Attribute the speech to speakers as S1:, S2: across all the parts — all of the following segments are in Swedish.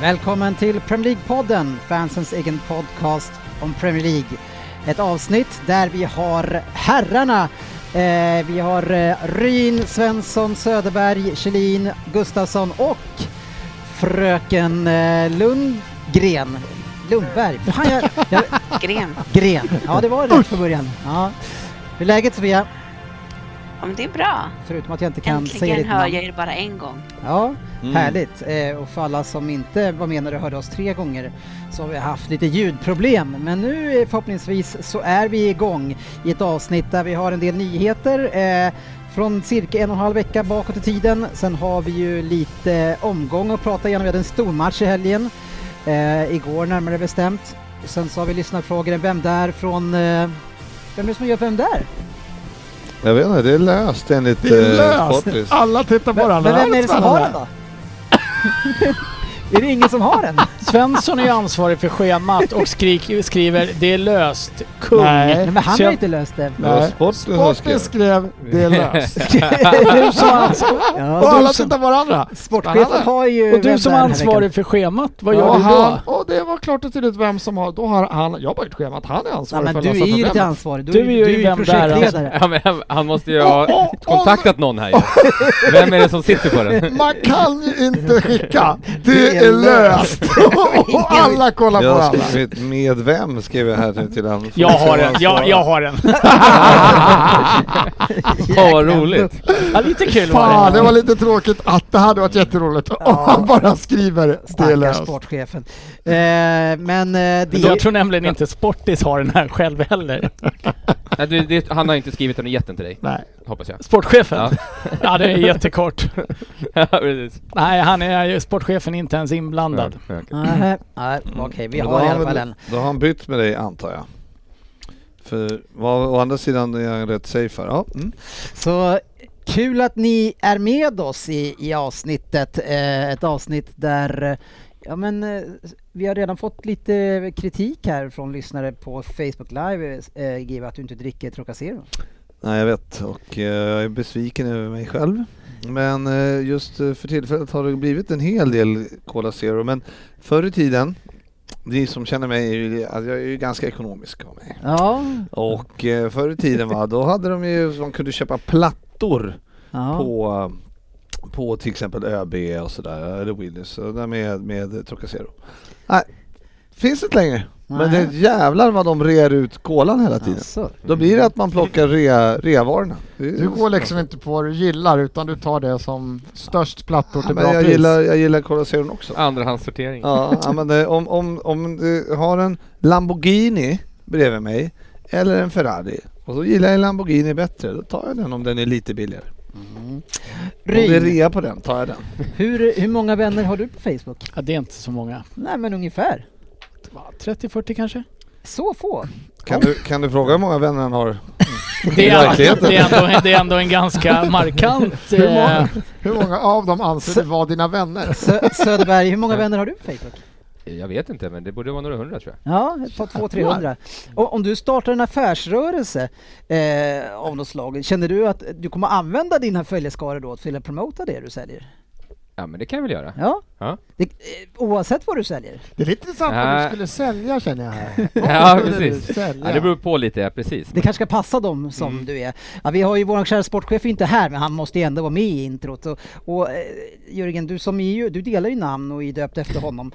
S1: Välkommen till Premier League-podden, fansens egen podcast om Premier League. Ett avsnitt där vi har herrarna. Eh, vi har eh, Ryn, Svensson, Söderberg, Kjellin, Gustafsson och fröken eh, Lundgren. Lundberg. Fan, jag, jag,
S2: Gren.
S1: Gren. Ja, det var rätt från början. Ja. Hur är läget Sofia?
S2: Om det är bra.
S1: Förutom att jag inte kan säga
S2: Äntligen
S1: ditt
S2: hör
S1: namn.
S2: jag er bara en gång.
S1: Ja,
S3: Mm.
S1: härligt. Eh, och för alla som inte var med när du hörde oss tre gånger så har vi haft lite ljudproblem. Men nu eh, förhoppningsvis så är vi igång i ett avsnitt där vi har en del nyheter eh, från cirka en och en halv vecka bakåt i tiden. Sen har vi ju lite omgång att prata igenom. Vi hade en stor match i helgen, eh, igår närmare bestämt. Sen så har vi lyssnarfrågor, vem där från... Eh, vem är det som gör vem där?
S4: Jag vet inte, det är löst enligt
S3: Det är
S4: eh,
S3: löst! Ah,
S4: Sportis.
S3: Alla tittar på
S1: Men
S3: varandra.
S1: vem är det som har den då? är det ingen som har den?
S5: Svensson är ansvarig för schemat och skrik, skriver det är löst. Kung.
S3: Nej.
S1: Nej, men han
S5: Så
S1: har
S5: jag-
S1: inte löst det.
S4: Det var
S3: Nej.
S4: Sportis som
S3: Sporten
S4: skrev.
S3: skrev det är löst.
S1: du som ansvarig.
S3: Och
S1: Ja,
S3: alla
S1: du som,
S3: tittar på varandra.
S1: sportchefen har ju...
S5: Och du
S1: vem
S5: som
S1: där
S5: är
S1: den här veckan.
S5: ansvarig för schemat, vad
S3: och
S5: gör du då?
S3: han, och det var klart och tydligt vem som har, då har han, jag har bara gjort schemat, han är
S1: Nej,
S3: ansvarig
S1: men
S3: för att
S1: Alltså, du
S3: lösa
S1: är ju lite
S3: problemet.
S1: ansvarig. Du,
S5: Du är
S1: du
S5: ju
S1: är ju
S5: vem där
S1: projektledare.
S6: Ja, men han- han måste ju
S3: Åh, åh,
S6: ha
S3: åh,
S6: kontaktat någon här ju. Vem är det som sitter på den?
S3: Man kan ju inte skicka det är löst. och alla kollar på
S4: Jag har
S3: varandra.
S4: skrivit med vem skriver jag här nu till han.
S5: Jag har en, jag, jag har en.
S6: Åh, vad roligt.
S5: Ja, lite kul var
S3: Fan,
S5: det.
S3: det var lite tråkigt att det hade varit jätteroligt om han bara skriver det är
S1: Stackars
S3: löst.
S1: sportchefen. Eh, men eh, det...
S5: Jag tror nämligen inte Sportis har den här själv heller.
S6: Nej, du, det, han har inte skrivit den och gett den till dig,
S3: Nej.
S6: hoppas jag.
S5: Sportchefen? Ja,
S6: Ja.
S5: det är jättekort.
S6: Ja, precis.
S5: Nej, han är, sportchefen är inte ens inblandad.
S6: Ja, okej.
S1: Nähä. Nej, okej, vi
S4: Mm. Men
S1: har i
S4: då
S1: alla fall
S4: väl-
S1: en.
S4: Då har han bytt med dig antar jag. För vad, å andra sidan är han rätt safe här. Ja. Mm.
S1: Så kul att ni är med oss i, i avsnittet. Eh, ett avsnitt där eh, Ja men eh, vi har redan fått lite kritik här från lyssnare på Facebook Live, eh, GW, att du inte dricker Trocacero.
S4: Nej jag vet och eh, jag är besviken över mig själv. Men eh, just eh, för tillfället har det blivit en hel del Cola Zero. Men förr i tiden, ni som känner mig, är ju- att jag är ju ganska ekonomisk av mig.
S1: Ja.
S4: Och eh, förr i tiden va, då hade de ju, man kunde köpa plattor
S1: ja.
S4: på, på till exempel ÖB och sådär, eller Willys, så där med, med Trocacero. Nej, finns inte längre. Men
S1: Nej.
S4: det jävlar vad de rear ut kolan hela tiden.
S1: Alltså.
S4: Då blir det att man plockar rea, reavarorna. Det är-
S3: Du går liksom inte på vad du gillar utan du tar det som störst plattor
S4: ja,
S3: till
S4: men
S3: bra
S4: jag
S3: pris.
S4: gillar, jag gillar Cola Zeron också.
S6: Andrahandssortering.
S4: Ja, ja, men det, om, om, om du har en Lamborghini bredvid mig eller en Ferrari och så gillar jag Lamborghini bättre, då tar jag den om den är lite billigare.
S5: Mm.
S4: Om det är
S1: Ryn,
S4: rea på den tar jag den.
S1: hur, hur många vänner har du på Facebook?
S5: Ja, det är inte så många.
S1: Nej men ungefär.
S5: Va, 30-40 kanske?
S1: Så få?
S4: Kan du, kan du fråga hur många vänner han har?
S5: Det
S4: I
S5: är,
S4: verkligheten.
S5: det, är ändå, det är ändå en ganska markant...
S3: Hur många?
S5: eh,
S3: Hur många av dem anser du vara dina vänner?
S1: Sö- Söderberg, hur många vänner har du på Facebook?
S6: Jag vet inte, men det borde vara några hundra tror jag.
S1: Ja, ett par 200-300. Och Om du startar en affärsrörelse eh, av något slag, känner du att du kommer använda dina följeskara då till att promota det du säljer?
S6: Ja, men det kan jag väl göra.
S1: Ja.
S6: Ja.
S1: Det, eh, oavsett vad du säljer?
S3: Det är lite intressant vad du
S6: Nej.
S3: skulle sälja känner jag här.
S6: Ja,
S3: skulle du
S6: precis.
S3: sälja?
S6: Ja, det beror på lite, ja, precis.
S1: Det kanske ska passa dem som du är. Ja, vi har ju vår kära sportchef är inte här, men han måste ju ändå vara med i introt. Och, och eh, Jörgen, du som är ju, du delar ju namn och är döpt efter honom.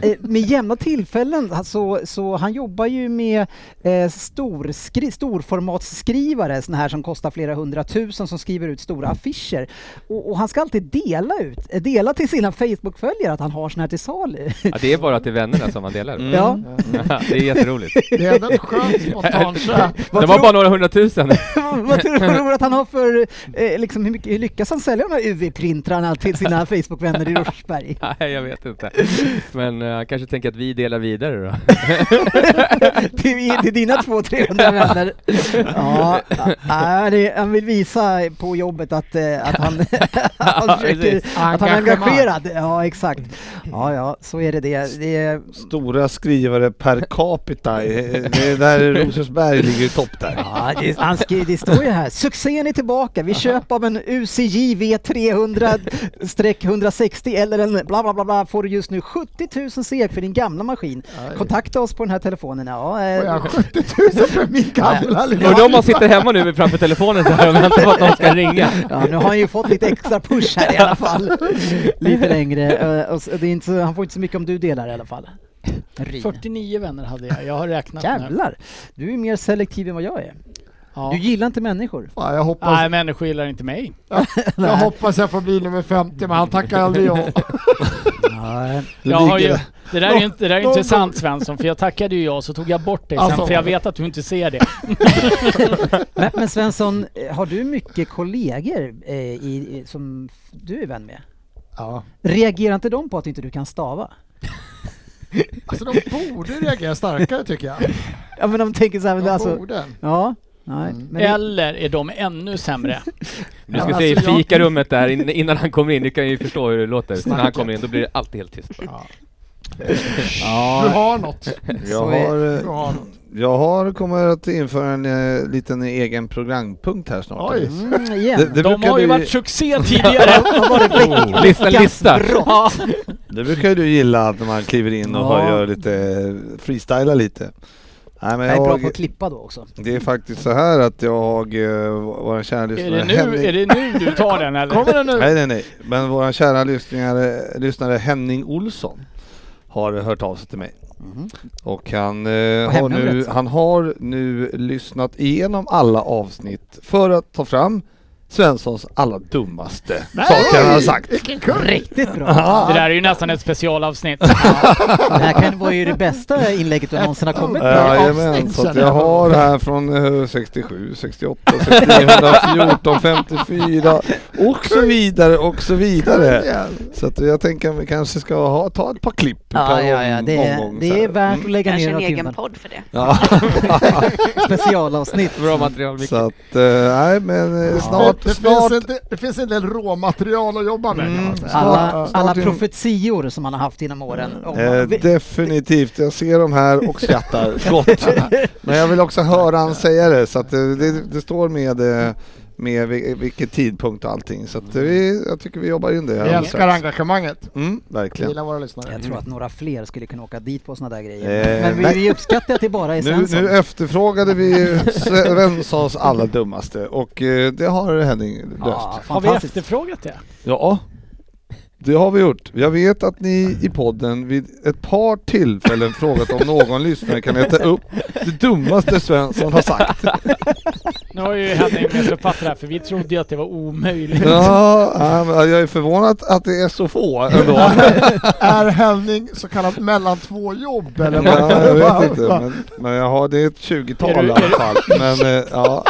S1: Eh, med jämna tillfällen, så, så han jobbar ju med eh, storskri, storformatsskrivare, såna här som kostar flera hundratusen, som skriver ut stora affischer. Och, och han ska alltid dela ut dela till sina Facebook-följare att han har sån här till salu.
S6: Ja, det är bara till vännerna som man delar.
S4: Mm.
S1: Ja.
S6: det är jätteroligt.
S3: Det är ändå ett skönt spontanköp.
S6: Det
S1: Vad
S6: var
S1: tror-
S6: bara några hundratusen.
S1: Vad tror du att han har för, eh, liksom, hur, mycket, hur lyckas han sälja de här UV-printrarna till sina Facebook-vänner i Rosersberg?
S6: Nej, jag vet inte. Men eh, han kanske tänker att vi delar vidare då.
S1: till, till dina 200-300 vänner. Ja, ja, det- han vill visa på jobbet att, eh, att han, han, försöker,
S6: precis.
S1: att han är
S3: Engagemang.
S1: engagerad. Ja, exakt. Ja, ja, så är det det. det är,
S4: Stora skrivare per capita. eh, Det är där Rosersberg ligger i topp där.
S1: ja, det, han skri, det står ju här, succén är tillbaka vid köp av en UCJ V300-160 eller en bla bla bla bla får du just nu 70 000 SEK för din gamla maskin. Kontakta oss på den här telefonen. Ja, eh,
S3: Får jag 70 000 för min gamla lilla
S6: Undrar om man sitter hemma nu framför telefonen så här och väntar på att någon ska ringa.
S1: Ja, nu har han ju fått lite extra push här i alla fall. Lite längre. eh, Och så- det är inte så, han får inte så mycket om du delar i alla fall. Rin.
S5: 49 vänner hade jag, jag har räknat nu.
S1: Jävlar! Du är mer selektiv än vad jag är.
S5: Ja.
S1: Du gillar inte människor.
S3: Fan, jag, hoppas,
S5: Nej, människor gillar inte mig.
S3: jag hoppas jag får bli nummer 50 men han tackar aldrig ja.
S1: Nej.
S4: Du
S5: Jag har ju,
S4: ligger-
S5: det där är ju inte, det där är
S3: Någon-
S5: intressant Svensson, för jag tackade ju ja, så tog jag bort dig
S3: Alltså.
S5: sen, för jag vet att du inte ser det.
S1: Men, men Svensson, eh, har du mycket kollegor eh, i, i- som f- du är vän med?
S3: ja.
S1: Reagerar inte de på att inte du kan stava?
S3: Alltså de borde reagera starkare tycker jag.
S1: Ja men de Mm. tänker så här, men
S3: De
S1: alltså...
S3: borde.
S1: Ja, nej. Men det,
S5: Eller är de ännu sämre?
S6: Du ska
S3: Ja,
S6: se i
S3: alltså, jag-
S6: fikarummet där in- innan han kommer in, du kan ju förstå hur det låter. När han kommer in då blir det alltid helt tyst.
S3: Du har något.
S4: Jag
S1: Så är-
S4: har, eh,
S3: Du har något.
S4: jag har kommer att införa en eh, liten egen programpunkt här snart.
S3: Oj.
S1: mm, igen.
S4: Det, det
S5: De
S4: brukar
S5: har ju
S4: du,
S5: varit succé tidigare!
S6: Oh, Lista, lista!
S1: Brott.
S4: det brukar ju du gilla att när man kliver in och
S1: Ja.
S4: har, gör lite, eh, freestylar lite. Nej, men
S1: Jag är bra på
S4: jag,
S1: att klippa då också.
S4: det är faktiskt så här att jag, eh, våra kära
S5: Är
S4: lyssnare
S5: det, nu, är det nu du tar den eller?
S3: Kommer den nu?
S4: Nej, nej, nej. Men våra kära lyssnare, lyssnare Henning Olsson har hört av sig till mig. Och han, eh, har nu,
S1: hemnumret.
S4: han har nu lyssnat igenom alla avsnitt för att ta fram Svenssons alla dummaste saker han har sagt.
S3: Vilken kung!
S1: Riktigt bra.
S5: Det där är ju nästan ett specialavsnitt.
S1: Det här kan vara ju det bästa inlägget du någonsin har kommit med.
S3: Ja,
S4: Jajamän,
S3: avsnitt
S4: så att
S3: känner
S4: jag
S3: jag.
S4: har här från eh, 67, 68, 69, 114, 54 och så vidare och så vidare. Så att jag tänker att vi kanske ska ha, ta ett par klipp
S1: Ja,
S4: per
S1: ja, ja.
S4: om-
S1: Det, är,
S4: omgång
S1: det
S4: så här.
S1: är värt att lägga ner
S2: Kanske en
S1: några
S2: egen
S1: timmar.
S2: podd för det.
S4: Ja,
S1: Specialavsnitt.
S6: Bra material, Micke.
S4: så att, eh, nej men eh, snart,
S3: det,
S4: snart.
S3: Finns en, del- det finns en del råmaterial att jobba med. kan man säga.
S1: Alla, alla
S4: in-
S1: profetior som man har haft genom åren. Om man-
S4: Eh, definitivt, jag ser dem här och skrattar gott. Men jag vill också höra han säga det, så att eh, det, det står med, eh, med vi- vilken tidpunkt och allting. Så att eh, vi, jag tycker vi jobbar in det här.
S3: Jag älskar
S4: alldeles strax.
S3: engagemanget.
S4: Mm,
S3: Jag
S4: verkligen.
S3: gillar våra lyssnare.
S1: jag tror att några fler skulle kunna åka dit på sådana där
S4: Eh,
S1: grejer. Men vi,
S4: nej.
S1: vi uppskattar att det bara är
S4: Nu,
S1: Svensson.
S4: nu efterfrågade vi Svenssons alla dummaste och eh, det har Henning löst.
S1: ja,
S5: Har vi
S1: fantastiskt.
S5: efterfrågat det?
S4: Ja, det har vi gjort. Jag vet att ni i podden vid ett par tillfällen frågat om någon lyssnare kan äta upp det dummaste Svensson har sagt.
S5: Nu har ju Henning missuppfattat det här, för vi trodde ju att det var omöjligt.
S4: Ja, ja, men jag är förvånad att det är så få ändå.
S3: Är Henning så kallat mellan två jobb eller? vad?
S4: Ja, jag vet inte, men, men jag har, det är ett 20-tal i
S5: Är du-
S4: alla fall. Men eh, ja,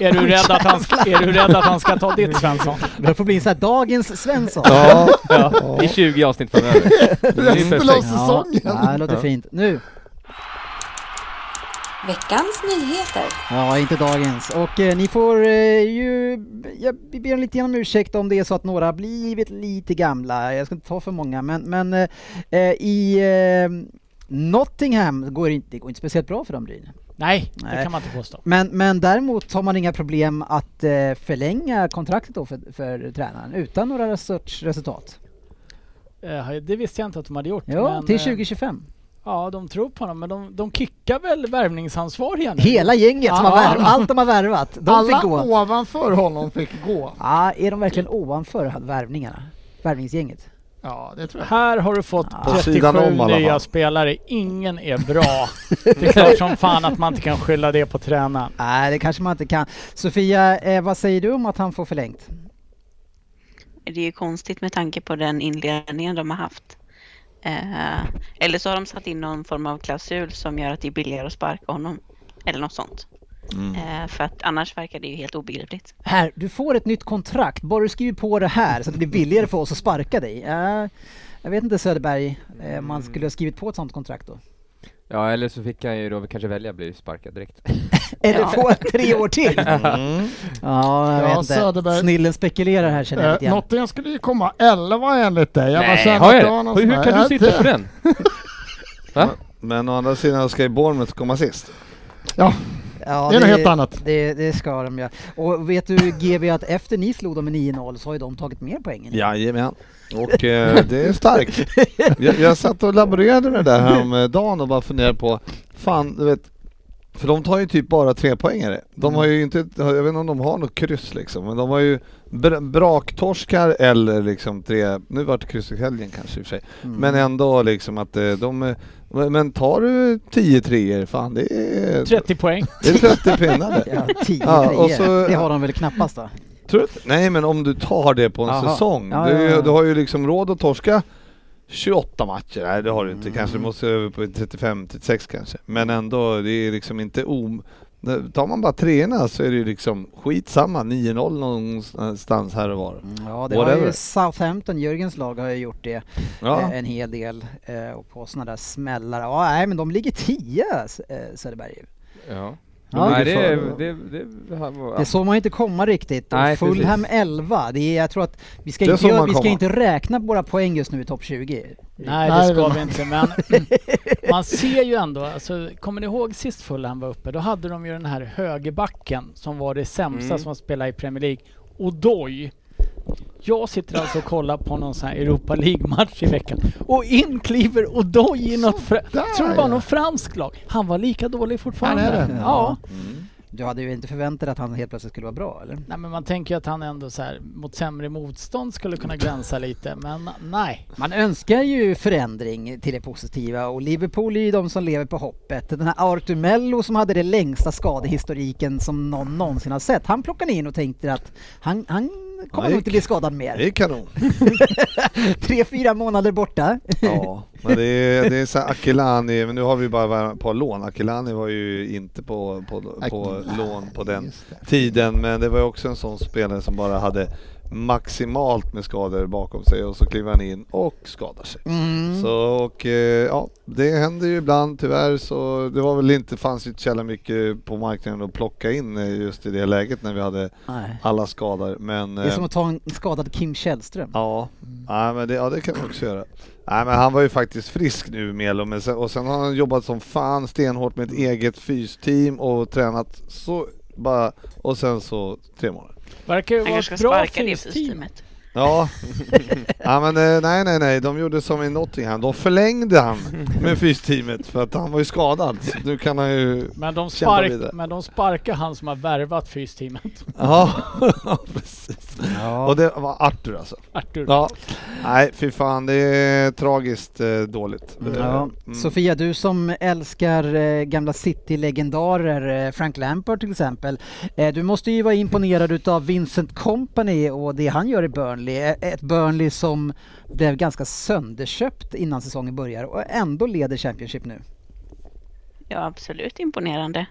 S5: Är du rädd att han ska, är du rädd att han ska ta ditt Svensson?
S1: Det får bli så här dagens Svensson.
S4: ja,
S6: Ja, I 20 avsnitt framöver. Det är ju
S3: Resten av
S6: perfekt.
S3: säsongen.
S1: ja, det låter fint. Nu.
S7: Veckans nyheter.
S1: Ja, inte dagens. Och eh, ni får eh, ju... Jag ber om lite om ursäkt om det är så att några har blivit lite gamla. Jag ska inte ta för många, men, men eh, eh, i eh, Nottingham går det inte, det går inte speciellt bra för dem, Bryn.
S5: Nej,
S1: Nej.
S5: det kan man inte påstå.
S1: Men, men däremot har man inga problem att eh, förlänga kontraktet då för, för tränaren utan några research- resultat.
S5: Eh, Det visste jag inte att de hade gjort.
S1: Ja,
S5: men,
S1: till
S5: eh,
S1: 2025.
S5: Ja, de tror på honom, men de, de kickar väl värvningsansvariga nu?
S1: Hela gänget som har
S5: Ja.
S1: värvat, allt de har värvat, de
S3: Alla
S1: fick gå.
S3: ovanför honom fick gå.
S1: Ja, Ah, är de verkligen ovanför värvningarna? Värvningsgänget?
S3: Ja, det tror jag.
S5: Här har du fått
S1: På
S4: sidan om i
S5: 37
S4: alla
S5: nya
S4: fall.
S5: spelare. Ingen är bra. Det är klart som fan att man inte kan skylla det på tränaren.
S1: Ah, Nej, det kanske man inte kan. Sofia, eh, vad säger du om att han får förlängt?
S8: det är ju konstigt med tanke på den inledningen de har haft. Eh, eller så har de satt in någon form av klausul som gör att det är billigare att sparka honom. Eller något sånt.
S1: Mm.
S8: Eh, för att annars verkar det ju helt obegripligt.
S1: Här, du får ett nytt kontrakt. Bara du skriver på det här så att det blir billigare för oss att sparka dig. Eh, jag vet inte Söderberg, eh, man skulle ha skrivit på ett sånt kontrakt då.
S6: Ja, eller så fick han ju då kanske välja att bli sparkad direkt.
S1: Eller
S8: Ja.
S1: få tre år till!
S4: Mm.
S1: Ja, jag
S3: Ja,
S1: vet inte.
S3: Söderberg.
S1: Snillen spekulerar här känner jag
S3: Eh,
S1: lite grann.
S3: Nottingham skulle ju komma 11 enligt dig. Jag bara kände
S6: har
S3: att
S6: jag
S3: det var någon
S6: det? Hur,
S3: sån
S6: hur kan
S3: här-
S6: du sitta på den? Va?
S4: Men å andra sidan ska ju Bournemouth komma sist.
S3: Ja,
S1: Ja,
S3: Det är något helt annat.
S1: Det, det ska de göra. Och vet du GB att efter ni slog dem med 9-0 så har ju de tagit mer poäng. än ni.
S4: Jajamän. Och eh, det är starkt. Jag, jag satt och laborerade med det där häromdagen och bara funderade på, fan du vet, för de tar ju typ bara tre poängare. De har ju inte, jag vet inte om de har något kryss liksom, men de har ju br- braktorskar eller liksom tre, nu vart det kryss i helgen kanske i och för sig,
S1: Mm.
S4: men ändå liksom att eh, de, eh, men tar du tio treor, fan det är,
S5: 30 poäng.
S4: det är 30 pinnar det.
S1: Ja, 10
S4: Ja, och
S1: grejer.
S4: så-
S1: Det har de väl knappast va?
S4: Tror du inte? Nej men om du tar det på en
S1: Jaha.
S4: säsong.
S1: Ja,
S4: du,
S1: ja, ja.
S4: du har ju liksom råd att torska 28 matcher. Nej det har du
S1: Mm.
S4: inte. Kanske du måste över på 35-36 kanske. Men ändå, det är liksom inte om... Tar man bara treorna så är det ju liksom skitsamma. 9-0 någonstans här och var.
S1: Ja, det har
S4: Mm, Whatever.
S1: ju Southampton, Jörgens lag, har ju gjort det
S4: Ja.
S1: eh, en hel del. eh, Och på sådana där smällar. Ja, nej, men de ligger 10 eh, Söderberg.
S6: Ja.
S1: Ja,
S6: Nej,
S4: det
S6: det,
S4: är
S6: är-
S4: för-
S6: det, det, han var-
S1: Det såg man ju inte komma riktigt. Och
S6: Nej,
S1: Fulham 11. Det är, jag tror att vi ska,
S4: Det
S1: inte,
S4: såg
S1: göra-
S4: man
S1: vi ska
S4: komma.
S1: inte räkna på våra poäng just nu i topp 20.
S5: Nej,
S3: Nej,
S5: det ska
S3: men-
S5: vi inte. Men man ser ju ändå, alltså, kommer ni ihåg sist Fulham var uppe? Då hade de ju den här högerbacken som var det sämsta
S6: Mm.
S5: som spelade i Premier League. Odoi. Jag sitter alltså och kollar på någon sån här Europa League-match i veckan och in kliver Odoi i något fra-
S3: Sådär,
S5: tror det var
S3: ja.
S5: någon fransk lag. Han var lika dålig fortfarande.
S3: Han är det.
S5: Ja.
S1: Du hade ju inte förväntat dig att han helt plötsligt skulle vara bra, eller?
S5: Nej men man tänker ju att han ändå så här mot sämre motstånd skulle kunna glänsa lite, men nej.
S1: Man önskar ju förändring till det positiva och Liverpool är ju de som lever på hoppet. Den här Artur Mello som hade den längsta skadehistoriken som någon någonsin har sett. Han plockade in och tänkte att han, han
S4: Han
S1: kommer nog
S4: gick.
S1: inte bli skadad
S4: Det
S1: mer.
S4: är kanon.
S1: Tre, fyra månader borta.
S4: Ja, men det är, det är så här Akilani, men nu har vi bara ett par lån. Akilani var ju inte på, på, på
S3: Akilani,
S4: lån på den
S3: just det.
S4: tiden, men det var ju också en sån spelare som bara hade maximalt med skador bakom sig och så kliver han in och skadar sig.
S1: Mm.
S4: Så och eh, ja, det händer ju ibland tyvärr så det var väl inte, fanns ju inte så jävla mycket på marknaden att plocka in eh, just i det läget när vi hade
S1: Nej.
S4: alla skador. Men,
S1: Det är
S4: eh,
S1: som att ta en skadad Kim Källström.
S4: Ja, ja, men det, ja det kan man också göra. Nej, men han var ju faktiskt frisk nu Melo, men sen, och sen har han jobbat som fan stenhårt med ett eget fysteam och tränat så bara och sen så tre månader.
S5: Verkar ju
S8: Han
S5: vara
S8: kanske
S5: ett
S8: ska
S5: bra
S8: sparka det
S5: fysteam.
S8: fysteamet.
S4: Ja, ja men eh, nej nej nej, de gjorde som i Nottingham, de förlängde han med fysteamet för att han var ju skadad. Så nu kan han ju...
S5: Men de,
S4: Kämpa
S5: spark,
S4: vidare.
S5: men de sparkar han som har värvat fysteamet.
S4: Ja, precis. Och det var Arthur alltså.
S5: Artur.
S4: Ja. Nej fy fan, det är tragiskt eh, dåligt. Eh, mm.
S1: Ja. Sofia, du som älskar eh, gamla City-legendarer, eh, Frank Lampard till exempel. Eh, du måste ju vara imponerad utav Vincent Company och det han gör i Burnley. Eh, Ett Burnley som blev ganska sönderköpt innan säsongen börjar och ändå leder Championship nu.
S8: Ja, absolut imponerande.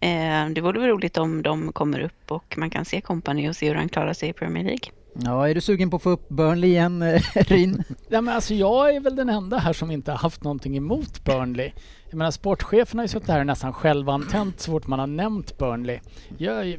S8: Eh, det vore väl roligt om de kommer upp och man kan se kompani och se hur han klarar sig i Premier League.
S1: Ja, är du sugen på att få upp Burnley igen, eh, Ryn?
S5: Nej, men alltså jag är väl den enda här som inte har haft någonting emot Burnley. Jag menar sportchefen har ju suttit här och nästan självantänt så fort man har nämnt Burnley. Jag,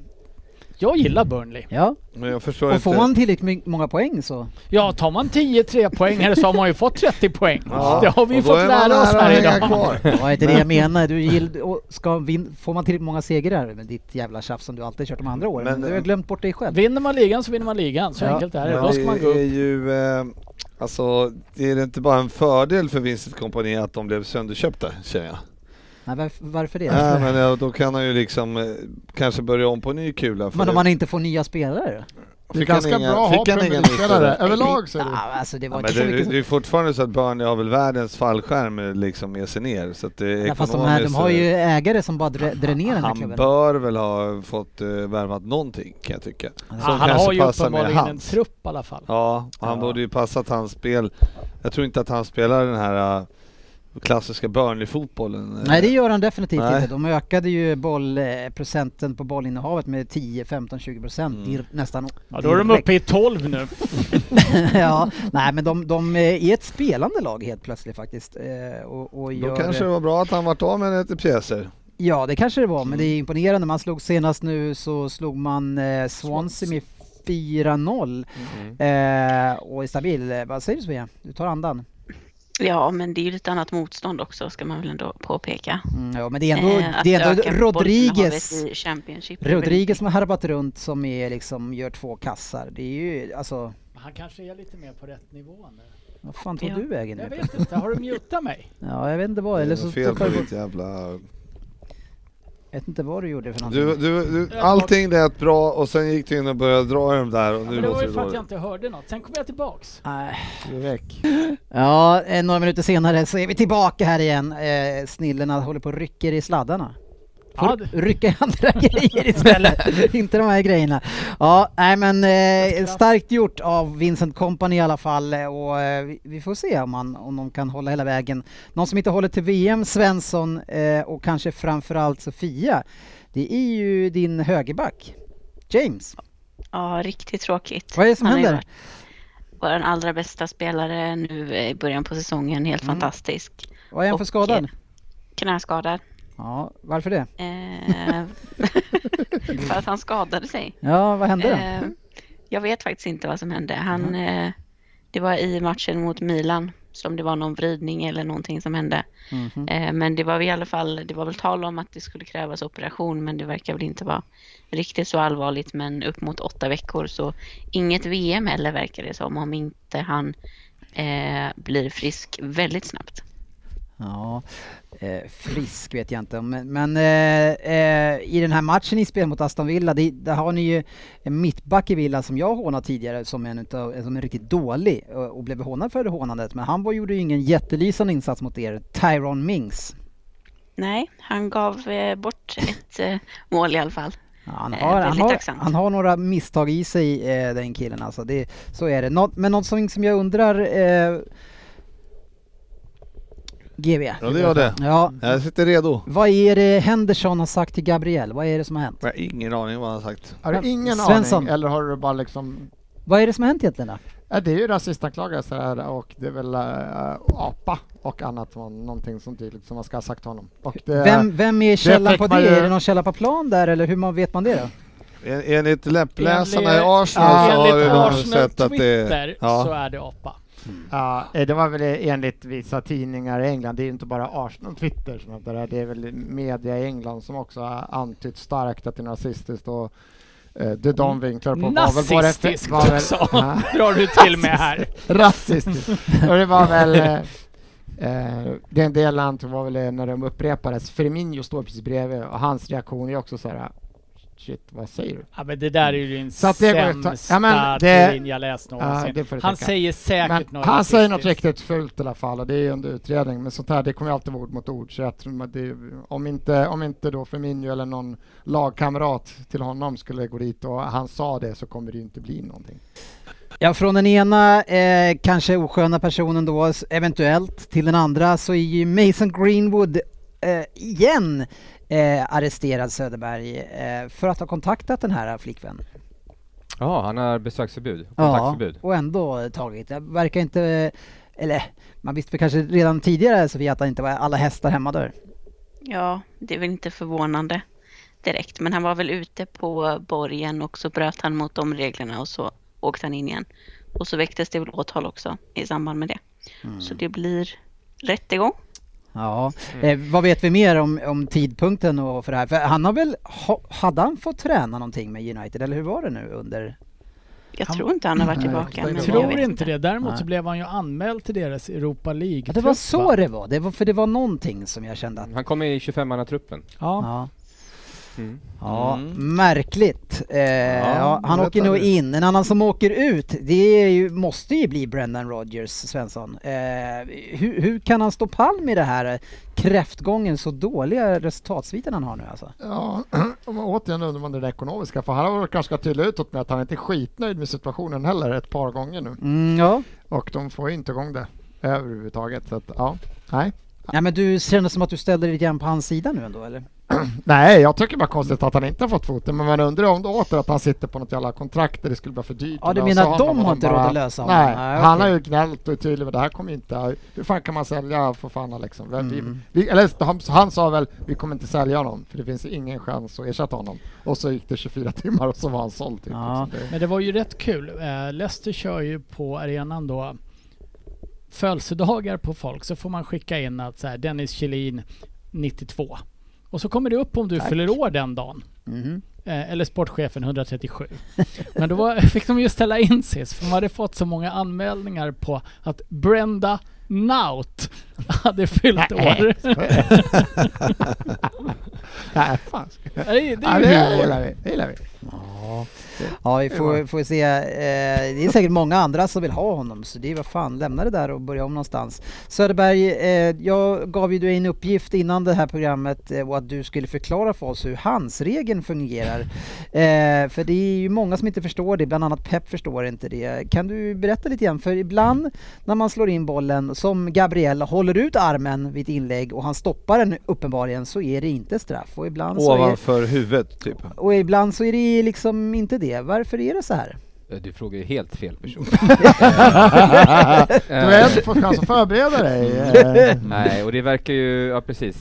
S5: jag gillar Burnley.
S1: Ja,
S4: Men jag förstår
S1: och får
S4: inte.
S1: man tillräckligt många poäng så...
S5: Ja, tar man 10 trepoängare så har man ju fått 30 poäng.
S4: Ja,
S5: Det har vi ju
S4: och då
S5: fått
S4: är man
S5: lära oss
S4: nära
S5: här
S4: att hänga
S5: idag.
S4: kvar.
S1: Det var inte det jag menar. Du gill, och ska vin, får man tillräckligt många segrar med ditt jävla tjafs som du alltid kört de andra åren? Men,
S4: Men-
S1: du har glömt bort dig själv.
S5: Vinner man ligan så vinner man ligan. Så
S1: Ja,
S5: enkelt är det.
S4: Men
S5: Då ska man gå
S4: Det är
S5: upp.
S4: ju, eh, alltså, är det inte bara en fördel för Vincent Kompani att de blev sönderköpta, känner jag?
S1: Nej, varför, varför det?
S4: Ja, men eh, då kan han ju liksom eh, kanske börja om på ny kula. För
S1: men om
S4: det-
S1: man inte får nya spelare?
S3: Det är
S4: Fick han
S3: ganska
S4: ingen-
S3: bra att ha
S4: fick han ingen
S3: Premier
S4: nick,
S3: Överlag så är det.
S1: Ja, alltså det var
S4: Ja,
S1: inte
S4: men
S1: så
S4: det,
S1: mycket.
S4: det är fortfarande så att Burnley har väl världens fallskärm eh, liksom med sig ner. Så att det är eh,
S1: Ja, fast de, här, de har ju ägare som bara drä- dränerar den här
S4: Han
S1: klubben.
S4: bör väl ha fått eh, värvat någonting kan jag tycka. Som
S5: Ja, han har
S4: kanske
S5: ju
S4: passar med
S5: uppenbarligen en
S4: hans.
S5: trupp i alla fall.
S4: Ja, han
S5: Ja.
S4: borde ju passat hans spel. Jag tror inte att han spelar den här eh, klassiska Burnley-fotbollen. eh.
S1: Nej det gör han definitivt
S4: Nej.
S1: inte. De ökade ju bollprocenten på bollinnehavet med 10, 15, 20 procent
S4: Mm.
S1: nästan
S5: Ja, då är de
S1: direkt.
S5: uppe i 12 nu.
S1: ja, nej men de, de är ett spelande lag helt plötsligt faktiskt. Eh, Och, och
S4: Då
S1: gör,
S4: kanske det var bra att han vart av med lite pjäser.
S1: Ja det kanske det var, men det
S4: Mm.
S1: är imponerande. Man slog senast nu så slog man eh, Swansea med 4-0
S4: Mm.
S1: eh, och är stabil. Eh, Vad säger du Sofia? Du tar andan.
S8: Ja, men det är ju lite annat motstånd också ska man väl ändå påpeka.
S1: Mm, ja, men det är ändå,
S8: Eh, att
S1: det är ändå
S8: öka
S1: Rodriguez.
S8: bollinnehavet i Championship.
S1: Rodriguez som har harvat runt som är liksom gör två kassar. Det är ju alltså,
S5: Han kanske är lite mer på rätt nivå nu.
S1: vad fan tog
S8: Ja.
S1: du vägen
S5: Jag
S1: nu?
S5: vet inte, har du mutat mig?
S1: Ja, jag vet inte vad, eller
S4: Det är
S1: så
S4: fel på
S1: jag bort.
S4: ditt jävla...
S1: Jag vet inte vad du gjorde för någonting.
S4: Du, du, du, allting lät bra och sen gick du in och började dra i de där och nu
S5: Ja, men det var
S4: låter
S5: ju
S4: det
S5: för att jag
S4: dåligt.
S5: inte hörde något. Sen kom jag tillbaks.
S1: Nej.
S3: Du är väck.
S1: Ja, eh, några minuter senare så är vi tillbaka här igen. Eh, snillena håller på och rycker i sladdarna. Får
S5: Ja, det-
S1: rycka i andra grejer istället, inte de här grejerna. Ja, nej men eh, starkt gjort av Vincent Company i alla fall eh, och eh, vi- vi får se om, man, om de kan hålla hela vägen. Någon som inte håller till VM, Svensson eh, och kanske framförallt Sofia, det är ju din högerback James.
S8: Ja, riktigt tråkigt.
S1: Vad är det som
S8: Han har ju
S1: händer?
S8: varit Vår allra bästa spelare nu i början på säsongen, helt fantastisk.
S1: Vad är han för
S8: Och,
S1: Mm. skadad?
S8: eh, Knäskadad.
S1: Ja, varför det?
S8: Eh, för att han skadade sig.
S1: Ja, vad hände då? Mm.
S8: Eh, jag vet faktiskt inte vad som hände. Han, eh, det var i matchen mot Milan som det var någon vridning eller någonting som hände.
S1: Mhm.
S8: Eh, men det var i alla fall, det var väl tal om att det skulle krävas operation men det verkar väl inte vara riktigt så allvarligt. Men upp mot åtta veckor så inget VM heller verkar det som om inte han eh, blir frisk väldigt snabbt.
S1: Ja, eh, frisk vet jag inte om, men, men eh, eh, i den här matchen i spel mot Aston Villa, det, där har ni ju en mittback i Villa som jag hånat tidigare som en, utav, som en riktigt dålig eh, och, och blev hånad för det hånandet, men han var, gjorde ju ingen jättelysande insats mot er, Tyrone Mings.
S8: Nej, han gav eh, bort ett eh, mål i alla fall.
S1: Ja, Han
S8: Eh,
S1: har, han,
S8: väldigt
S1: har,
S8: tacksamt.
S1: han har några misstag i sig eh, den killen alltså, det, så är det. Nå, men något som, som jag undrar, eh, GV.
S4: Ja, det gör det.
S1: Ja,
S4: Jag sitter redo.
S1: vad är det Henderson har sagt till Gabriel? Vad är det som har hänt?
S4: Jag har ingen aning vad han har sagt.
S3: Har du ingen
S1: Svensson.
S3: aning eller har du bara liksom
S1: Vad är det som har hänt egentligen då?
S3: Ja, det är ju rasistanklagelser här och det är väl eh, apa och annat, som- någonting som tydligt som man ska ha sagt till honom. Och det,
S1: Vem, vem är källan
S3: fick
S1: på
S3: man
S1: det?
S3: ju-
S1: Är det någon källa på plan där eller hur man vet man det då?
S4: En- Enligt läppläsarna i
S5: Enligt-
S4: Arsenal så har ju
S5: Enligt
S4: de sett att det
S5: Arsenal-Twitter
S4: är... Ja.
S5: så är det apa.
S3: Ja, eh, det var väl enligt vissa tidningar i England, det är ju inte bara Arsenal och Twitter som hävdar det här, det är väl media i England som också har antytt starkt att det är nazistiskt och eh, det de vinklar på var väl vad det
S5: Mm. Nazistiskt
S3: var väl-
S5: också.
S3: Ja.
S5: Drar du till med här?
S3: Rasistiskt. Och det var väl... Eh, eh, den delen antog var väl eh, när de upprepades. Firmino står precis bredvid och hans reaktion är också så här... Shit, vad säger du?
S5: Ja men det där är ju din
S3: Så att det går att ta-
S5: sämsta
S3: Ja, men det-
S5: teorin jag läst
S3: Ja,
S5: någonsin.
S3: det får du
S5: han
S3: tänka.
S5: säger
S3: Men
S5: säkert något
S3: han säger något
S5: rasistiskt.
S3: riktigt fult i alla fall och det är ju under utredning. Men sånt här, det kommer ju alltid vara ord mot ord. Så jag tror att det, om, inte, om inte då Firmino eller någon lagkamrat till honom skulle gå dit och han sa det så kommer det ju inte bli någonting.
S1: Ja, från den ena eh, kanske osköna personen då s- eventuellt till den andra så är ju Mason Greenwood eh, igen eh, arresterad Söderberg eh, för att ha kontaktat den här flickvännen.
S6: Ja, han har besöksförbud. Kontaktförbud.
S1: och ändå tagit. Det verkar inte, eller man visste väl kanske redan tidigare Sofia att det inte var alla hästar hemma där.
S8: Ja, det är väl inte förvånande direkt. Men han var väl ute på borgen och så bröt han mot de reglerna och så åkte han in igen. Och så väcktes det väl åtal också i samband med det. Så det blir rättegång.
S1: Ja, eh, vad vet vi mer om, om tidpunkten och för det här? För han har väl, ha, hade han fått träna någonting med United eller hur var det nu under?
S8: Jag
S5: Han-
S8: tror inte han har varit
S3: Nej,
S8: tillbaka.
S3: jag
S8: men jag
S5: Tror
S8: vet
S5: inte det. Däremot
S1: Nej.
S5: så blev han ju anmäld till deras Europa League.
S1: Ja, det var så det var. det var, för det var någonting som jag kände att,
S6: Han kom med i 25-mannatruppen.
S5: Ja.
S1: ja. Ja,
S4: Mm.
S1: märkligt. Eh, ja, han
S4: berätta
S1: åker nog
S4: nu.
S1: in. En annan som åker ut, det är ju, måste ju bli Brendan Rodgers, Svensson. Eh, hur, hur kan han stå pall med det här eh, kräftgången, så dåliga resultatsviten han har nu alltså?
S3: Ja, och man- återigen undrar man det där ekonomiska, för han har varit ganska tydlig utåt med att han inte är skitnöjd med situationen heller ett par gånger nu.
S1: Mm, ja.
S3: Och de får ju inte igång det överhuvudtaget. Så att, ja, nej.
S1: ja, men du känner som att du ställer dig lite grann på hans sida nu ändå eller?
S3: Nej, jag tycker bara konstigt att han inte har fått foten, men man undrar om det åter att han sitter på något jävla kontrakt där det skulle vara för dyrt
S1: Ja, du
S3: lösa
S1: menar att
S3: honom
S1: de
S3: och
S1: har inte
S3: bara-
S1: råd att lösa honom?
S3: Nej,
S1: Nej,
S3: han har
S1: okej.
S3: ju gnällt och är tydlig med det här kommer inte... Hur fan kan man sälja för fan liksom?
S1: Mm.
S3: Vi, vi, eller han, han sa väl, vi kommer inte sälja honom för det finns ingen chans att ersätta honom. Och så gick det 24 timmar och så var han såld. Typ.
S1: Ja.
S3: liksom.
S5: Men det var ju rätt kul. Eh, Leicester kör ju på arenan då födelsedagar på folk så får man skicka in att så här, Dennis Kjellin 92. Och så kommer det upp om du fyller år den dagen.
S1: Mhm.
S5: Eh, eller sportchefen 137. Men då var, fick de ju ställa in sist för de hade fått så många anmälningar på att Brenda Naut hade fyllt år.
S3: Nej, fan.
S5: det, är- det
S3: Ja,
S5: är
S3: det
S5: ju humor.
S3: gillar vi. Det gillar vi.
S1: Ja, vi får, får se. Eh, det är säkert många andra som vill ha honom, så det är vad fan, lämna det där och börja om någonstans. Söderberg, eh, jag gav ju dig en uppgift innan det här programmet eh, och att du skulle förklara för oss hur handsregeln fungerar. Eh, för det är ju många som inte förstår det, bland annat Pep förstår inte det. Kan du berätta lite grann? För ibland när man slår in bollen, som Gabriel håller ut armen vid ett inlägg och han stoppar den uppenbarligen, så är det inte straff. Och ibland, så är,
S4: Ovanför huvudet typ.
S1: och ibland så är det liksom inte det. Varför är det så här?
S6: Eh, Du frågar ju helt fel person.
S3: Du har ändå fått chans att förbereda dig. eh.
S6: Nej, och det verkar ju, ja precis.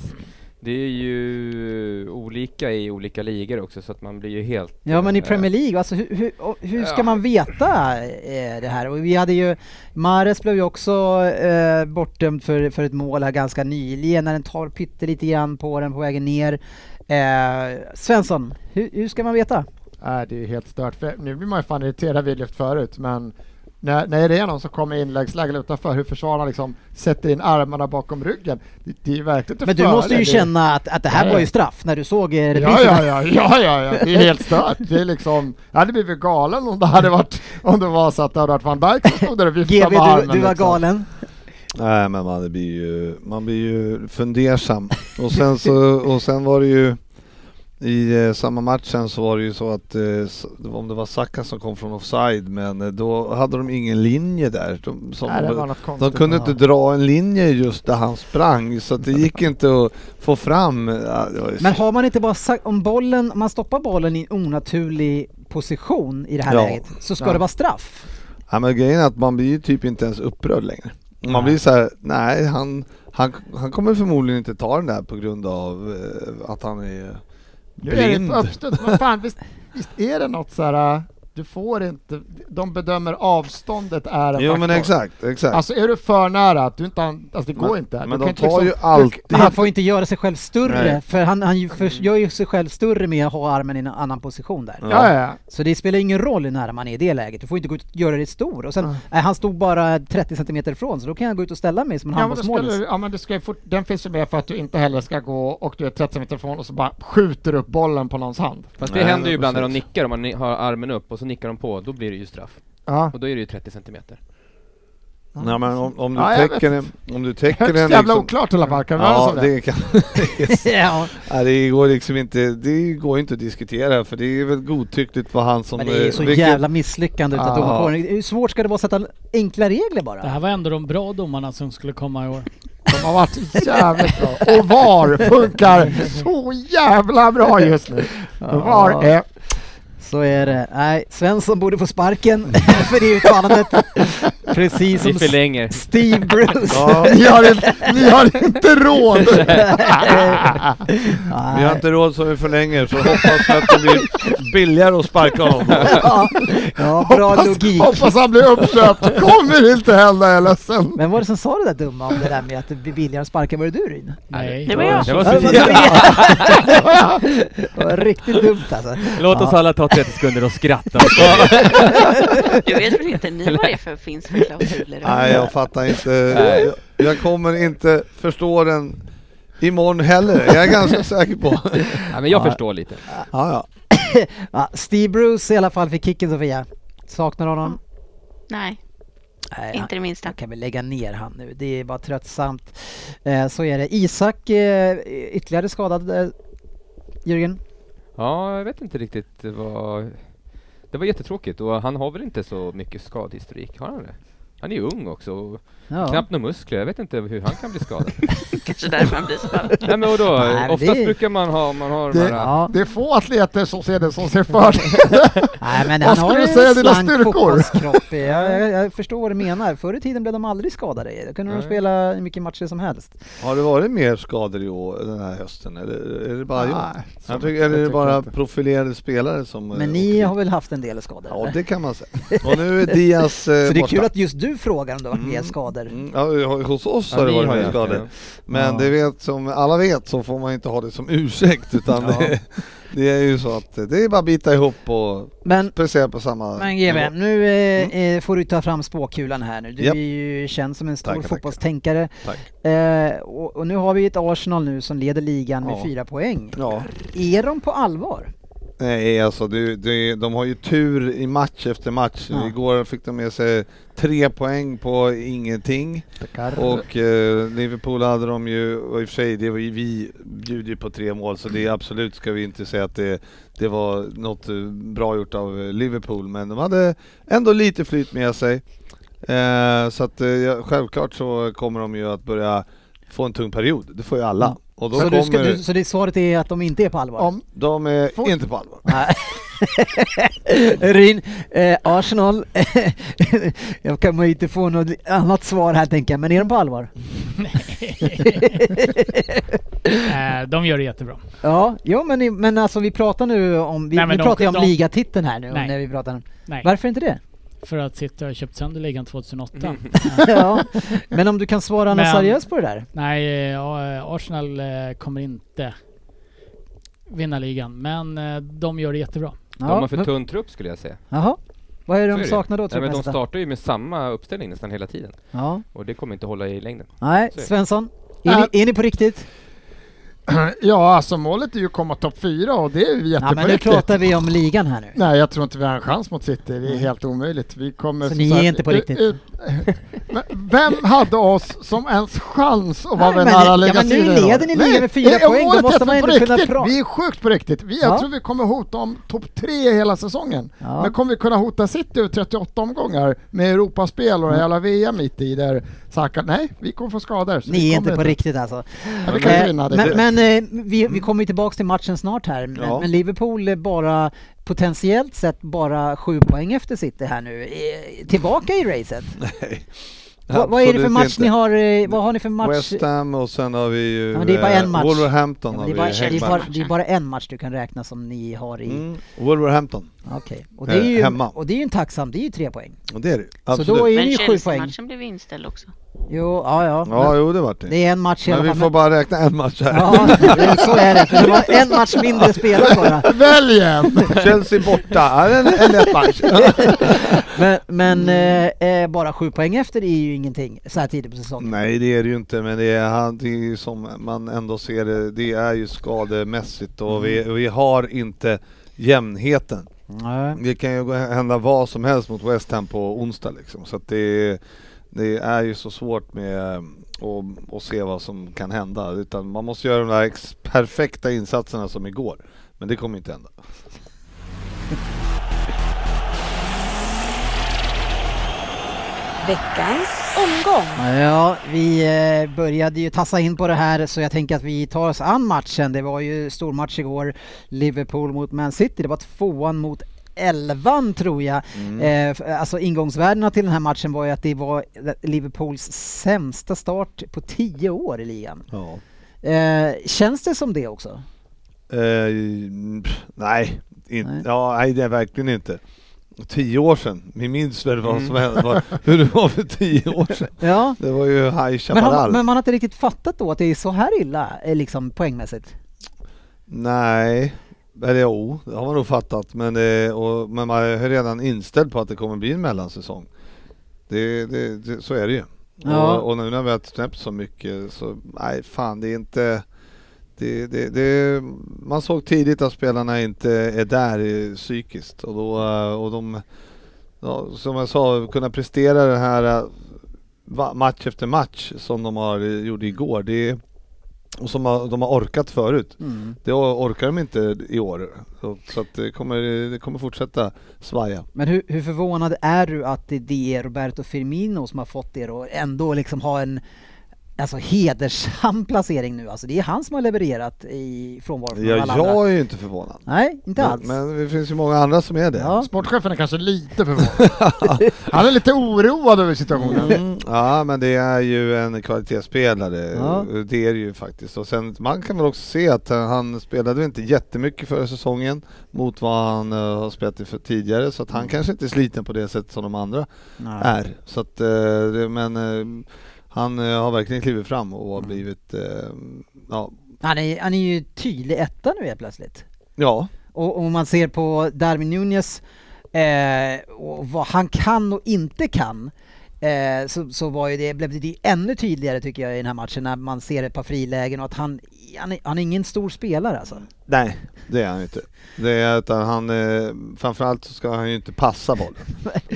S6: Det är ju olika i olika ligor också så att man blir ju helt...
S1: Ja men i
S6: eh,
S1: Premier League, alltså, hur, hur, och hur ska
S6: Ja.
S1: man veta eh, det här? Och vi hade ju, Mahrez blev ju också eh, bortdömd för, för ett mål här ganska nyligen när den tar pyttelite grann på den på vägen ner. Eh, Svensson, hur, hur ska man veta?
S3: Nej, Äh, det är ju helt stört. För nu blir man ju fan irriterad, vi har lyft förut, men när, när det är någon som kommer i inläggsläge eller utanför, hur försvararna liksom sätter in armarna bakom ryggen. Det, det är ju verkligen
S1: Men du
S3: före,
S1: måste ju
S3: det-
S1: känna att, att det här
S3: Ja,
S1: var
S3: ja.
S1: ju straff när du såg eh,
S3: Ja,
S1: reprisen.
S3: ja, ja, ja, ja, ja, det är helt stört. Det är liksom, jag hade blivit galen om det hade varit, om det var så att det hade varit van Dijk som stod där och viftade
S1: GB,
S3: med
S1: du,
S3: armen.
S1: du var
S3: liksom.
S1: galen.
S4: Nej men man blir ju, man blir ju fundersam. Och sen, så, och sen var det ju i eh, samma matchen så var det ju så att eh, s- det var- om det var Saka som kom från offside men eh, då hade de ingen linje där. De, som
S3: Nej, det
S4: de-
S3: var något konstigt.
S4: de kunde inte dra en linje just där han sprang så att det gick inte att få fram. Ja, det var ju
S1: Men har man inte bara sagt, om bollen, om man stoppar bollen i en onaturlig position i det här
S4: Ja.
S1: läget så ska
S4: Ja.
S1: det vara straff.
S4: Ja, men grejen är att man blir ju typ inte ens upprörd längre. Man blir så här, nej han, han, han kommer förmodligen inte ta den där på grund av eh, att han är
S3: Nu är det
S4: blind.
S3: på uppstuds, men fan visst, visst är det något så här, äh, du får inte, de bedömer avståndet är en
S4: Jo men
S3: faktor.
S4: exakt, exakt.
S3: Alltså är du för nära, att du inte, an- alltså det går inte.
S4: men
S3: Du
S4: de
S3: kan inte liksom-
S4: tar ju alltid...
S1: Men han får inte göra sig själv större,
S4: Nej.
S1: för han, han ju- för, gör ju sig själv större med att ha armen i en annan position där.
S4: Ja.
S3: Ja, ja, ja.
S1: Så det spelar ingen roll hur nära man är i det läget, du får inte gå ut och göra dig stor. Och sen, nej, han stod bara 30 centimeter ifrån, så då kan jag gå ut och ställa mig som en
S3: Ja men, då ska
S1: handbollsmålis.
S3: du, ja, men du ska ju fort, den finns ju med för att du inte heller ska gå och du är 30 meter ifrån och så bara skjuter upp bollen på någons hand.
S6: Fast det
S4: Nej,
S6: händer
S4: men
S6: ju ibland när de
S4: precis.
S6: nickar, om man ni- har armen upp och så nickar de på, då blir det ju straff.
S3: Ja.
S6: Och då är det ju 30 centimeter.
S4: Nej, men om, om, du
S3: Ja, jag
S4: täcker en, om du täcker
S3: Högst
S4: en...
S3: jävla oklart i alla fall, kan vi
S4: liksom- Ja,
S3: det?
S4: det, kan,
S1: ja.
S4: nej, det går liksom inte, det går inte att diskutera för det är väl godtyckligt vad han som...
S1: Men det är ju så
S4: eh, vilket-
S1: jävla misslyckande utav
S4: Ja.
S1: domarkåren. Hur svårt ska det vara att sätta enkla regler
S5: Det
S1: bara?
S5: här var ändå de bra domarna som skulle komma i år.
S3: De har varit jävligt bra. Och VAR funkar så jävla bra just nu. VAR är...
S1: Så är det. Nej, Svensson borde få sparken för det uttalandet. Precis
S6: Vi
S1: som
S6: förlänger.
S1: Steve Bruce.
S4: Ja,
S3: Ni har, inte- ni har inte råd!
S4: vi har inte råd så vi förlänger så hoppas vi att det blir billigare att sparka honom.
S1: Ja, ja bra logik.
S3: Hoppas han blir uppköpt. Kommer inte hända, jag är ledsen.
S1: Men var det som sa det där dumma om det där med att det blir billigare att sparka? Var det du Ryn?
S5: Nej.
S8: Det var jag.
S6: Det
S1: Ja,
S6: var
S1: det var
S6: Sofia.
S1: Sofia. Det var riktigt dumt alltså.
S6: Låt oss
S1: Ja.
S6: alla ta 30 sekunder och skratta.
S8: Du vet väl inte ni vad det för, finns för klausuler?
S4: Nej, jag fattar inte.
S6: Nej.
S4: Jag, jag kommer inte förstå den Imorgon heller, jag är ganska säker på.
S6: Ja, men jag förstår lite.
S4: ja, ja.
S1: Ja, Steve Bruce i alla fall fick kicken Sofia. Saknar honom?
S8: Nej,
S1: Nej, han-
S8: inte det minsta.
S1: Jag kan väl lägga ner han nu, det är bara tröttsamt. Eh, så är det. Isak eh, ytterligare skadad, eh, Jörgen?
S6: Ja, jag vet inte riktigt vad... Det var jättetråkigt och han har väl inte så mycket skadhistorik, har han det? Han är ju ung också och
S1: Ja.
S6: knappt några muskler. Jag vet inte hur han kan bli skadad.
S8: Kanske därför han blir så ball.
S6: Nej men vadå,
S1: Nej, men
S6: oftast
S1: det-
S6: brukar man ha, man har de
S3: Det-
S6: här...
S1: Ja.
S3: Det är få atleter som ser det som ser fördelar.
S1: Nej, men
S3: Vad
S1: han
S3: skulle
S1: har
S3: du
S1: ju
S3: säga,
S1: en
S3: dina
S1: slank
S3: styrkor?
S1: fotbollskropp. Jag, jag, jag förstår vad du menar. Förr i tiden blev de aldrig skadade. Då kunde de
S6: Nej.
S1: spela hur mycket matcher som helst.
S4: Har det varit mer skador i år, den här hösten eller är det bara jag?
S3: Nej,
S4: jag tycker, eller är det
S3: tycker
S4: bara
S3: jag inte.
S4: profilerade spelare som... eh,
S1: Men
S4: åker
S1: ni
S4: dit?
S1: har väl haft en del skador?
S4: Ja,
S1: eller?
S4: det kan man säga. Och nu är Diaz eh,
S1: Så det är
S4: borta.
S1: kul att just du frågar om det har varit mer
S4: Mm.
S1: skador.
S4: Mm, ja, hos oss
S6: Ja,
S4: har det
S6: ni
S4: varit
S6: har
S4: mer
S6: ju-
S4: skador. Men det vet, som alla vet så får man inte ha det som ursäkt utan det, det är ju så att eh, det är bara att bita ihop och
S1: Men,
S4: prestera på samma
S1: men GB,
S4: nivå.
S1: nu eh, eh, får du ta fram spåkulan här nu. Du
S4: Mm. Japp.
S1: är ju känd som en stor
S4: Tackar, tackar.
S1: fotbollstänkare.
S4: Tack.
S1: Eh, och, och nu har vi ett Arsenal nu som leder ligan med
S4: Ja.
S1: fyra poäng.
S4: Ja,
S1: Är de på allvar?
S4: nej alltså det, det, de har ju tur i match efter match.
S1: Ja.
S4: Igår fick de med sig tre poäng på ingenting. Och eh, Liverpool hade de ju, och i och för sig, det var ju, vi bjuder ju på tre mål så det är absolut ska vi inte säga att det, det var något eh, bra gjort av eh, Liverpool men de hade ändå lite flyt med sig. Eh, så att eh, ja, självklart så kommer de ju att börja få en tung period, det får ju alla. Och då
S1: Mm. Så,
S4: kommer,
S1: du ska, du, så det svaret är att de inte är på allvar?
S3: Om
S4: de är
S3: Får-
S4: inte på allvar.
S1: Nej. Ryn, eh, Arsenal, jag kan ju inte få något annat svar här tänker jag, men är de på allvar?
S5: Eh, de gör det jättebra.
S1: Ja, jo, men, i- men alltså vi pratar nu om, vi,
S5: Nej,
S1: vi
S5: men de-
S1: pratar ju om
S5: de-
S1: ligatiteln här nu,
S5: Nej.
S1: när vi pratar om,
S5: Nej,
S1: varför inte det?
S5: för att City har köpt sönder ligan 2008.
S1: ja. Men om du kan svara något
S5: Men-
S1: seriöst på det där?
S5: Nej, eh, ja, eh, Arsenal eh, kommer inte vinna ligan, men eh, de gör det jättebra.
S6: De har
S1: Ja,
S6: för
S1: men-
S6: tunn trupp skulle jag säga.
S1: Jaha, vad är det
S6: Så
S1: Mm. de
S6: är det.
S1: saknar då
S6: Nej,
S1: tror
S6: men
S1: du?
S6: de
S1: nästa?
S6: startar ju med samma uppställning nästan hela tiden
S1: Ja,
S6: och det kommer inte hålla i längden.
S1: nej,
S6: Så är det.
S1: Svensson, är ni, är ni på riktigt?
S3: Ja, alltså målet är ju att komma topp fyra och det är ju
S1: Ja, men nu
S3: jätteviktigt.
S1: pratar vi om ligan här nu.
S3: Nej, jag tror inte vi har en chans mot City. Det är helt omöjligt. Vi kommer
S1: Så
S3: som
S1: ni är inte på
S3: ut-
S1: riktigt?
S3: ut- Men Vem hade oss som ens chans att vara
S1: Nej,
S3: med
S1: men- ja,
S3: nära
S1: men
S3: ligan
S1: nu
S3: i år?
S1: leder ni ligan
S3: Nej,
S1: med fyra
S3: det är
S1: poäng, då
S3: året
S1: måste
S3: efter
S1: man
S3: på
S1: ändå kunna
S3: riktigt.
S1: prata.
S3: Vi är sjukt på riktigt. Vi, jag
S1: Ja.
S3: tror vi kommer hota om topp tre hela säsongen.
S1: Ja.
S3: Men kommer vi kunna hota City ur 38 omgångar med Europaspel
S1: Mm.
S3: och en jävla VM mitt i där Saka, nej, vi kommer få skador. så
S1: Ni
S3: vi
S1: är inte
S3: kommer
S1: på riktigt alltså?
S3: Ja, vi kan
S1: Eh,
S3: inte vinna det.
S1: Men, men eh, vi, vi kommer ju tillbaks till matchen snart här, men,
S4: Mm. Ja.
S1: men Liverpool är bara potentiellt sett bara sju poäng efter City här nu. Eh, Tillbaka i racet. Va, vad är det för
S4: Absolut
S1: match
S4: inte.
S1: ni har? eh, Vad har ni för match?
S4: West Ham och sen har vi ju
S1: Ja, men det är bara en
S4: eh,
S1: match.
S4: Wolverhampton
S1: Ja, men
S4: har vi
S1: det, är bara,
S4: ju
S1: det, är bara,
S4: hemma.
S1: det är bara en match du kan räkna som ni har i...
S4: Mm, Wolverhampton,
S1: Okej. Och, det är
S4: Eh,
S1: ju,
S4: hemma.
S1: och det är ju en tacksam, det är ju tre poäng.
S4: och det är det ju.
S1: Så
S4: Absolut.
S1: då är
S8: Men
S1: ni ju sju poäng.
S8: Chelsea-matchen blev inställd också.
S1: Jo, ja, ja.
S4: Ja,
S1: men
S4: jo det vart det.
S1: Det är en match i alla
S4: Men vi
S1: fall.
S4: får bara räkna en match här.
S1: Ja, det- så är det. För det var en match mindre spelad bara.
S3: Välj en!
S4: Chelsea borta, Ja, en, en lätt match.
S1: Men, men
S4: Mm.
S1: eh, eh, bara sju poäng efter är ju ingenting så här tidigt på säsongen.
S4: Nej det är det ju inte, men det är, han- det är ju som man ändå ser det, det är ju skademässigt och vi, vi har inte jämnheten.
S1: Nej.
S4: Det kan ju gå- hända vad som helst mot West Ham på onsdag liksom. Så att det, det är ju så svårt med eh, att, att se vad som kan hända. Utan man måste göra de där ex- perfekta insatserna som igår. Men det kommer inte hända.
S7: Veckans omgång.
S1: Ja, vi eh, började ju tassa in på det här så jag tänker att vi tar oss an matchen. Det var ju stormatch igår, Liverpool mot Man City. Det var tvåan mot elvan tror jag. Eh, f- alltså ingångsvärdena till den här matchen var ju att det var Liverpools sämsta start på tio år i ligan.
S4: Ja.
S1: Eh, känns det som det också?
S4: Eh, mm, pff, nej, in,
S1: Nej.
S4: Ja, nej, det är verkligen inte. Tio år sedan, vi minns väl vad som hände, vad, hur det var för tio år sedan.
S1: Ja.
S4: Mm. Det var ju High
S1: Men, har
S4: Chaparral.
S1: man, men man har inte riktigt fattat då att det är så här illa eh, liksom, poängmässigt?
S4: Nej, eller jo, det har man nog fattat. Men, eh, och, men man är redan inställd på att det kommer bli en mellansäsong. Det, det, det, så är det ju.
S1: Ja.
S4: Och, och nu när vi har snäppt så mycket så, nej fan det är inte det, det, det, man såg tidigt att spelarna inte är där eh, psykiskt och då, eh, och de, ja, som jag sa, kunna prestera den här eh, va- match efter match som de har, eh, gjorde igår. Det, och som har, de har orkat förut.
S1: Mm.
S4: Det orkar de inte i år. Så, så att det, kommer, det kommer fortsätta svaja.
S1: Men hur, hur förvånad är du att det- det är Roberto Firmino som har fått det och ändå liksom ha en alltså hedersam placering nu? Alltså det är han som har levererat i frånvaro från
S4: Ja,
S1: alla andra.
S4: jag är ju inte förvånad.
S1: Nej, inte alls.
S4: Men, men det finns ju många andra som är det.
S1: Ja.
S3: Sportchefen är kanske lite förvånad. Han är lite oroad över situationen.
S4: Mm. Ja men det är ju en kvalitetsspelare,
S1: Ja.
S4: det är det ju faktiskt. Och sen, man kan väl också se att eh, han spelade väl inte jättemycket förra säsongen mot vad han eh, har spelat i för tidigare så att
S1: Mm.
S4: han kanske inte är sliten på det sätt som de andra
S3: Ah.
S4: är. Så att, eh, det- men eh, han eh, har verkligen klivit fram och
S3: Mm.
S4: har blivit, eh, ja,
S1: Han, är, han är ju tydlig etta nu helt plötsligt.
S4: ja.
S1: Och om man ser på Darwin Nunez eh, och vad han kan och inte kan eh, så, så var ju det, blev det ännu tydligare tycker jag i den här matchen när man ser ett par frilägen och att han, han, är, han är ingen stor spelare alltså.
S4: Nej, det är han ju inte. Det är utan han, eh, framförallt så ska han ju inte passa bollen.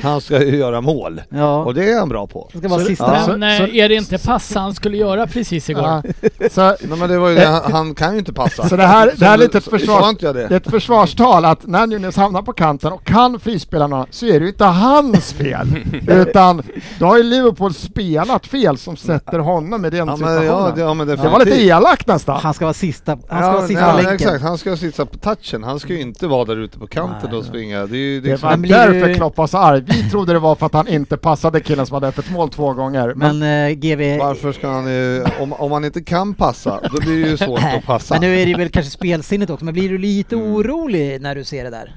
S4: Han ska ju göra mål.
S1: Ja.
S4: Och det är han bra på.
S1: det ska vara sista.
S4: Ja.
S5: Men eh,
S3: så-
S5: är det inte pass han skulle göra precis igår?
S3: Ja. Så,
S4: Nej men det var ju det, han, han kan ju inte passa.
S3: så det här, det här är
S4: Så-
S3: lite ett
S4: så- Sa
S3: försvar.
S4: inte jag
S3: Det är
S4: det?
S3: ett försvarstal att när Nunez hamnar på kanten och kan frispela någon så är det ju inte hans fel. utan då har ju Liverpool spelat fel som sätter honom i den
S4: Ja men,
S3: situationen.
S4: ja, det,
S3: det,
S4: ja, men
S3: var lite
S4: definitivt.
S3: elakt nästan.
S1: Han ska vara sista, han ska
S4: ja,
S1: vara sista
S4: ja,
S1: länken.
S4: exakt. Han ska sitta på touchen. Han ska ju inte vara där ute på kanten
S1: Nej.
S4: och springa. Det är ju det är
S3: Det
S4: liksom,
S3: var
S1: Men blir
S3: därför
S1: du-
S3: Klopp var så arg. Vi trodde det var för att han inte passade killen som hade öppet mål två gånger. Men,
S1: Men eh, GV,
S4: varför ska han... eh, Om, om han inte kan passa, då blir det ju svårt att passa.
S1: Äh,
S4: Mm.
S1: men nu är det väl kanske spelsinnet också, men blir du lite orolig när du ser det där?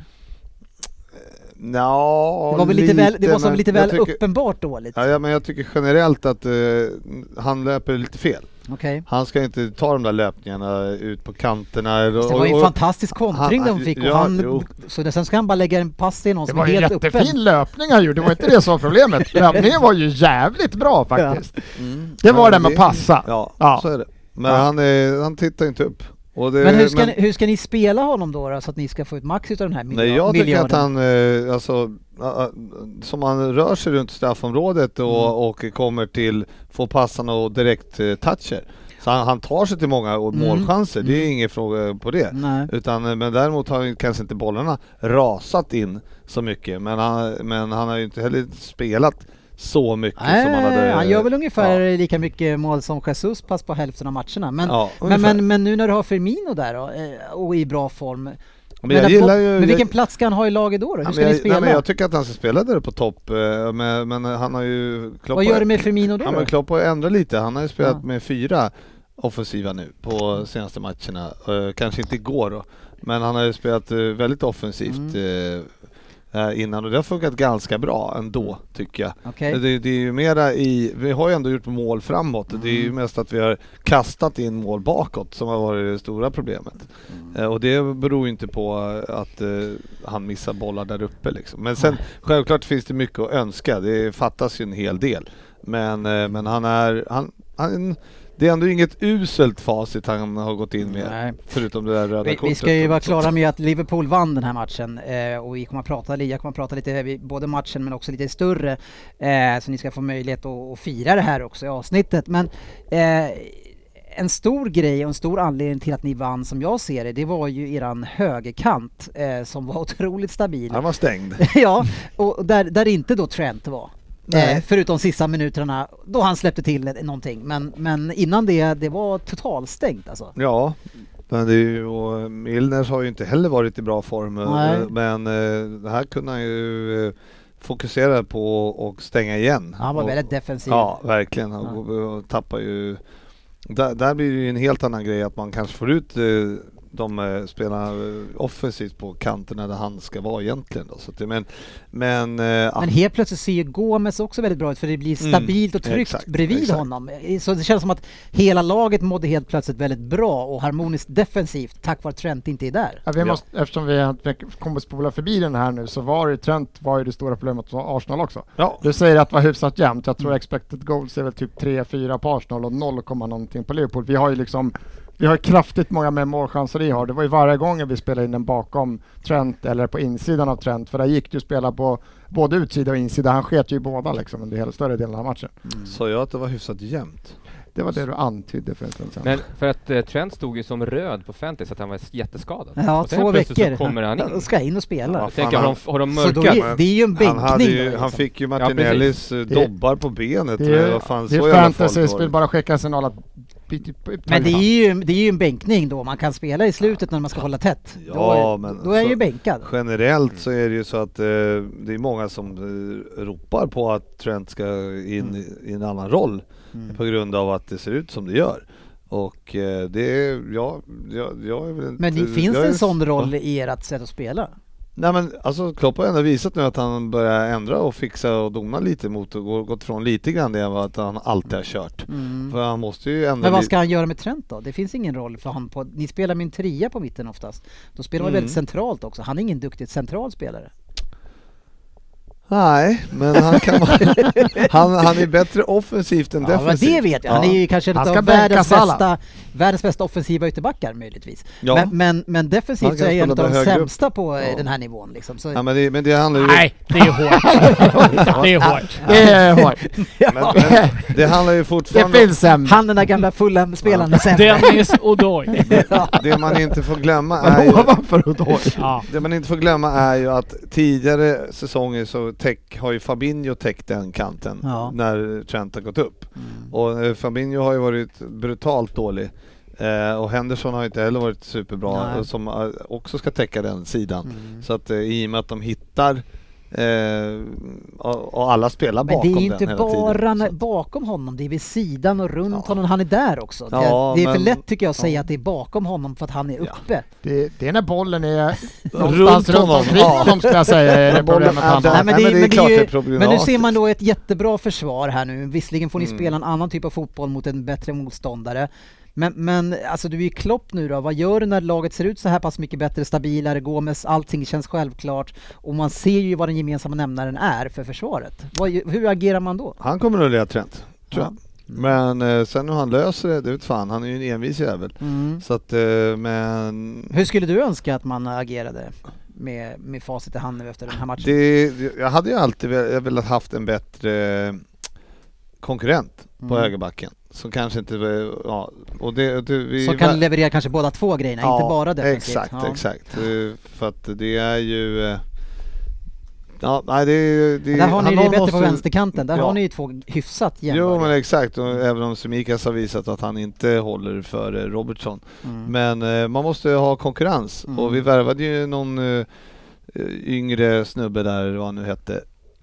S4: Nja,
S1: Det var väl lite väl, det var som
S4: men
S1: lite
S4: jag
S1: väl
S4: tycker,
S1: uppenbart dåligt?
S4: Ja, ja, men jag tycker generellt att eh, han löper lite fel.
S1: Okej.
S4: Han ska inte ta de där löpningarna ut på kanterna.
S1: Fast Det var ju en fantastisk kontring
S4: han-
S1: de fick och
S4: ja,
S1: han,
S4: jo. Eh,
S1: så sen ska han bara lägga en pass till någon
S3: det
S1: som är
S3: var ju en
S1: helt
S3: jättefin
S1: öppen.
S3: löpning han gjorde, det var inte det som var problemet. Löpningen var ju jävligt bra faktiskt.
S4: Mm.
S3: Det var
S4: Men
S3: det med passa.
S4: Ja,
S3: Ja.
S4: så är det. Men
S3: Ja.
S4: han, är, han tittar inte upp. Och det,
S1: Men hur ska, ni, hur ska ni spela honom då, då så att ni ska få ut max av den här miljard,
S4: Nej, jag tycker
S1: miljarden?
S4: att han, eh, alltså, a- a- som han rör sig runt straffområdet och,
S1: Mm.
S4: och kommer till, får passarna och direkt eh, toucher. Så han, han tar sig till många och
S1: Mm.
S4: målchanser, det är ingen fråga på det.
S1: Nej.
S4: Utan, eh, men däremot har ju kanske inte bollarna rasat in så mycket, men han, men han har ju inte heller spelat så mycket som han hade...
S1: Nej, han gör väl ungefär
S4: Ja,
S1: lika mycket mål som Jesus pass på hälften av matcherna. Men,
S4: ja,
S1: men,
S4: ungefär.
S1: men, men nu när du har Firmino där då, eh, och i bra form. Men,
S4: men jag
S1: att-
S4: gillar ju...
S1: men
S4: jag-
S1: vilken plats ska han ha i laget då? då? Hur
S4: Ja,
S1: ska
S4: men
S1: ni
S4: jag,
S1: spela?
S4: Nej, men jag tycker att han ska spela där på topp, eh, men, men han har ju... Klopp
S1: Vad
S4: har-
S1: gör du med Firmino då?
S4: Ja,
S1: då?
S4: men Klopp har ju ändrat lite. Han har ju spelat
S1: Ja.
S4: med fyra offensiva nu på senaste matcherna. Eh, kanske inte igår då, men han har ju spelat eh, väldigt offensivt
S1: Mm.
S4: eh, här innan och det har funkat ganska bra ändå tycker jag.
S1: Okej.
S4: Det, det är ju mera i, vi har ju ändå gjort mål framåt. Det är ju
S1: Mm.
S4: mest att vi har kastat in mål bakåt som har varit det stora problemet.
S1: Mm.
S4: Eh, och det beror ju inte på eh, att eh, han missar bollar där uppe liksom. Men sen självklart finns det mycket att önska. Det fattas ju en hel del. Men, eh,
S1: Mm.
S4: men han är, han, han, det är ändå inget uselt facit han har gått in med.
S1: Nej.
S4: Förutom det där röda
S1: Vi,
S4: kortet.
S1: vi ska ju vara
S4: Så-
S1: klara med att Liverpool vann den här matchen eh, och vi kommer att prata, jag kommer att prata lite, vi- både matchen men också lite större, eh, så ni ska få möjlighet att, att fira det här också i avsnittet. Men eh, en stor grej och en stor anledning till att ni vann som jag ser det, det var ju eran högerkant eh, som var otroligt stabil.
S4: Han var stängd.
S1: ja, och där, där inte då Trent var.
S4: Nej.
S1: Eh, förutom sista minuterna då han släppte till någonting. Men, men innan det, det var totalstängt alltså.
S4: Ja, men det är ju, och Milners har ju inte heller varit i bra form. eh,
S1: Nej.
S4: Men eh, det här kunde han ju eh, fokusera på och stänga igen.
S1: Han var
S4: och,
S1: väldigt defensiv.
S4: Ja, verkligen. Han ja. tappar ju... Där, där blir det ju en helt annan grej att man kanske får ut eh, de eh, spelar eh, offensivt på kanterna där han ska vara egentligen. Då. Så att, det- men men, eh, ja.
S1: Men helt plötsligt ser ju Gomes också väldigt bra ut för det blir stabilt och
S4: Mm,
S1: tryggt
S4: exakt,
S1: bredvid
S4: exakt.
S1: honom. Så det känns som att hela laget mådde helt plötsligt väldigt bra och harmoniskt defensivt tack vare att Trent inte är där.
S3: Ja, vi måste, Eftersom vi har- vi kommer att spola förbi den här nu så var det Trent var ju det stora problemet för Arsenal också.
S4: Ja. Mm.
S3: Du säger att det var hyfsat jämnt. Jag tror expected goals är väl typ 3-4 på Arsenal och 0, komma någonting på Liverpool. Vi har ju liksom vi har kraftigt många mer målchanser vi har. Det var ju varje gång vi spelade in den bakom Trent eller på insidan av Trent. För där gick det ju att spela på både utsida och insida. Han sket ju i båda liksom under hela större delen av matchen.
S4: Sa jag att det var hyfsat jämnt?
S3: Det var det du antydde för en stund sedan.
S6: Men för att eh, Trent stod ju som röd på fantasy att han var jätteskadad.
S1: Ja,
S6: och sen
S1: två
S6: plötsligt
S1: veckor.
S6: Så kommer han in.
S1: Ja, Ska in och spela.
S4: Ja,
S6: Jag tänker,
S4: fan,
S6: har de, har de
S1: Så då
S6: mörkat?
S1: är, det är ju en bänkning.
S4: Han, hade
S1: då,
S4: ju,
S1: liksom.
S4: han fick ju
S6: precis.
S4: Martinellis eh,
S3: Det-
S4: dobbar på benet.
S3: det är,
S4: men vad fan,
S3: det
S4: så
S3: är
S4: jävla farligt
S3: fantasy,
S4: var
S3: vi
S4: det
S3: vill
S4: inte.
S3: bara skicka en signal att...
S1: Men det är, ju, det är ju en bänkning då, man kan spela i slutet när man ska hålla tätt.
S4: Ja,
S1: då,
S4: men
S1: då är han
S4: så-
S1: ju bänkad.
S4: Generellt så är det ju så att eh, det är många som eh, ropar på att Trent ska in i- i en annan roll på grund av att det ser ut som det gör. Och eh, det är, ja, jag, jag är väl inte...
S1: Men det finns
S4: jag är-
S1: en sån roll i ert sätt att spela?
S4: Nej men alltså Klopp har ändå visat nu att han börjar ändra och fixa och dona lite mot och gå- gått från lite grann det vad att han alltid har kört.
S1: Mm.
S4: För han måste ju ändå...
S1: Men vad
S4: li-
S1: ska han göra med Trent då? Det finns ingen roll för han på... Ni spelar med en trea på mitten oftast. Då spelar man
S4: Mm.
S1: väldigt centralt också. Han är ingen duktig central spelare.
S4: Nej, men han kan vara... han, han är bättre offensivt än
S1: Ja, men
S4: defensivt.
S1: det vet jag. Han är ju kanske
S3: Han
S1: en
S3: ska
S1: av
S3: bänka
S1: världens
S3: Salah.
S1: bästa, världens bästa offensiva ytterbackar möjligtvis.
S4: Ja.
S1: Men, men, men
S4: Han
S1: defensivt så
S4: kan
S1: är jag en av
S4: spela
S1: de
S4: högre upp.
S1: sämsta på eh,
S4: Ja.
S1: den här nivån. Liksom. Så,
S4: Ja, men, det, men det handlar ju...
S5: Nej, det är hårt. det är hårt.
S3: Det är hårt.
S4: Men, men, det handlar ju
S3: Det
S4: fortfarande
S3: finns en.
S1: Han den där gamla Fulham-spelaren sen.
S5: Dennis O'Doy.
S4: Det man inte får glömma är ju...
S3: Ovanför Odoi.
S5: Ja.
S4: Det man inte får glömma är ju att tidigare säsonger så täck, har ju Fabinho täckt den kanten
S1: Ja. Mm.
S4: när Trent har gått upp. Och eh, Fabinho har ju varit brutalt dålig. Eh, och Henderson har ju inte heller varit superbra
S1: Nej. Mm.
S4: eh, som eh, också ska täcka den sidan. Så att eh, i och med att de hittar eh, och, och alla spelar
S1: Men
S4: bakom
S1: det är ju
S4: den
S1: inte
S4: hela
S1: bara
S4: tiden.
S1: när,
S4: Så-
S1: bakom honom, det är vid sidan och runt
S4: Ja.
S1: honom. Han är där också. Det-
S4: Ja,
S1: det är för
S4: men-
S1: lätt tycker jag att säga
S4: ja.
S1: att det är bakom honom för att han är
S4: Ja.
S1: uppe.
S3: Det, det är när bollen är
S4: Runt
S3: någonstans runt
S4: honom.
S3: omkring
S4: Ja.
S3: honom skulle jag säga är det
S4: Bollen
S3: problemet
S4: är
S3: han
S4: där.
S3: har.
S1: Nej, men,
S4: Nej,
S1: det,
S4: men det är
S1: men, det
S4: klart
S1: är
S4: det är
S1: ju, men nu ser man
S4: problematiskt.
S1: då ett jättebra försvar här nu. Visserligen får ni
S4: Mm.
S1: spela en annan typ av fotboll mot en bättre motståndare. Men, men alltså du är ju Klopp nu då. Vad gör du när laget ser ut så här pass mycket bättre, stabilare, Gomes, allting känns självklart och man ser ju vad den gemensamma nämnaren är för försvaret. Vad, hur agerar man då?
S4: Han kommer nog leda Trent, tror jag. Men eh, sen hur han löser det, det vet fan. Han är ju en envis jävel.
S1: Mm.
S4: Så att, eh, men
S1: Hur skulle du önska att man agerade med, med facit i hand nu efter den här matchen?
S4: Det, det- jag hade ju alltid vel- jag velat haft en bättre konkurrent på
S1: Mm.
S4: högerbacken. Som kanske inte... eh, Ja, och det, det, vi,
S1: Som kan leverera kanske båda två grejerna,
S4: Ja,
S1: inte bara defensivt.
S4: Exakt,
S1: Ja.
S4: exakt. Eh, För att det är ju... eh, Ja, nej, det, det,
S1: Där har ni
S4: han-
S1: det
S4: någon
S1: bättre på
S4: måste-
S1: vänsterkanten, där
S4: Ja.
S1: har ni ju två hyfsat
S4: Jo men
S1: jämnbara.
S4: exakt, och även om Semikas har visat att han inte håller för eh, Robertson.
S1: Mm.
S4: Men eh, man måste ha konkurrens
S1: Mm.
S4: och vi värvade ju någon eh, yngre snubbe där, vad han nu hette.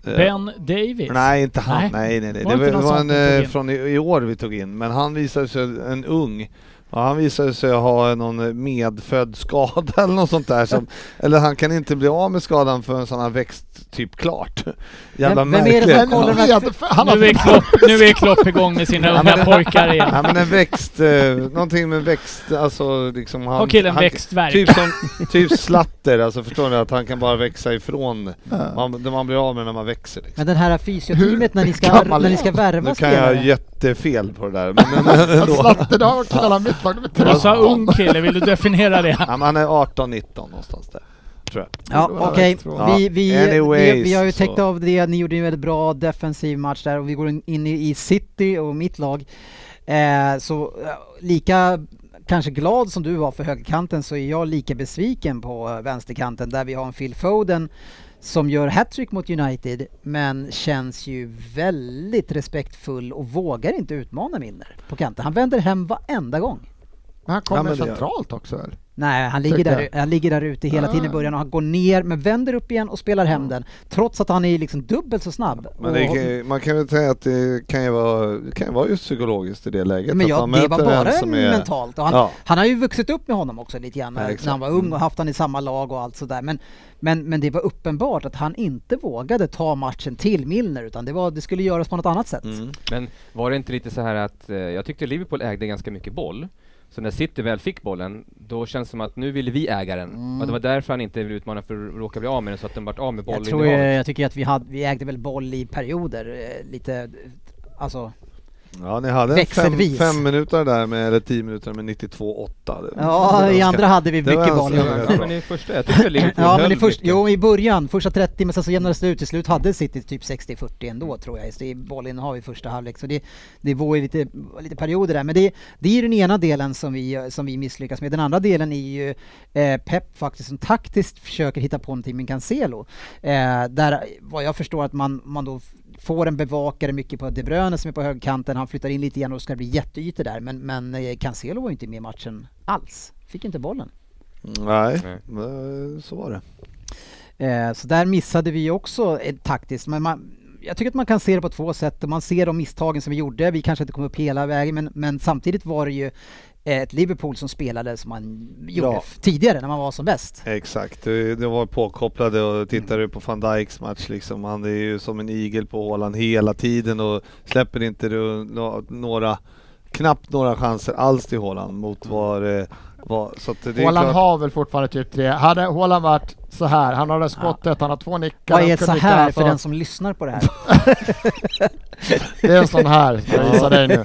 S4: Eh,
S5: Ben Davis.
S4: Nej, inte han.
S5: Nej.
S4: Nej, nej, nej. Det
S5: Var det
S4: var,
S5: inte
S4: det
S5: någon
S4: var
S5: sån
S4: en
S5: vi tog
S4: eh,
S5: in?
S4: från i, i år vi tog in, men han visade sig en ung. Ja, han visade sig ha någon medfödd skada eller något sånt där. Som, eller han kan inte bli av med skadan förrän han har växt typ klart. Jävla
S1: vem är det som
S4: märkligt.
S1: kollar
S4: Ja.
S1: den här
S3: Han
S5: Nu är,
S3: har
S5: Klopp, nu är Klopp igång med sina
S4: Ja, men
S5: unga
S4: det-
S5: pojkar igen.
S4: Ja men en växt, eh, någonting med växt, alltså liksom han...
S5: Har killen
S4: han-
S5: växtvärk?
S4: Typ som, typ slatter, alltså förstår ni? Att han kan bara växa ifrån, man, man blir av med när man växer liksom.
S1: Men den här fysioteamet när ni ska,
S3: gammal
S1: när ni
S3: är
S1: ska
S4: Nu
S1: värva
S4: kan jag ha
S1: spelare.
S4: jättefel på det där, men, men ändå.
S3: Zlatan, killarna mittback nummer
S5: Du sa
S3: 13.
S5: ung kille, vill du definiera det?
S4: Ja, men han är 18-19 någonstans där, tror jag.
S1: Ja, okej.
S4: Ja,
S1: Vi, vi, vi,
S4: anyways,
S1: vi har ju täckt
S4: så.
S1: av det. Ni gjorde ju en väldigt bra defensiv match där och vi går in- in i City och mitt lag. Eh, så eh, lika kanske glad som du var för högerkanten så är jag lika besviken på eh, vänsterkanten där vi har en Phil Foden som gör hattrick mot United men känns ju väldigt respektfull och vågar inte utmana Milner på kanten. Han vänder hem varenda gång.
S3: Men han
S4: Ja,
S3: kommer
S4: men det-
S3: centralt också väl?
S1: Nej, han ligger,
S3: Tycker
S1: där, han ligger där ute hela tiden i
S3: Ah.
S1: början och han går ner men vänder upp igen och spelar hem den. Trots att han är liksom dubbelt så snabb.
S4: Ah. Men det,
S1: Och-
S4: kan- man kan väl säga att det kan ju vara, det kan ju vara just psykologiskt i det läget.
S1: men
S4: att
S1: ja,
S4: man
S1: det
S4: möter
S1: var bara
S4: en som är,
S1: mentalt. Och han,
S4: Ja.
S1: han har ju vuxit upp med honom också lite grann
S4: Ja, exakt.
S1: när han var ung och haft han i samma lag och allt sådär. Men, men, men det var uppenbart att han inte vågade ta matchen till Milner utan det, var, det skulle göras på något annat sätt.
S4: Mm.
S6: Men var det inte lite så här att eh, jag tyckte Liverpool ägde ganska mycket boll. Så när City väl fick bollen, då känns det som att nu vill vi äga den. Och det var därför han inte ville utmana för att råka bli av med den så att de vart av med bollen.
S1: Mm. Jag, tror, jag, jag tycker att vi, hade, vi ägde väl boll i perioder eh, lite,
S4: Mm.
S1: alltså
S4: Ja, ni hade en fem,
S1: Växelvis.
S4: fem minuter där med, eller tio minuter med 92-8. Det- det
S1: Ja,
S4: var
S1: i
S4: ganska-
S1: andra hade vi
S4: det var
S1: mycket boll.
S4: ganska-
S6: Ja, men i första, jag tyckte Liverpool
S1: Ja, men
S6: höll
S1: i först,
S6: mycket.
S1: jo, i början, första 30, men sen så jämnades det ut. Till slut hade City typ 60-40 ändå tror jag, i bollinnehav i första halvlek. Så det, det var ju lite, lite perioder där. Men det, det är ju den ena delen som vi, som vi misslyckas med. Den andra delen är ju eh, Pep faktiskt som taktiskt försöker hitta på någonting med Cancelo. Eh, där, vad jag förstår, att man, man då får en bevakare mycket på De Bruyne som är på högerkanten. Han flyttar in lite grann och ska bli jätteytor där. Men, men eh, Cancelo var ju inte med i matchen alls. Fick inte bollen.
S4: Nej, eh, så var det.
S1: Eh, Så där missade vi också eh, taktiskt. Men man, jag tycker att man kan se det på två sätt. Man ser de misstagen som vi gjorde. Vi kanske inte kom upp hela vägen, men, men samtidigt var det ju eh, ett Liverpool som spelade som man gjorde
S4: Ja.
S1: f- tidigare när man var som bäst.
S4: Exakt, de de var påkopplade och tittade på van Dijks match liksom. Han är ju som en igel på Håland hela tiden och släpper inte ru- nå- några, knappt några chanser alls till Håland mot vad det var. Så att det är
S3: Mm. Haaland
S4: klart-
S3: har väl fortfarande typ tre. Hade Haaland varit så här, han har det skottet, han har två nickar.
S1: Vad
S3: han
S1: är
S3: kunde
S1: så
S3: inte-
S1: här
S3: alltså,
S1: för den som lyssnar på det här?
S3: Det är en sån här, som jag visar dig nu.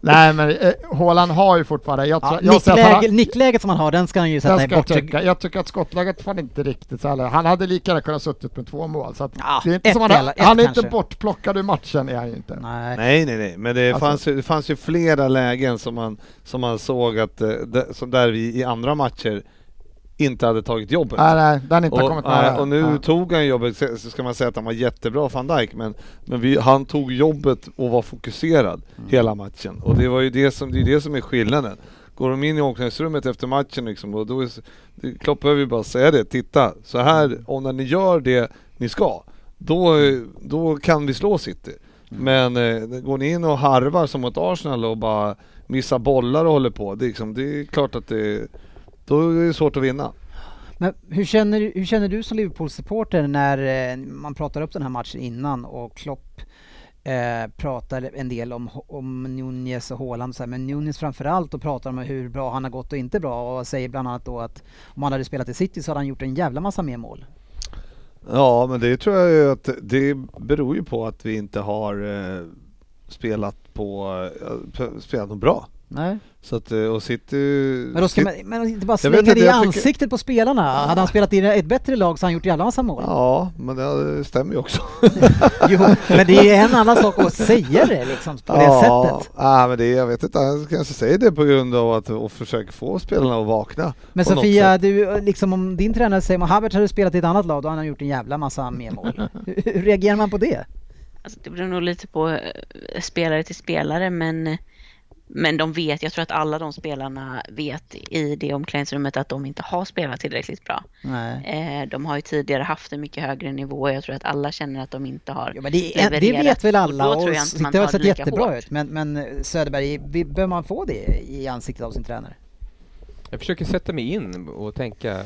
S3: Nej men eh, Haaland har ju fortfarande, jag,
S1: Ja,
S3: tror, jag ser att han har-
S1: nickläge, nickläget som han har, den ska han ju sätta i
S3: Den ska jag,
S1: bortre...
S3: tycka. jag tycker att skottläget fan inte riktigt så här. Han hade lika gärna kunnat suttit med två mål. Så att
S1: Ja,
S3: det är inte
S1: ett
S3: som han,
S1: eller- ett
S3: han är inte
S1: kanske.
S3: bortplockad ur matchen är han ju inte.
S1: Nej.
S4: Nej, nej, nej, men det,
S3: Alltså-
S4: fanns, ju- det fanns ju flera lägen som man, som man såg att, eh, där, som där vi i andra matcher inte hade tagit jobbet.
S3: Nej, nej, den inte har
S4: Och,
S3: kommit
S4: nej,
S3: nära.
S4: och nu
S3: Ja.
S4: tog han jobbet, så så ska man säga att han var jättebra van Dijk, men, men vi, han tog jobbet och var fokuserad
S3: Mm.
S4: hela matchen. Och det var ju det som, det är det som är skillnaden. Går de in i omklädningsrummet efter matchen liksom, och då är, s- det- Klopp behöver ju bara säga det, titta, så
S3: Mm.
S4: här, och när ni gör det ni ska, då, eh, då kan vi slå City.
S3: Mm.
S4: Men eh, går ni in och harvar som mot Arsenal och bara missar bollar och håller på, det, är liksom, det är klart att det, då är det svårt att vinna.
S1: Men hur känner, hur känner du som Liverpool-supporter när eh, man pratar upp den här matchen innan och Klopp eh, pratar en del om, om Nunez och Haaland och så här, men Nunez framförallt och pratar om hur bra han har gått och inte bra och säger bland annat då att om han hade spelat i City så hade han gjort en jävla massa mer mål.
S4: Ja, men det tror jag ju att det beror ju på att vi inte har eh, spelat på eh, p- spelat något bra.
S1: Nej.
S4: Så att, eh, och City...
S1: Men då ska man
S4: City-
S1: men inte bara
S4: Jag vet
S1: slänga det
S4: inte,
S1: i
S4: jag tycker-
S1: ansiktet på spelarna. Hade han spelat i ett bättre lag så hade han gjort en jävla massa mål.
S4: Ja, men det stämmer ju också.
S1: Jo, men det är en annan sak att säga det liksom på det
S4: ja,
S1: sättet.
S4: Ja, men det, jag vet inte, han kanske säger det på grund av att och försöker få spelarna att vakna.
S1: Men
S4: på något
S1: Sofia,
S4: sätt.
S1: du, liksom, om din tränare säger att Havertz hade spelat i ett annat lag, då hade han gjort en jävla massa mer mål. Hur hur reagerar man på det?
S8: Alltså, det beror nog lite på eh, spelare till spelare, men, men de vet, jag tror att alla de spelarna vet i det omklädningsrummet att de inte har spelat tillräckligt bra.
S1: Nej.
S8: Eh, de har ju tidigare haft en mycket högre nivå och jag tror att alla känner att de inte har
S1: Jo, men det, är- det
S8: levererat.
S1: vet väl alla
S8: Och
S1: och,
S8: då tror jag inte man
S1: det har
S8: tar
S1: sett
S8: det lika
S1: jättebra
S8: hårt.
S1: ut. Men, men Söderberg, vi- behöver man få det i ansiktet av sin tränare?
S6: Jag försöker sätta mig in och tänka.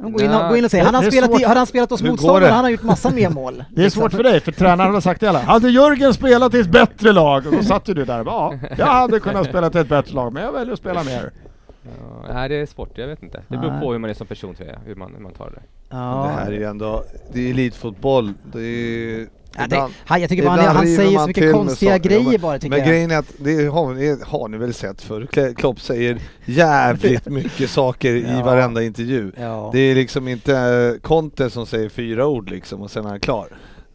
S1: Gå in och,
S3: Nej,
S1: gå in och säg,
S3: det-
S1: hade han,
S3: det är
S1: spelat i-
S3: svårt.
S1: hade han spelat oss
S4: Hur går
S1: motståndare
S4: det?
S1: hade han gjort massa mer mål.
S3: Det är svårt för dig, för tränaren har sagt det hela. Hade Jörgen spelat i ett bättre lag? Och då satt ju du där och bara, ja, jag hade kunnat spela till ett bättre lag, men jag väljer att spela mer.
S6: Ja, nej, det är svårt, jag vet inte. Det beror på hur man är som person tror jag, hur man, hur man tar det.
S1: Ja.
S4: Det här är ju ändå, det är elitfotboll. Det är,
S1: Ja, det,
S4: ibland-
S1: han, jag tycker bara han,
S4: Ibland
S1: han
S4: river
S1: säger
S4: man
S1: så mycket
S4: till med
S1: konstiga
S4: saker.
S1: grejer
S4: Ja, men-
S1: bara tycker
S4: Men
S1: jag.
S4: grejen är att det har ni, har ni väl sett förr. Kle- Klopp säger jävligt mycket saker i
S1: Ja.
S4: varenda intervju.
S1: Ja.
S4: Det är liksom inte eh, Conte som säger fyra ord liksom och sen är han klar.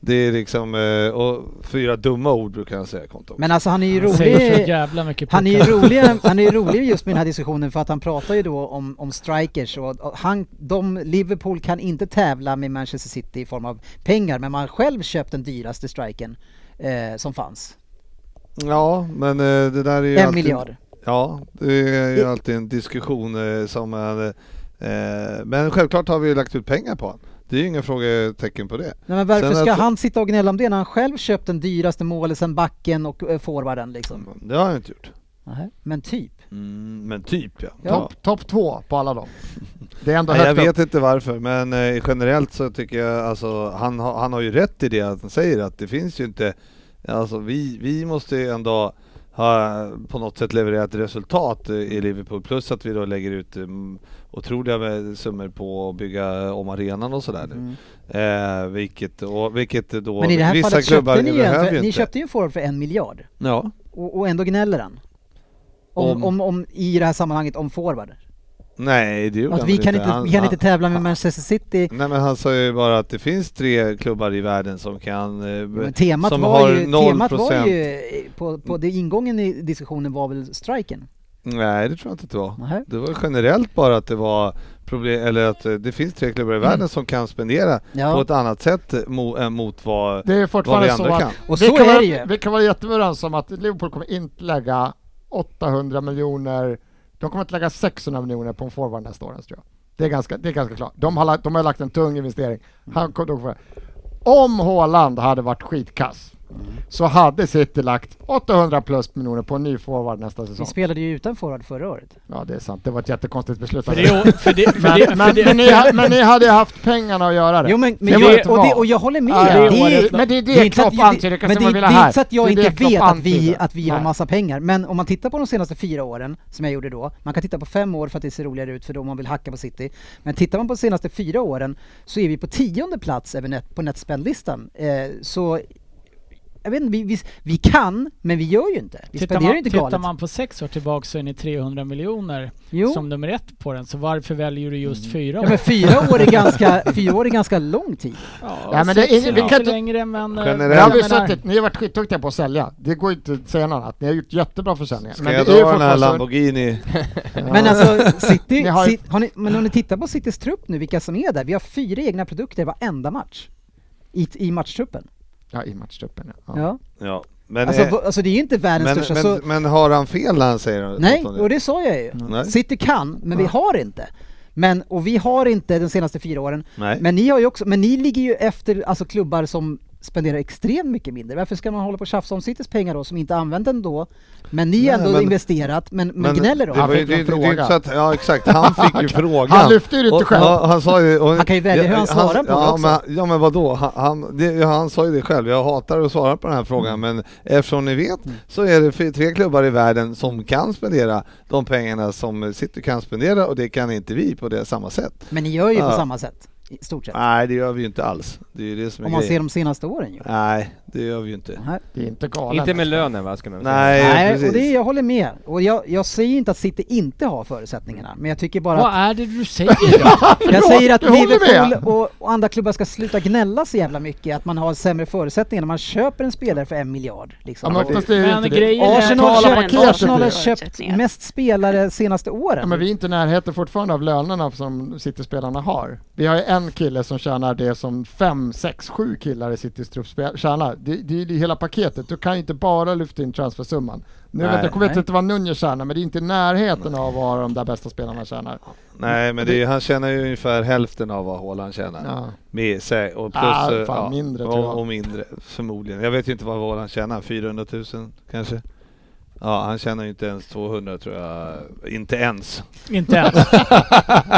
S4: Det är liksom, eh, och fyra dumma ord brukar han säga Conte.
S1: Men alltså han är ju
S5: Han säger så
S1: rolig.
S5: jävla mycket
S1: Han är ju
S5: puckar.
S1: rolig, han är ju rolig just med den här diskussionen för att han pratar ju då om, om strikers och och han, de, Liverpool kan inte tävla med Manchester City i form av pengar men man har själv köpt den dyraste strikern eh, som fanns.
S4: Ja, men eh, det där är ju
S1: En
S4: alltid-
S1: miljard.
S4: Ja, det är ju alltid en diskussion eh, som man... eh, Men självklart har vi ju lagt ut pengar på honom. Det är ju inga frågetecken på det.
S1: Nej, men varför
S4: Sen
S1: ska
S4: att-
S1: han sitta och gnälla om det när han själv köpt den dyraste målisen, backen och eh, forwarden liksom?
S4: Det har jag inte gjort.
S1: Nähä, Men typ.
S4: men typ ja.
S1: Ja.
S4: Topp.
S3: Topp top två på alla dem. Det är ändå
S4: Nej, jag
S3: högt upp.
S4: vet inte varför, men eh, generellt så tycker jag alltså, han, har- han har ju rätt i det att han säger att det finns ju inte, alltså vi, vi måste ju ändå ha eh, på något sätt levererat resultat eh, i Liverpool plus att vi då lägger ut um, otroliga med- summor på att bygga eh, om arenan och sådär nu. Eh, vilket, och, vilket då
S1: Mm. Men i det här
S4: vissa
S1: fallet
S4: klubbar
S1: köpte ni ju en,
S4: behöver ju
S1: för, ni
S4: inte.
S1: köpte ju en forward för en miljard
S4: Ja.
S1: och, och ändå gnäller han. Om, om.
S4: Om-
S1: Om, i det här sammanhanget om forward.
S4: Nej, det gjorde
S1: Att
S4: han
S1: vi
S4: väl
S1: kan inte,
S4: Han-
S1: vi kan
S4: han-
S1: inte tävla med
S4: han-
S1: Manchester City.
S4: Nej men han sa ju bara att det finns tre klubbar i världen som kan... eh,
S1: Men temat
S4: som
S1: var
S4: har
S1: ju,
S4: 0%.
S1: temat var ju eh, på, på det ingången i diskussionen var väl striken?
S4: Nej det tror jag inte att det var.
S1: Nähä.
S4: Det var generellt bara att det var problem, eller att eh, det finns tre klubbar i världen som kan spendera
S1: Mm. Ja.
S4: på ett annat sätt eh, mo, än mot vad...
S3: Det är fortfarande
S4: Vad vi
S3: så
S4: andra
S3: att
S4: kan.
S1: Och
S3: vi,
S1: så
S3: kan
S1: är
S3: vara,
S1: det ju.
S3: vi kan vara jätteöverens om att Liverpool kommer inte lägga 800 miljoner, de kommer inte lägga 600 miljoner på en forward nästa år ens, tror jag. Det är ganska, det är ganska klart. De har, la- de har lagt en tung investering. Han, kom- de kommer, om Haaland hade varit skitkass så hade City lagt 800 plus miljoner på en ny forward nästa
S1: Vi
S3: säsong.
S1: spelade ju utan forward förra året.
S3: Ja, det är sant. Det var ett jättekonstigt beslut.
S5: För det, för det, för
S3: Men,
S5: det, för
S3: men,
S5: det,
S3: men, ni, ha- men ni hade haft pengarna att göra det.
S1: Jo men, men
S3: Det var
S1: jag,
S3: ett
S1: och, det,
S3: val.
S1: och jag håller med.
S3: Ja, det är
S5: året.
S3: Men det är det,
S1: det är inte så att,
S3: Klopp antyder,
S1: men det,
S3: Kassim
S1: det
S3: ville
S1: är
S3: här.
S1: inte så att jag
S3: Det är
S1: inte
S3: det Klopp
S1: vet att vi,
S3: antyder.
S1: att vi har
S3: Nej.
S1: massa pengar, men om man tittar på de senaste fyra åren, som jag gjorde då, man kan titta på fem år för att det ser roligare ut för då man vill hacka på City, men tittar man på de senaste fyra åren så är vi på tionde plats över net, på netspendlistan. Eh, så jag vet inte, vi, vi, vi kan, men vi gör ju inte. Vi
S5: tittar,
S1: spenderar ju
S5: man,
S1: inte
S5: tittar
S1: galet.
S5: man på sex år tillbaka så är ni 300 miljoner
S1: Jo.
S5: som nummer ett på den. Så varför väljer du just
S4: Mm.
S5: fyra
S1: Ja, men
S5: år?
S1: fyra år är ganska, fyra år är ganska lång tid.
S3: Ja, men
S5: sex
S3: det är- vi
S5: lite
S3: kan inte-
S5: längre men... eh,
S4: Generellt-
S3: Det har
S5: jag
S3: vi
S5: menar-
S3: suttit, ni har varit skitduktiga på att sälja. Det går ju inte att säga något annat. Ni har gjort jättebra försäljningar.
S4: Ska
S3: Men
S4: jag
S3: det är ju
S4: dra den här
S3: fortfarande så-
S4: Lamborghini?
S1: Men alltså City,
S3: Ni har ju-
S1: Ci- har ni, men om ni tittar på Citys trupp nu, vilka som är där. Vi har fyra egna produkter varenda match. I, i matchtruppen.
S3: Ja, i matchtruppen. Ja.
S1: Ja.
S4: Ja. Men,
S1: Alltså,
S4: eh,
S1: v- alltså det är ju inte världens
S4: men,
S1: största.
S4: men,
S1: så,
S4: men har han fel när han säger
S1: nej,
S4: något om
S1: och det sa jag ju.
S4: Nej.
S1: City kan, men vi har inte. Men, och vi har inte de senaste fyra åren.
S4: Nej.
S1: Men ni har ju också, men ni ligger ju efter alltså, klubbar som spenderar extremt mycket mindre. Varför ska man hålla på och tjafsa om Citys pengar då, som inte använt ändå? Men ni
S4: Nej,
S1: har ändå
S4: men-
S1: investerat, men, men,
S4: Men
S1: gnäller om.
S4: det
S3: Han
S4: var ju-
S3: fick ju en
S4: det- det- det är
S3: fråga.
S4: inte så att- Ja exakt, han fick ju frågan.
S3: Han lyfte ju det inte
S4: Och-
S3: själv.
S4: ja, han, sa ju, och,
S1: Han kan ju välja hur han svarar på det
S4: ja,
S1: också.
S4: Men, ja men vadå, han, han, det, ja, han sa ju det själv, jag hatar att svara på den här frågan men eftersom ni vet
S1: Mm.
S4: så är det fy- tre klubbar i världen som kan spendera de pengarna som City kan spendera och det kan inte vi på det samma sätt.
S1: Men ni gör ju på
S4: Ja.
S1: samma sätt, i stort sett.
S4: Nej det gör vi ju inte alls. Det är ju det som är
S1: Om man ser
S4: grejen.
S1: de senaste åren ju.
S4: Nej, det gör vi ju inte.
S1: Nej,
S3: Det är inte galet.
S6: Inte med lönen va, ska man säga.
S4: Nej,
S1: Nej
S4: Eh, precis.
S1: och det, jag håller med. Och jag, jag säger inte att City inte har förutsättningarna, men jag tycker bara
S5: Vad
S1: att,
S5: är det du säger då?
S1: jag säger att
S3: jag håller
S1: Liverpool
S3: med.
S1: och, och andra klubbar ska sluta gnälla så jävla mycket, att man har sämre förutsättningar när man köper en spelare för en miljard.
S3: Ja,
S1: Liksom.
S3: men oftast är det ju
S5: Men
S3: inte
S5: grejen
S3: det.
S5: är-
S1: Arsenal, köpt,
S3: Totala paketet
S1: Arsenal
S3: är
S1: har
S3: det.
S1: köpt mest spelare senaste
S3: Ja, men
S1: åren.
S3: vi är inte i närheten fortfarande av lönerna som City-spelarna har. Vi har ju en kille som tjänar det som fem, sex, sju killar i Citys trupp spel- tjänar. Det, det är ju hela paketet. Du kan ju inte bara lyfta in transfersumman. Nu vet
S4: Nej.
S3: jag, jag vet
S1: Nej.
S3: inte vad Nunez tjänar, men det är inte i närheten av vad de där bästa spelarna tjänar.
S4: Nej men det är, han tjänar ju ungefär hälften av vad Haaland tjänar.
S3: Ja.
S4: Med sig och plus...
S3: Ah,
S4: eh,
S3: fan, mindre, tror jag.
S4: och, och mindre förmodligen. Jag vet ju inte vad Haaland tjänar, 400 000 kanske? Ja, han tjänar ju inte ens 200 tror jag. Inte ens.
S5: Inte ens.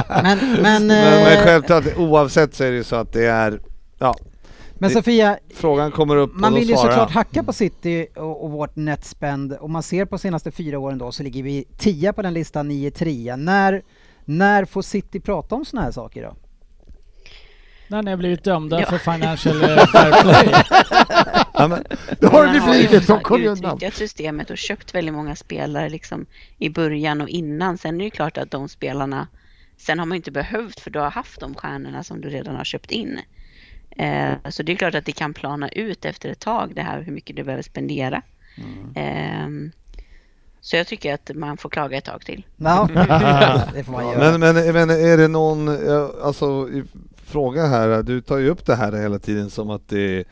S1: Men, men,
S4: Men, men
S1: eh,
S4: självklart, oavsett så är det ju så att det är... Ja,
S1: men Sofia,
S4: frågan kommer upp
S1: Man
S4: och då
S1: vill ju
S4: svarar
S1: såklart
S4: han.
S1: hacka på City och, och vårt netspend. Om man ser på senaste fyra åren då så ligger vi tia på den listan, nio trea. När, när får City prata om såna här saker då?
S5: När ni har blivit dömda
S8: Ja.
S5: för financial eh, fair play.
S4: Ja, men,
S3: Det har
S8: Man
S3: det
S8: ju
S3: blivit, de
S8: också
S3: kommer ju undan.
S8: utnyttjat systemet och köpt väldigt många spelare liksom i början och innan. Sen är det ju klart att de spelarna, sen har man ju inte behövt för du har haft de stjärnorna som du redan har köpt in. Eh, så det är klart att det kan plana ut efter ett tag det här hur mycket du behöver spendera.
S3: Mm.
S8: Ehm, så jag tycker att man får klaga ett tag till.
S1: Ja, det får man göra.
S4: men, men, men är det någon... eh, Alltså, i- fråga här. Du tar ju upp det här hela tiden som att det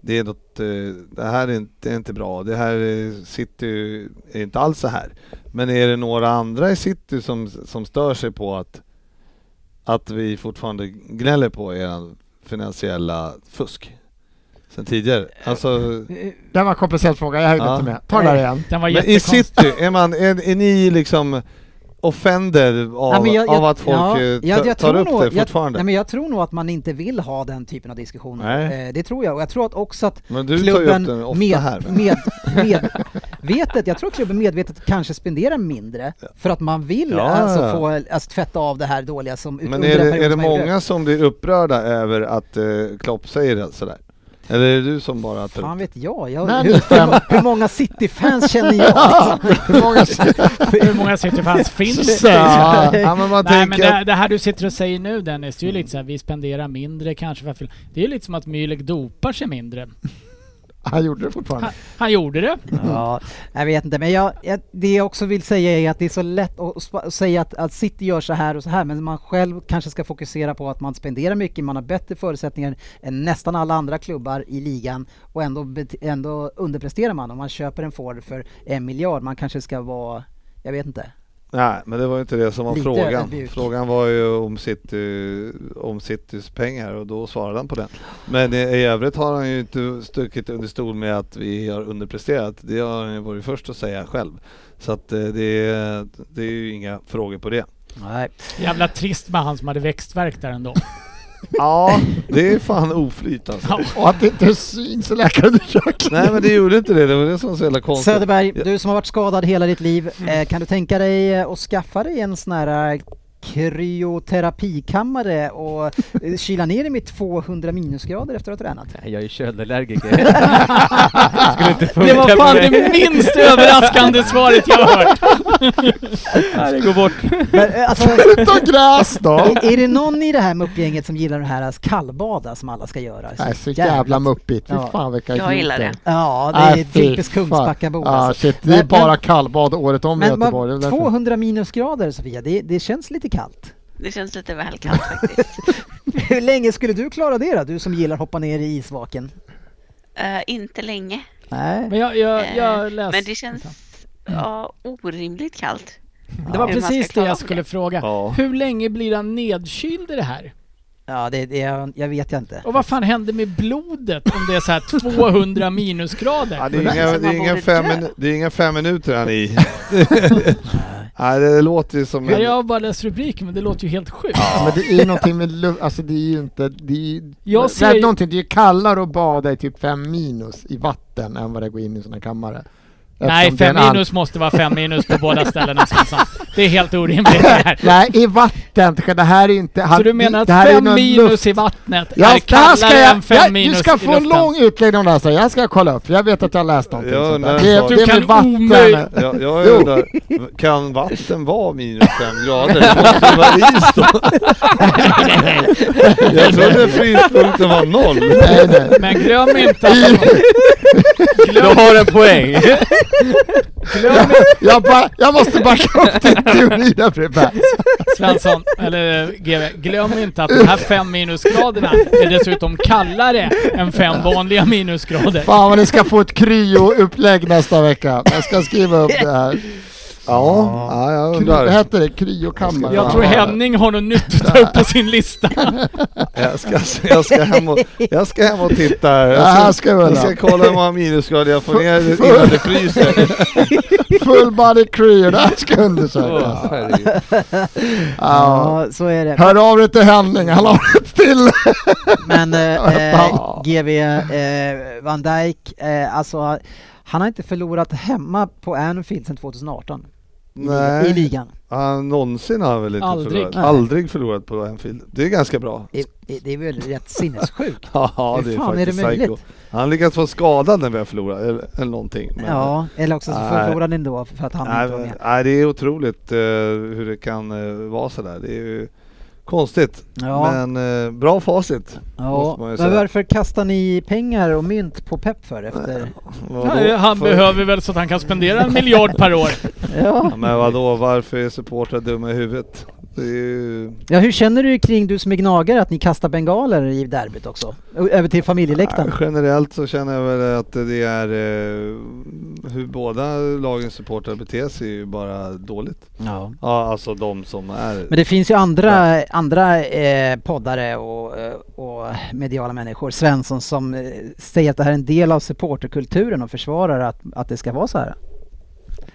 S4: det är något, eh, det här är inte, det är inte bra, det här eh, City är inte alls så här. Men är det några andra i City som, som stör sig på att, att vi fortfarande gnäller på er finansiella fusk? Sen tidigare? Alltså,
S3: Det var en komplicerad fråga, jag hängde
S4: Ja.
S3: inte med. Ta det där igen.
S5: Den var
S4: men i
S5: jättekonstig.
S4: City, är, man, är, är ni liksom offender av,
S1: Nej, men jag- jag-
S4: av att folk
S1: ja,
S4: eh,
S1: jag-
S4: ta-
S1: jag
S4: tar
S1: tror
S4: upp
S1: nog-
S4: det fortfarande?
S1: Jag, nej, men jag tror nog att man inte vill ha den typen av diskussioner.
S4: Nej.
S1: Eh, Det tror jag. Och jag tror att också att
S4: men du tar ju upp
S1: klubben
S4: den ofta
S1: med,
S4: här. men-
S1: med, medvetet, jag tror att klubben medvetet kanske spenderar mindre för att man vill
S4: Ja,
S1: alltså
S4: ja.
S1: få, alltså, tvätta av det här dåliga som
S4: Men
S1: under
S4: är
S1: en
S4: det,
S1: period
S4: är det
S1: som man gjorde.
S4: många som blir upprörda över att eh, Klopp säger det sådär? Eller är det du som bara tar
S1: Fan
S4: upp det?
S1: vet jag, jag
S3: Men-
S1: hur, hur, många- hur många City-fans känner jag? Alltså?
S3: Hur många
S5: Hur många Cityfans finns det?
S3: Ja,
S4: Ja, men man
S5: Nej men
S4: tänker
S5: det,
S4: att,
S5: det här du sitter och säger nu Dennis, det är ju lite såhär, vi spenderar mindre kanske för att fylla- Det är ju lite som att Mühlegg dopar sig mindre.
S3: Han gjorde det fortfarande.
S5: Han gjorde det.
S1: Ja, jag vet inte, men jag, jag, det jag också vill säga är att det är så lätt att, spa- att säga att, att City gör så här och så här, men man själv kanske ska fokusera på att man spenderar mycket, man har bättre förutsättningar än nästan alla andra klubbar i ligan och ändå, bet- ändå underpresterar man. Om man köper en Ford för en miljard, man kanske ska vara, jag vet inte.
S4: nej, men det var ju inte det som var
S1: Lite
S4: frågan.
S1: ödmjuk.
S4: Frågan var ju om, City, om Citys pengar och då svarade han på den. Men i, i övrigt har han ju inte stuckit under stol med att vi har underpresterat. Det har han ju varit först att säga själv. Så att eh, det, är- det är ju inga frågor på det.
S1: Nej.
S5: Jävla trist med han som hade växtverk där ändå.
S3: Ja,
S4: Det är fan oflyt alltså.
S3: och att det inte syns i läkarundersökningen.
S4: Nej men det gjorde inte det, det var det som var så jävla konstigt.
S1: Söderberg,
S4: Ja.
S1: du som har varit skadad hela ditt liv, eh, kan du tänka dig eh, att skaffa dig en sån här eh, kryoterapikammare och eh, kyla ner dig med 200 minusgrader efter att ha tränat?
S6: Nej, jag är köldallergiker. det skulle inte funka
S5: Det var
S6: på
S5: fan
S6: mig.
S5: det minst överraskande svaret jag har hört.
S6: Nej, det går bort.
S1: Men, eh, alltså,
S3: Ta gräs då!
S1: är, är det någon i det här muppgänget som gillar den här alltså, kallbada som alla ska göra?
S3: Nej, så jävla muppigt. Fy
S1: Ja.
S3: fan vilka
S8: Jag gillar
S3: idioter.
S8: det.
S1: Ja, det
S3: Nej,
S1: är
S3: fy
S1: typiskt
S3: fan.
S1: Kungsbackabor
S3: Ja,
S1: alltså.
S3: shit. Det är
S1: Men-
S3: bara kallbad året om i
S1: Men
S3: Göteborg. det är
S1: vad-
S3: därför.
S1: 200 minusgrader Sofia, det, det känns lite kallt.
S8: Det känns lite väl kallt faktiskt.
S1: Hur länge skulle du klara det då, du som gillar att hoppa ner i isvaken?
S8: Eh, inte länge.
S1: Nej.
S5: Men jag, jag,
S8: Eh,
S5: jag läste...
S8: Men det känns ja, orimligt kallt.
S5: Det var
S8: Hur man ska
S5: precis det
S8: klara av
S5: jag
S8: det.
S5: skulle fråga.
S4: Ja.
S5: Hur länge blir han nedkyld i det här?
S1: Ja, det, det, jag, jag vet jag inte.
S5: Och vad fan händer med blodet om det är så här 200 minusgrader?
S4: Ja, det,
S8: Men
S4: är inga,
S8: alltså,
S4: det, är
S8: man
S4: inga
S8: borde
S4: fem
S8: dö.
S4: minu- det är inga fem minuter han är i. Nej, det låter ju som
S5: Ja,
S4: en...
S5: jag bara läst rubriken men det låter ju helt sjukt.
S3: Men det är ju någonting med luft, alltså det är ju inte, det är ju,
S5: Jag
S3: jag
S5: ser
S3: ser...
S5: ju-
S3: någonting, det är ju kallare att bada i typ fem minus i vatten än vad det går in i såna kammare. Eftersom
S5: Nej,
S3: det är
S5: fem
S3: en all-
S5: minus måste vara fem minus på båda ställena Svensson. Det är helt orimligt det här.
S3: Nej, i vatten, det här är inte...
S5: Så du menar att
S3: det här är
S5: fem
S3: någon
S5: minus
S3: luft-
S5: i vattnet
S3: Ja, det
S5: är
S3: här ska
S5: kallare
S3: jag,
S5: än fem
S3: jag,
S5: minus
S3: du ska
S5: i
S3: få en
S5: luften?
S3: lång utläggning om det här sen. Jag ska kolla upp, för jag vet att jag läst någonting
S4: Jag
S3: sånt där.
S4: undrar en
S3: Det, är-
S4: sak.
S5: Du
S3: det är
S5: kan
S3: med vatten.
S5: omöjligt-
S4: Jag, jag
S3: Jo.
S4: undrar, kan vatten vara minus fem grader? Det måste ju vara is då. Jag trodde fryspunkten var noll.
S3: Nej, nej.
S5: Men glöm inte att...
S6: Du har en poäng.
S3: Jag, jag, bara, jag måste backa upp din teori där Frippe.
S5: Svensson, eller eh, GV, glöm inte att de här fem minusgraderna är dessutom kallare än fem vanliga minusgrader.
S3: Fan vad ni ska få ett kryoupplägg nästa vecka. Jag ska skriva upp det här.
S4: Ja, ja jag
S3: Kry, vad
S4: undrar.
S3: hette det? Kryokammare?
S5: Jag tror Henning har något nytt att ta upp på sin lista.
S4: Jag ska, jag ska, hem, och, jag ska hem och titta. här.
S3: Det här
S4: Jag ska,
S3: ska jag
S4: jag
S3: vilja.
S4: ska kolla hur många minusgrader jag får ner innan det fryser.
S3: Full body kryo, det här ska undersökas.
S6: Åh, herregud.
S3: Ja.
S1: Ja, så är det.
S3: Hör av dig till Henning, han har ett till.
S1: Men eh, eh,
S3: Ja.
S1: GV eh, Van Dijk, eh, alltså han har inte förlorat hemma på Anfield sedan 2018 i
S4: Nej,
S1: ligan.
S4: han någonsin har han väl inte
S5: Aldrig.
S4: förlorat.
S1: Nej.
S4: Aldrig förlorat på Anfield. Det är ganska bra.
S1: I, i, det är väl rätt sinnessjukt?
S4: Ja,
S1: Hur
S4: det är
S1: fan är
S4: faktiskt
S1: det möjligt?
S4: psycho. Han lyckas vara skadad när vi har förlorat eller, eller någonting. men-
S1: Ja, eller också så
S4: Nej.
S1: förlorade han ändå för att han
S4: nej,
S1: inte var med.
S4: nej, det är otroligt eh, hur det kan eh, vara sådär. Det är ju konstigt.
S1: Ja.
S4: Men eh, bra facit.
S1: Ja,
S4: måste man ju
S1: men
S4: säga.
S1: varför kastar ni pengar och mynt på Pep för efter?
S4: Vadå?
S5: Nej, han
S4: För-
S5: behöver väl så att han kan spendera en miljard per år.
S1: Ja.
S4: Ja, Men vadå, varför är supportrar dumma i huvudet? Det är ju...
S1: Ja, hur känner du kring, du som är gnagare, att ni kastar bengaler i derbyt också? Ö- Över till familjeläktaren.
S4: Ja, Generellt så känner jag väl att det är eh, hur båda lagens supportrar beter sig är ju bara dåligt.
S1: Ja.
S4: Ja, alltså de som är...
S1: Men det finns ju andra, andra eh, poddare och, eh, och mediala människor, Svensson, som eh, säger att det här är en del av supporterkulturen och försvarar att, att det ska vara så här.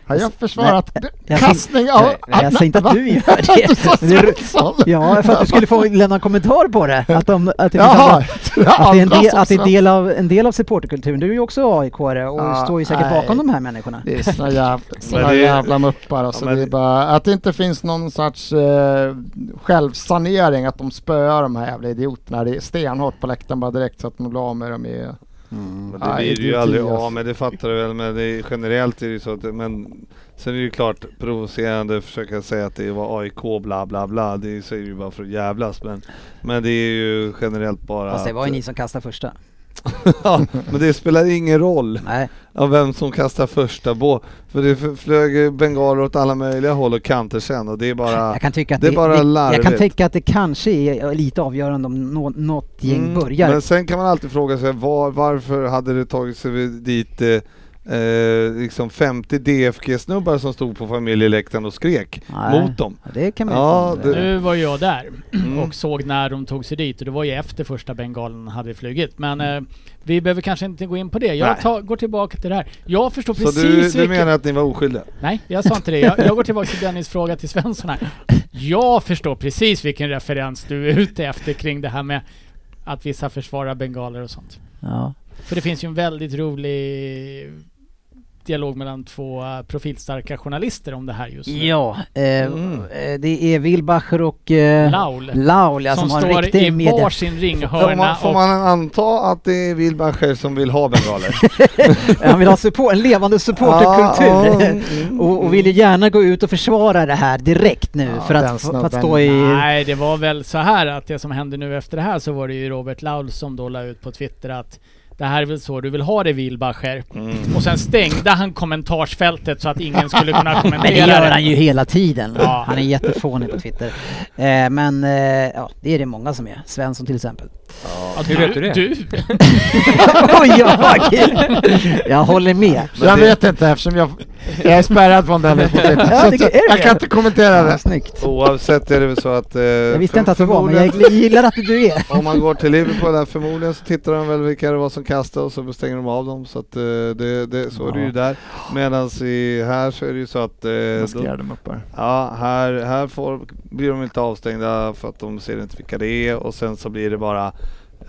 S3: Har jag försvarat
S1: Alltså, jag
S3: kastning av
S1: Nej, Eh, jag säger inte att du gör
S3: Du
S1: det.
S3: sa
S1: Men det är-
S3: Svensson!
S1: Ja, för att du skulle få lämna en kommentar på det. Att, de, att det finns andra-
S3: Jaha! jag
S1: Att det är, en
S3: andra
S1: del,
S3: som
S1: att det är
S3: Svensson.
S1: del av, en del av supporterkulturen. Du är ju också aik och
S3: Ja,
S1: står ju säkert
S3: nej.
S1: bakom de här människorna.
S3: Det är såna jävla, såna
S4: det är-
S3: jävla muppar alltså.
S4: men-
S3: det är bara, att det inte finns någon sorts eh, självsanering, att de spöar de här jävla idioterna. Det är stenhårt på läktaren bara direkt så att de blir av med dem i...
S4: Men det blir
S3: Nej, det
S4: du
S3: är
S4: ju
S3: ju
S4: aldrig
S3: Tias.
S4: av med, det fattar du väl. Men det är, generellt är det ju så att, men sen är det ju klart provocerande att försöka säga att det var AIK bla bla bla. Det säger du ju bara för att jävlas. Men, men det är ju generellt bara
S1: Fast det var
S4: att-
S1: ju ni som kastade första.
S4: ja, men det spelar ingen roll
S1: Nej.
S4: av vem som kastar första bå. För det f- flög bengaler åt alla möjliga håll och kanter sen och det är bara...
S1: Jag kan tycka att
S4: det
S1: det,
S4: är bara
S1: det, jag kan
S4: larvigt.
S1: tycka att det kanske är lite avgörande om nå, något gäng
S4: Mm,
S1: börjar.
S4: Men sen kan man alltid fråga sig var, varför hade det tagit sig dit eh, eh, liksom 50 DFG-snubbar som stod på familjeläktaren och skrek
S1: Nej.
S4: mot dem?
S1: Ja, Det kan man
S4: Ja,
S1: ju fan-
S4: det-
S5: Nu var jag där
S4: Mm.
S5: och såg när de tog sig dit och det var ju efter första bengalen hade flugit. Men eh, vi behöver kanske inte gå in på det.
S4: Nej.
S5: Jag tar, går tillbaka till det här. Jag förstår
S4: Så du,
S5: precis
S4: du
S5: vilken...
S4: menar att ni var oskyldiga?
S5: Nej, jag sa inte det. Jag, jag går tillbaka till Dennis fråga till Svensson här. Jag förstår precis vilken referens du är ute efter kring det här med att vissa försvarar bengaler och sånt.
S1: Ja.
S5: För det finns ju en väldigt rolig dialog mellan två eh, profilstarka journalister om det här just nu.
S1: ja eh,
S4: Mm.
S1: eh, det är Wilbacher och eh,
S5: Laul.
S1: Laul ja, som,
S5: som,
S1: har en
S5: står i
S1: riktig media...
S5: varsin
S4: Får man,
S5: ringhörna
S4: får man anta att det är Wilbacher som vill ha bengaler?
S1: Han vill ha support, en levande supporterkultur.
S4: Ja, mm,
S1: och, och vill ju gärna gå ut och försvara det här direkt nu
S3: Ja,
S1: för,
S3: den
S1: att, för att
S3: snubben.
S1: stå i...
S5: Nej, det var väl så här att det som hände nu efter det här så var det ju Robert Laul som då la ut på Twitter att det här är väl så du vill ha det Wilbacher.
S1: Mm.
S5: Och sen stängde han kommentarsfältet så att ingen skulle kunna
S1: Men det gör
S5: kommentera
S1: han
S5: det.
S1: ju hela tiden.
S5: Ja.
S1: Han är jättefånig på Twitter. Eh, men eh, ja, det är det många som är. Svensson till exempel.
S5: Ja,
S6: Hur vet du det?
S5: Du,
S1: Oj, jag, jag håller med.
S4: Men
S3: jag
S4: det-
S3: vet inte eftersom jag, jag är spärrad från den här konflikten.
S1: Ja,
S3: Så
S1: det-
S3: att
S1: är det
S3: jag kan
S1: det?
S3: inte kommentera
S1: Ja,
S3: det.
S1: snyggt.
S4: Oavsett är det väl så att... Eh,
S1: Jag visste inte att det var, men jag gillar att du är.
S4: Om man går till Liverpool där, förmodligen så tittar de väl vilka det var som kastade och så stänger de av dem. Så, att, eh, det, det, så är det ju där. Medan här så är det ju så att... Eh, då,
S3: Maskerade muppar.
S4: ja, här här får, blir de inte avstängda för att de ser inte vilka det är och sen så blir det bara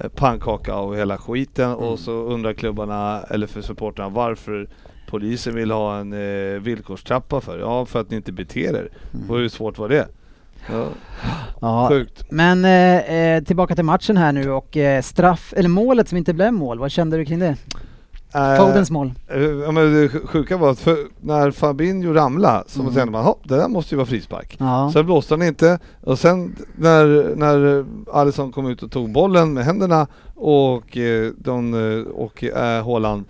S4: eh, pannkaka av hela skiten och så undrar klubbarna, eller för supportrarna, varför polisen vill ha en eh, villkorstrappa för? Ja, för att ni inte beter er. Och hur svårt var det? Ja,
S1: Ja.
S4: Sjukt.
S1: Men eh, eh, tillbaka till matchen här nu och eh, straff, eller målet som inte blev mål. Vad kände du kring det? Fodens mål.
S4: Eh, Ja, men det sjuka var att för när Fabinho ramlade så
S1: Mm.
S4: tänkte man att det där måste ju vara frispark.
S1: Ja.
S4: Sen blåste han inte och sen när, när Alisson kom ut och tog bollen med händerna och, eh, de, eh, och eh, Haaland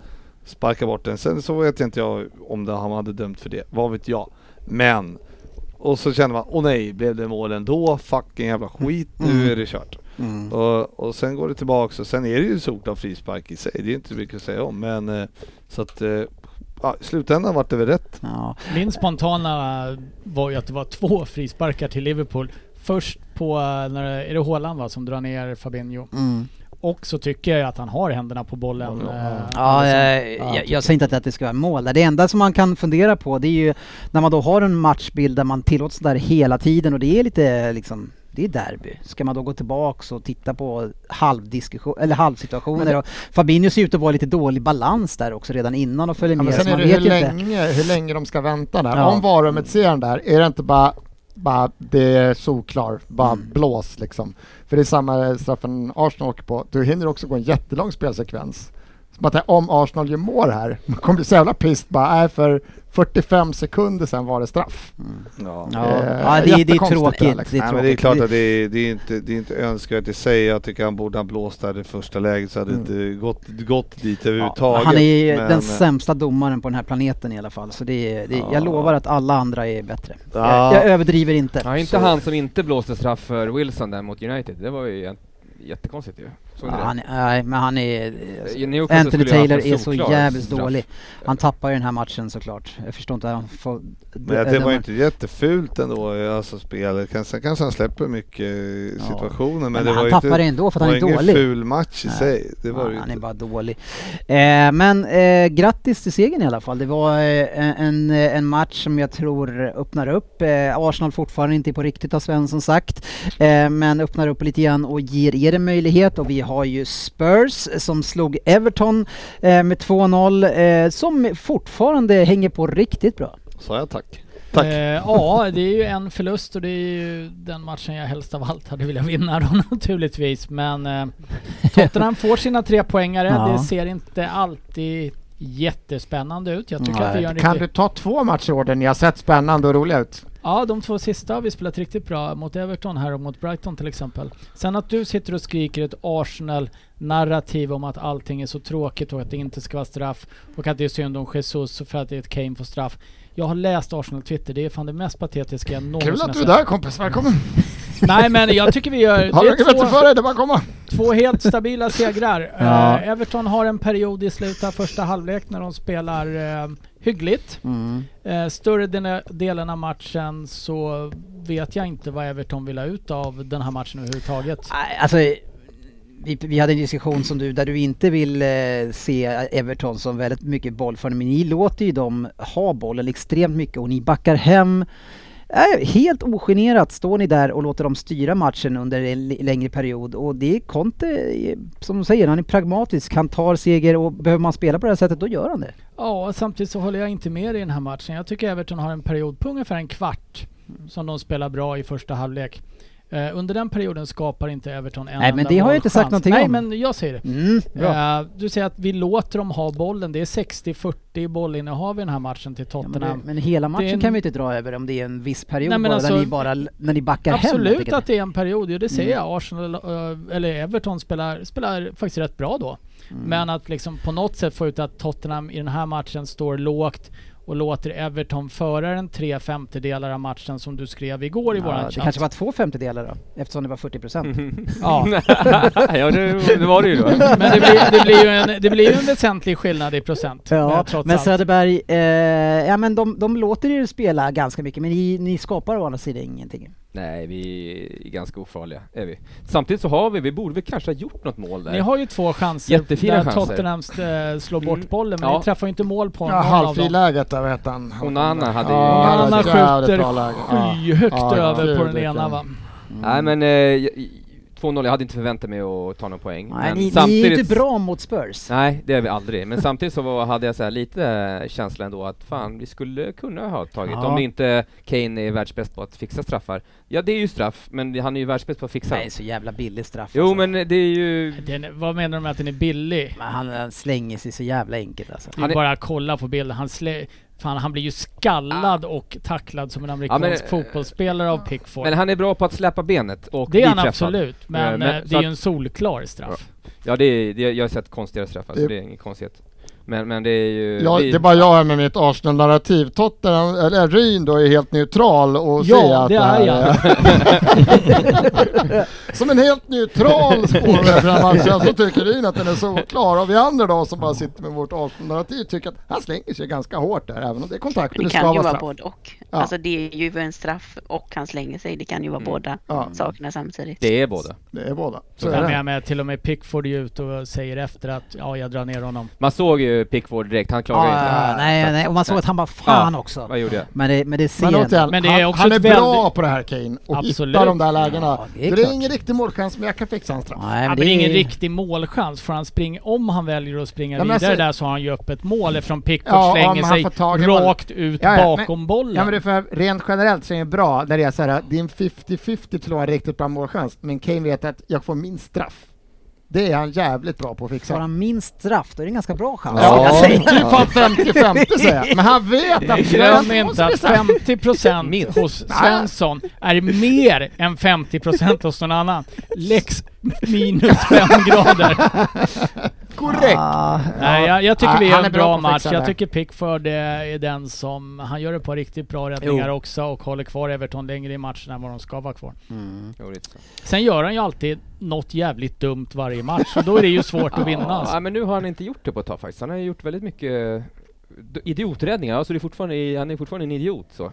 S4: sparkade bort den. Sen så vet jag inte jag om det, han hade dömt för det, vad vet jag. Men, och så kände man, åh nej, blev det mål ändå? Fucking jävla skit, nu är det kört.
S1: Mm.
S4: Och, och sen går det tillbaka och sen är det ju solklar frispark i sig. Det är inte mycket att säga om men eh, så att eh, ja, i slutändan vart det väl rätt.
S1: Ja.
S5: min spontana var ju att det var två frisparkar till Liverpool. Först på, eh, när, det- är det Haaland va, som drar ner Fabinho?
S1: Mm.
S5: Och så tycker jag ju att han har händerna på bollen.
S4: Ja.
S5: eh,
S1: Ja,
S5: Alisson.
S1: jag, jag,
S3: typ.
S1: jag säger inte att- att det ska vara mål där. Det enda som man kan fundera på det är ju när man då har en matchbild där man tillåts där hela tiden och det är lite liksom det är derby. Ska man då gå tillbaks och titta på halvdiskussion, eller halvsituationer? Och Fabinho ser ut att vara lite dålig balans där också redan innan och följer
S3: Ja,
S1: med.
S3: men sen
S1: så
S3: är
S1: man
S3: det
S1: vet
S3: hur
S1: ju inte.
S3: länge, hur länge de ska vänta där.
S1: Ja.
S3: Om varummet ser den där, är det inte bara, bara det är solklar, bara
S5: Mm.
S3: blås liksom. För det är samma straffen Arsenal åker på. Du hinner också gå en jättelång spelsekvens. Bara att om Arsenal gör mål här, man kommer bli så jävla pissed bara, nej för 45 sekunder sedan var det straff.
S5: Mm.
S4: Ja.
S1: Ja,
S3: Eh,
S1: ja det, det är
S3: jättekonstigt där,
S1: tråkigt.
S3: liksom.
S1: Det är,
S4: Nej, men det är
S1: tråkigt.
S4: klart att det är, det är, inte, det är inte önskvärt i sig. Jag tycker han borde ha blåst där i första läget så hade det inte gått, gått dit överhuvudtaget.
S1: Mm. han är ju
S4: Men,
S1: den
S4: eh,
S1: sämsta domaren på den här planeten i alla fall. Så det är, det,
S4: Ja.
S1: jag lovar att alla andra är bättre.
S4: Ja.
S1: Jag, jag överdriver inte.
S6: Ja, inte han som inte blåste straff för Wilson där mot United. Det var ju jätt- jättekonstigt ju. Såg
S1: Ja,
S6: ni det?
S1: han, är- nej, men han är...
S6: Eh, Newcastle
S1: Anthony
S6: skulle ju ha haft
S1: Taylor
S6: en
S1: är så
S6: solklar
S1: jävligt
S6: straff.
S1: dålig. Han tappar ju den här matchen såklart. Jag förstår inte hur han får...
S4: Men det, det var
S1: den-
S4: ju inte jättefult ändå, eh, alltså spelet. Kan- Sen kanske han släpper mycket eh,
S1: Ja.
S4: situationer, men,
S1: Men
S4: det
S1: han
S4: var ju
S1: tappar
S4: inte,
S1: det ändå för att
S4: det
S1: han är
S4: var ingen
S1: dålig.
S4: ful match i
S1: Nej.
S4: sig. Det var
S1: Ja,
S4: det ju
S1: han
S4: inte.
S1: är bara dålig. Eh, men eh, grattis till segern i alla fall. Det var eh, en, en match som jag tror öppnar upp. Eh, Arsenal fortfarande inte på riktigt har Svensson sagt. Eh, men öppnar upp lite grann och ger er en möjlighet. Och vi har ju Spurs som slog Everton eh, med 2-0 eh, som fortfarande hänger på riktigt bra.
S4: Sa jag tack?
S5: Eh, ja, det är ju en förlust och det är ju den matchen jag helst av allt hade velat vinna då naturligtvis. Men eh, Tottenham får sina tre poängare.
S1: Ja.
S5: Det ser inte alltid jättespännande ut. Jag tycker att vi
S1: Nej,
S5: gör en
S3: Kan
S5: riktig...
S3: du ta två matcher i år där ni har sett spännande och roliga ut?
S5: Ja, de två sista har vi spelat riktigt bra mot Everton här och mot Brighton till exempel. Sen att du sitter och skriker ett Arsenal-narrativ om att allting är så tråkigt och att det inte ska vara straff och att det är synd om Jesus för att det är ett Kane på straff. Jag har läst Arsenal-Twitter, det är fan det mest patetiska jag någonsin
S3: Kul
S5: har
S3: att du är
S5: sett.
S3: där kompis, välkommen!
S5: Nej men jag tycker vi gör...
S3: Har
S5: det
S3: du
S5: är
S3: inget bättre
S5: två-
S3: för dig? Det är bara att komma!
S5: Två helt stabila segrar.
S1: Ja.
S5: Eh, Everton har en period i slutet av första halvlek när de spelar eh, hyggligt. Eh, större delen- delen av matchen så vet jag inte vad Everton vill ha ut av den här matchen överhuvudtaget.
S1: Nej, Alltså, vi, vi hade en diskussion som du, där du inte vill eh, se Everton som väldigt mycket bollförande, men ni låter ju dem ha bollen extremt mycket och ni backar hem. Eh, Helt ogenerat står ni där och låter dem styra matchen under en l- längre period och det är Conte, eh, som de säger, han är pragmatisk, han tar seger och behöver man spela på det här sättet då gör han det.
S5: Ja, och samtidigt så håller jag inte med i den här matchen. Jag tycker Everton har en period på ungefär en kvart som de spelar bra i första halvlek. Eh, under den perioden skapar inte Everton en
S1: Nej, men
S5: enda
S1: det har jag inte sagt
S5: målchans.
S1: någonting
S5: Nej,
S1: om.
S5: men jag säger det.
S1: Mm, bra.
S5: Eh, du säger att vi låter dem ha bollen. Det är 60-40 bollinnehav i den här matchen till
S1: Ja, men,
S5: Tottenham.
S1: det, men hela matchen
S5: en-
S1: kan vi inte dra över om det är en viss period
S5: Nej, men
S1: bara,
S5: alltså-
S1: där ni bara, l- när ni backar hem. helt
S5: Absolut
S1: enkelt.
S5: att det är en period, ja, det
S1: Mm.
S5: säger jag. Arsenal, eh, eller Everton spelar, spelar faktiskt rätt bra då.
S1: Mm.
S5: Men att liksom på något sätt få ut att Tottenham i den här matchen står lågt och låter Everton föra den tre femtedelar av matchen som du skrev igår i
S1: Ja,
S5: våran
S1: det
S5: chatt. Mhm.
S1: kanske var två femtedelar då, eftersom det var 40 procent.
S5: Ja.
S6: ja, det, det var det ju då.
S5: Men det blir, det, blir ju en, det blir ju en väsentlig skillnad i procent.
S1: Ja,
S5: eh, trots
S1: men
S5: allt.
S1: Söderberg, eh, ja men de, de låter er spela ganska mycket, men ni, ni skapar å andra sidan
S5: Mm.
S1: ingenting.
S6: Nej, vi är ganska ofarliga, är vi. Samtidigt så har vi, vi borde väl kanske ha gjort något mål där.
S5: Ni har ju två chanser
S6: Jättefina
S5: där
S6: chanser.
S5: Tottenham eh, slår
S6: Mm.
S5: bort bollen, men
S6: Ja.
S5: ni träffar ju inte mål på
S3: Ja,
S5: någon av dem.
S3: halvfriläget där vad hette han?
S6: Onana hade ju-
S3: Ja, han
S5: Hanna
S3: hade ett jävligt bra
S5: skjuter
S3: läge. Ja.
S5: skyhögt
S3: Ja, ja,
S5: över på
S3: gud,
S5: den
S3: vilken-
S5: ena va?
S6: Nej men eh, jag- i- 2-0, jag hade inte förväntat mig att ta någon poäng.
S1: Nej,
S6: men
S1: ni, ni är ju inte bra mot Spurs.
S6: Nej, det är vi aldrig. Men samtidigt så var, hade jag så här lite känslan ändå att fan, vi skulle kunna ha tagit,
S1: Ja.
S6: om inte Kane är världsbäst på att fixa straffar. Ja, det är ju straff, men han är ju världsbäst på att fixa.
S1: Nej, så jävla billig straff.
S6: Jo,
S1: alltså.
S6: men det är ju...
S5: Den, vad menar de med att den är billig?
S1: Men han, han slänger sig så jävla enkelt alltså.
S5: Det är
S6: Han är-
S5: bara att kolla på bilden. Han, slä, fan, han blir ju skallad och tacklad som en amerikansk
S6: eh,
S5: fotbollsspelare av Pickford.
S6: Men han är bra på att släppa benet och
S5: det är
S6: bli
S5: han
S6: träffad.
S5: absolut, men,
S6: Eh, men
S5: eh, det
S6: så
S5: är ju
S6: att-
S5: en solklar straff.
S6: Ja, det är, det, jag har sett konstigare straffar, så
S3: Det-
S6: det är ingen konstighet. Men, men det är ju...
S3: Ja,
S6: vi-
S3: det är bara jag här med mitt Arsenal-narrativ. Tottenham, eller eh, Ryn då, är helt neutral och
S5: Ja,
S3: säger att
S5: det
S3: här
S5: är
S3: är- Som en helt neutral spårare för den här matchen så tycker Ryn att den är solklar. Och vi andra då som bara sitter med vårt Arsenal-narrativ tycker att han slänger sig ganska hårt där, även om det är kontakt och
S8: Det
S3: det ska
S8: kan ju
S3: vara
S8: vara
S3: straff.
S8: både och.
S3: Ja.
S8: Alltså det är ju en straff och han slänger sig. Det kan ju vara båda
S3: Ja.
S8: sakerna samtidigt.
S6: Det är båda.
S3: Det är båda. Så
S5: Ja,
S3: är
S5: men
S3: det.
S5: jag menar, till och med Pickford är ju ute och säger efter att ja, jag drar ner honom.
S6: Man såg ju Pickford direkt, han klagade
S1: Ah,
S6: inte.
S1: nej,
S6: Så att-
S1: nej, och man såg att han bara fan också.
S6: Vad gjorde jag?
S1: Men det, men det ser
S3: Men
S1: man.
S3: återigen,
S5: Men det är
S3: han,
S5: också
S3: han är
S5: ett
S3: bra
S5: väldigt-
S3: på det här Kane och
S5: Absolut.
S3: hittar de där lägena.
S1: Ja, det är
S3: det, är
S1: klart.
S3: ingen riktig målchans men jag kan fixa en straff.
S1: Nej,
S5: Ja,
S1: men
S5: men det är ingen
S1: ju-
S5: riktig målchans. För han spring, om han väljer att springa
S3: Ja, men
S5: vidare
S3: alltså-
S5: där så har han ju öppet mål eftersom Pickford
S3: Ja, om
S5: slänger
S3: han får tag i
S5: sig
S3: bollen.
S5: rakt ut
S3: Ja, ja, men-
S5: bakom bollen.
S3: Ja men det är för rent generellt så är det bra när det är så här, det är en 50-50 till att ha en riktigt bra målchans, men Kane vet att jag får min straff. Det är han jävligt bra på att fixa.
S1: Tar han minst straff, då är det en ganska bra chans.
S3: Ja,
S4: Ja.
S3: jag tänkte ju fan 50-50 säger jag. Men han vet att
S5: Glöm
S3: måste
S5: inte att
S3: bli så-
S5: 50% hos Svensson är mer än 50% hos någon annan. Lex minus 5 grader.
S3: Korrekt!
S1: Ah,
S5: Nej, jag, jag tycker
S3: Ja,
S5: vi gör
S3: han
S5: en
S3: är bra på
S5: bra
S3: att fixa
S5: match.
S3: det
S5: Jag
S3: här.
S5: tycker Pickford eh, är den som... Han gör ett par riktigt bra räddningar
S6: Jo.
S5: också och håller kvar Everton längre i matchen än vad de ska vara kvar.
S1: Mm.
S6: Jo, lite så.
S5: Sen gör han ju alltid något jävligt dumt varje match och då är det ju svårt att vinna.
S6: Ja,
S5: Alltså.
S6: men nu har han inte gjort det på ett tag faktiskt. Han har ju gjort väldigt mycket eh, d- idioträddningar. Alltså det är fortfarande, han är fortfarande en idiot så.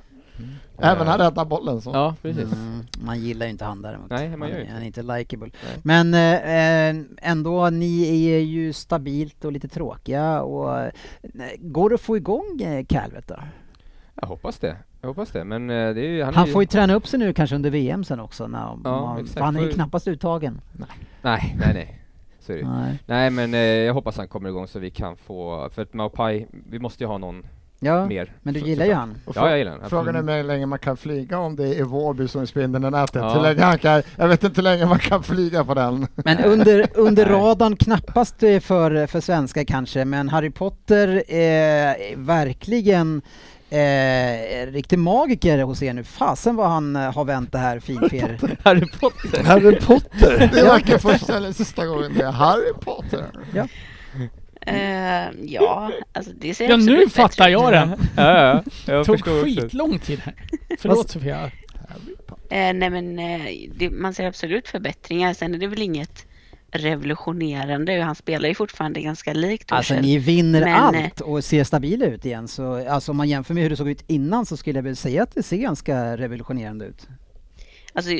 S3: Även
S6: Eh,
S3: han räddar bollen så.
S6: Ja, precis.
S1: Mm, man gillar ju inte han däremot.
S6: Nej, man
S1: han,
S6: gör ju
S1: är-
S6: inte
S1: han är inte likeable.
S6: Nej.
S1: Men eh, eh, ändå, ni är ju stabilt och lite tråkiga och eh, går det att få igång eh, Calvet då?
S6: Jag hoppas det. Jag hoppas det. Men eh, det är ju, han,
S1: Han
S6: är
S1: får ju
S6: ju...
S1: träna upp sig nu kanske under VM sen också, när
S6: Ja,
S1: man,
S6: exakt.
S1: för han är ju
S6: Får ju-
S1: knappast uttagen.
S6: Nej, nej, nej. Så är det ju.
S1: Nej.
S6: Nej, men eh, jag hoppas han kommer igång så vi kan få... För att Maupai, vi måste ju ha någon
S1: Ja,
S6: mer.
S1: men du
S6: Så-
S1: gillar ju
S6: såklart.
S1: han.
S3: Och
S6: Ja, jag gillar honom.
S3: Frågan är hur länge man kan flyga om det är Vårby som är spindeln i nätet.
S6: Ja.
S3: Hur länge han kan, jag vet inte hur länge man kan flyga på den.
S1: Men under, under
S6: Nej.
S1: radarn knappast eh, för, för svenskar kanske, men Harry Potter eh, verkligen Eh, riktig magiker hos er nu. Fasen vad han eh, har vänt det här finfer.
S6: Harry Potter!
S4: Harry Potter!
S3: Det är varken första eller sista gången det är Harry Potter.
S8: Eh, ja, alltså det ser
S5: Ja,
S8: absolut
S5: nu
S8: bättre
S5: fattar
S8: ut.
S5: jag den!
S6: ja, ja. Jag
S5: Tog
S6: förstår också.
S5: skitlång tid här. Förlåt Sofia.
S8: Eh, nej men eh, det, man ser absolut förbättringar. Sen är det väl inget revolutionerande. Han spelar ju fortfarande ganska likt
S1: Alltså
S8: Urshel.
S1: ni vinner
S8: Men,
S1: allt och ser stabila ut igen. Så, alltså, om man jämför med hur det såg ut innan så skulle jag väl säga att det ser ganska revolutionerande ut.
S8: Alltså,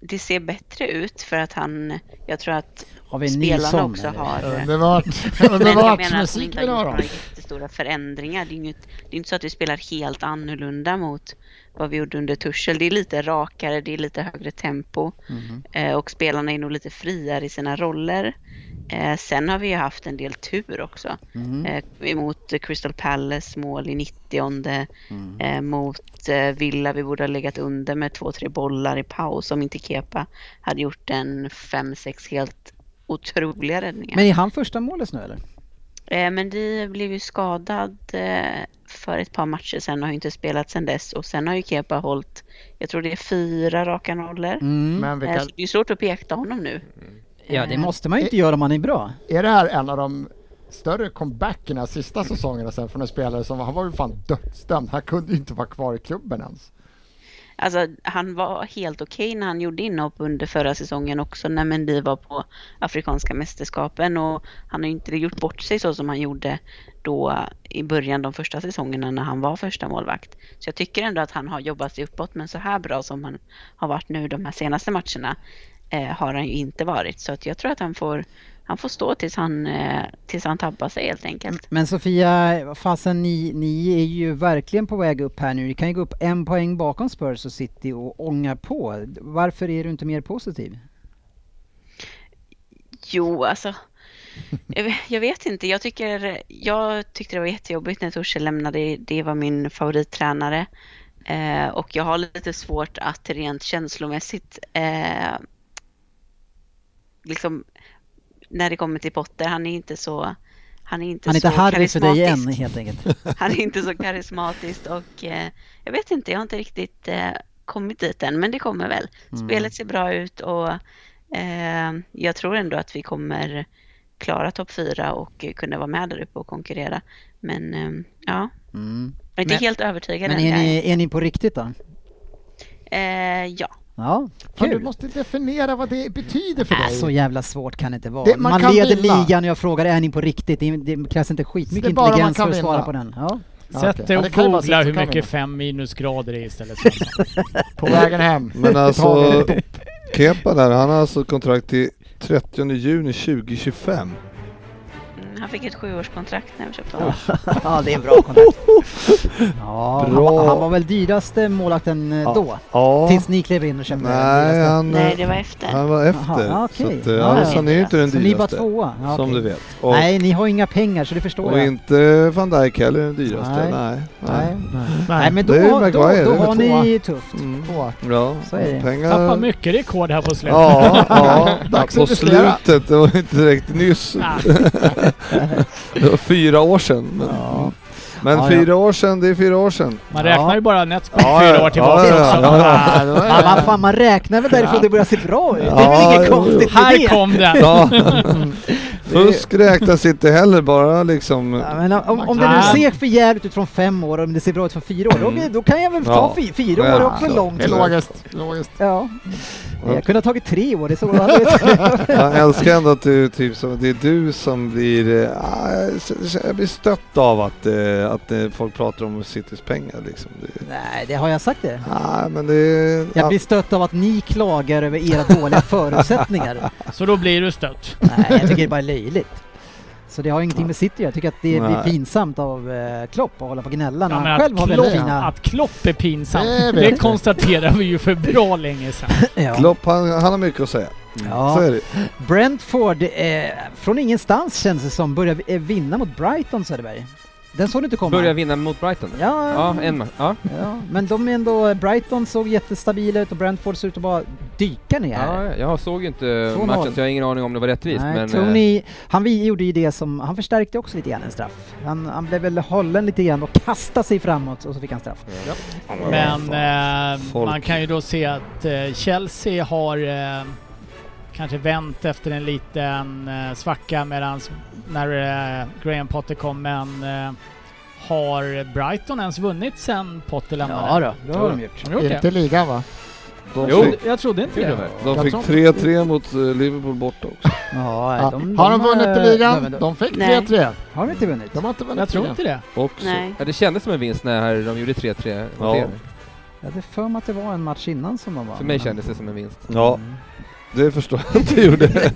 S8: det ser bättre ut för att han, jag tror att
S1: Har vi en ny
S8: spelarna
S1: sång?
S8: också
S1: eller?
S8: har... eh,
S3: Underbart!
S8: Men jag
S3: Underbart
S8: menar att de
S3: musik
S8: inte
S3: vill
S8: har gjort
S3: höra.
S8: några jättestora förändringar. Det är, inget, det är inte så att vi spelar helt annorlunda mot vad vi gjorde under Tuschel. Det är lite rakare, det är lite högre tempo
S1: Mhm.
S8: eh, och spelarna är nog lite friare i sina roller. Eh, sen har vi ju haft en del tur också. Eh, emot Crystal Palace mål i 90 eh, mot eh, Villa vi borde ha legat under med två, tre bollar i paus om inte Kepa hade gjort en fem, sex helt otroliga räddningar.
S1: Men är han första målet nu eller?
S8: Eh, Men Di blev ju skadad eh, för ett par matcher sen och har ju inte spelat sen dess. Och sen har ju Kepa hållit, jag tror det är fyra raka nollor.
S1: Mm,
S3: Men vi
S8: Eh,
S3: kan,
S8: så det är svårt att peka honom nu.
S1: Ja, det måste man ju inte göra om man är bra.
S3: är det här en av de större comebackerna sista säsongerna sen från en spelare som han var ju fan dödsdömd. Han kunde ju inte vara kvar i klubben ens.
S8: Alltså han var helt okej när han gjorde inhopp under förra säsongen också när Mendy var på Afrikanska mästerskapen och han har ju inte gjort bort sig så som han gjorde då i början de första säsongerna när han var första målvakt. Så jag tycker ändå att han har jobbat sig uppåt men så här bra som han har varit nu de här senaste matcherna eh, har han ju inte varit så att jag tror att han får, han får stå tills han, eh, tills han tabbar sig helt enkelt.
S1: Men Sofia, vad fasen ni, ni är ju verkligen på väg upp här nu. Ni kan ju gå upp en poäng bakom Spurs och City och ånga på. Varför är du inte mer positiv?
S8: Jo, alltså. jag vet- Jag vet inte. Jag, tycker, jag tyckte det var jättejobbigt när Torse lämnade. Det var min favorittränare. Eh, och jag har lite svårt att rent känslomässigt eh, liksom när det kommer till Potter, han är inte så han är inte,
S1: Han är inte
S8: så
S1: Harry för dig än
S8: karismatisk.
S1: helt enkelt.
S8: Han är inte så karismatisk och eh, jag vet inte, jag har inte riktigt eh, kommit dit än, men det kommer väl.
S1: Mm.
S8: Spelet ser bra ut och eh, jag tror ändå att vi kommer klara topp fyra och eh, kunna vara med där uppe och konkurrera. Men eh, ja,
S1: Mm.
S8: jag är inte helt övertygad
S1: Men
S8: än.
S1: är
S8: jag är.
S1: ni, är ni på riktigt då?
S8: Eh, ja,
S1: Ja,
S3: Fan, du
S1: kul.
S3: måste definiera vad det betyder för
S1: Äh,
S3: dig.
S1: så jävla svårt kan det inte vara.
S3: Det-
S1: man
S3: man kan
S1: leder
S3: vinna.
S1: ligan och jag frågar är ni på riktigt? Det, det krävs inte skitmycket
S3: Så det är bara man
S1: intelligens för
S3: kan
S1: att svara
S3: vinna.
S1: på den. Ja.
S3: Ja, okej.
S5: Sätt dig
S3: Ja,
S5: och
S3: det kan ju vara
S5: googla
S3: så-
S5: hur
S3: så kan
S5: mycket
S3: man.
S5: 5 minusgrader är istället. Svensson.
S3: På vägen hem.
S4: Men
S3: Vi
S4: alltså,
S3: tar det.
S4: Kepa där, han har alltså kontrakt till 30 juni 2025.
S8: mm, Han fick ett sjuårskontrakt när vi köpte honom.
S1: ja, det är en bra kontrakt. Ja, han, var- han var väl dyraste målvakten eh, då?
S4: Ja.
S1: Tills ni klev in och köpte den
S4: Nej,
S1: dyraste.
S4: han,
S8: Nej, det var efter.
S4: han var efter.
S1: Jaha,
S4: Så
S1: okej.
S4: att, eh,
S1: Ja,
S4: alltså,
S8: ja.
S4: han är ju inte den
S1: Så ni är bara
S4: dyraste.
S1: tvåa? Ja,
S4: Som
S1: okej.
S4: du vet. Och,
S1: Nej, ni har inga pengar så det förstår
S4: och
S1: jag.
S4: inte van Dijk heller den dyraste.
S1: Nej.
S4: Nej. Nej.
S1: Nej. Nej, men då,
S4: det är ju
S1: då, då,
S4: Maguire, det är
S1: har
S4: väl tvåa.
S1: ni tufft.
S4: Mm.
S3: Två.
S4: Ja,
S1: Så är det.
S4: pengar.
S5: Tappar mycket rekord här på slutet.
S4: Ja, ja.
S3: Dags
S4: på
S3: att investera.
S4: slutet. Det var inte direkt nyss.
S5: Ah,
S4: Det var fyra år sedan. Men,
S1: Ja.
S4: men
S1: Ja, ja.
S4: fyra år sedan, det är fyra år sedan.
S5: man
S1: Ja.
S5: räknar ju bara Netsby
S4: Ja,
S5: fyra
S4: ja,
S5: år tillbaka
S4: ja,
S5: också.
S4: ja, ja.
S5: Ah,
S1: Men vad fan, man räknar väl därifrån det börjar se bra ut? Det är väl
S4: Ja,
S1: inget
S4: jo, jo.
S1: konstigt med
S5: Här
S1: det?
S5: kom den!
S4: Ja. Fusk räknas inte heller, bara liksom...
S1: Ja, men om, om det nu
S5: Ah.
S1: ser för jävligt ut från fem år och om det ser bra ut från fyra år, då,
S4: Mm.
S1: då kan jag väl ta
S4: Ja.
S1: fy, fyra år är också
S4: Självklart.
S1: lång
S3: Det är
S1: tid.
S4: Eller-
S3: logiskt. logiskt.
S1: Ja.
S4: Ja.
S1: Jag kunde ha tagit tre år, det såg jag
S4: Jag älskar ändå att du, typ, som, det är du som blir... eh, ah, jag s- jag blir stött av att, eh, att eh, folk pratar om Citys pengar. Liksom. Det,
S1: Nej, det har jag sagt det.
S4: ah, men det,
S1: Jag blir stött av att ni klagar över era dåliga förutsättningar.
S5: Så då blir du stött.
S1: Nej, jag tycker det bara är löjligt. Så det har ingenting med City att göra. Jag tycker att det blir
S4: Nej.
S1: pinsamt av eh, Klopp att hålla på och gnälla när
S5: Ja, men
S1: han själv har
S5: att,
S1: väldigt
S5: Klopp,
S1: fina...
S5: att Klopp är pinsam,
S3: Det vet
S5: det
S3: vi.
S5: konstaterar vi ju för bra länge sedan.
S1: Ja.
S4: Klopp, han, han har mycket att säga. Så
S1: Ja.
S4: är det.
S1: Brentford, eh, från ingenstans känns det som, börjar eh, vinna mot Brighton Söderberg. Den såg du inte komma.
S6: Börjar vinna mot Brighton?
S1: Ja,
S6: Ja, en match. Ja.
S1: ja, men de är ändå... Brighton såg jättestabila ut och Brentford ser ut att bara dyka ner här.
S6: Ja, jag såg ju inte
S1: 2-0.
S6: matchen så jag har ingen aning om det var rättvist.
S1: Nej,
S6: men, eh,
S1: Tony, han vi- gjorde ju det som, han förstärkte också lite grann en straff. Han, han blev väl hållen lite grann och kastade sig framåt och så fick han straff.
S5: Men eh,
S4: Folk.
S5: man kan ju då se att eh, Chelsea har eh, kanske vänt efter en liten eh, svacka medans när eh, Graham Potter kom men eh, har Brighton ens vunnit sen Potter lämnade?
S1: då, det har de gjort.
S5: Har de gjort det?
S3: Inte ligan va?
S4: De
S6: Jo.
S4: fick,
S5: Jag trodde inte det.
S4: de fick
S3: Jag
S4: 3-3 mot eh, Liverpool borta också.
S1: Ja,
S3: Ja.
S1: de,
S3: har de vunnit i
S1: de-
S3: ligan?
S1: de-
S3: De fick
S8: Nej.
S3: 3-3.
S1: Har de inte vunnit?
S3: De har inte vunnit
S5: Jag tror
S3: ligan.
S5: inte det.
S4: också.
S8: Nej.
S6: Ja, det kändes som en vinst när de gjorde 3-3. mot
S4: Ja.
S6: er.
S1: Jag hade för mig att det var en match innan som de vann.
S6: För mig kändes det som en vinst.
S4: Ja, det förstår jag att du gjorde.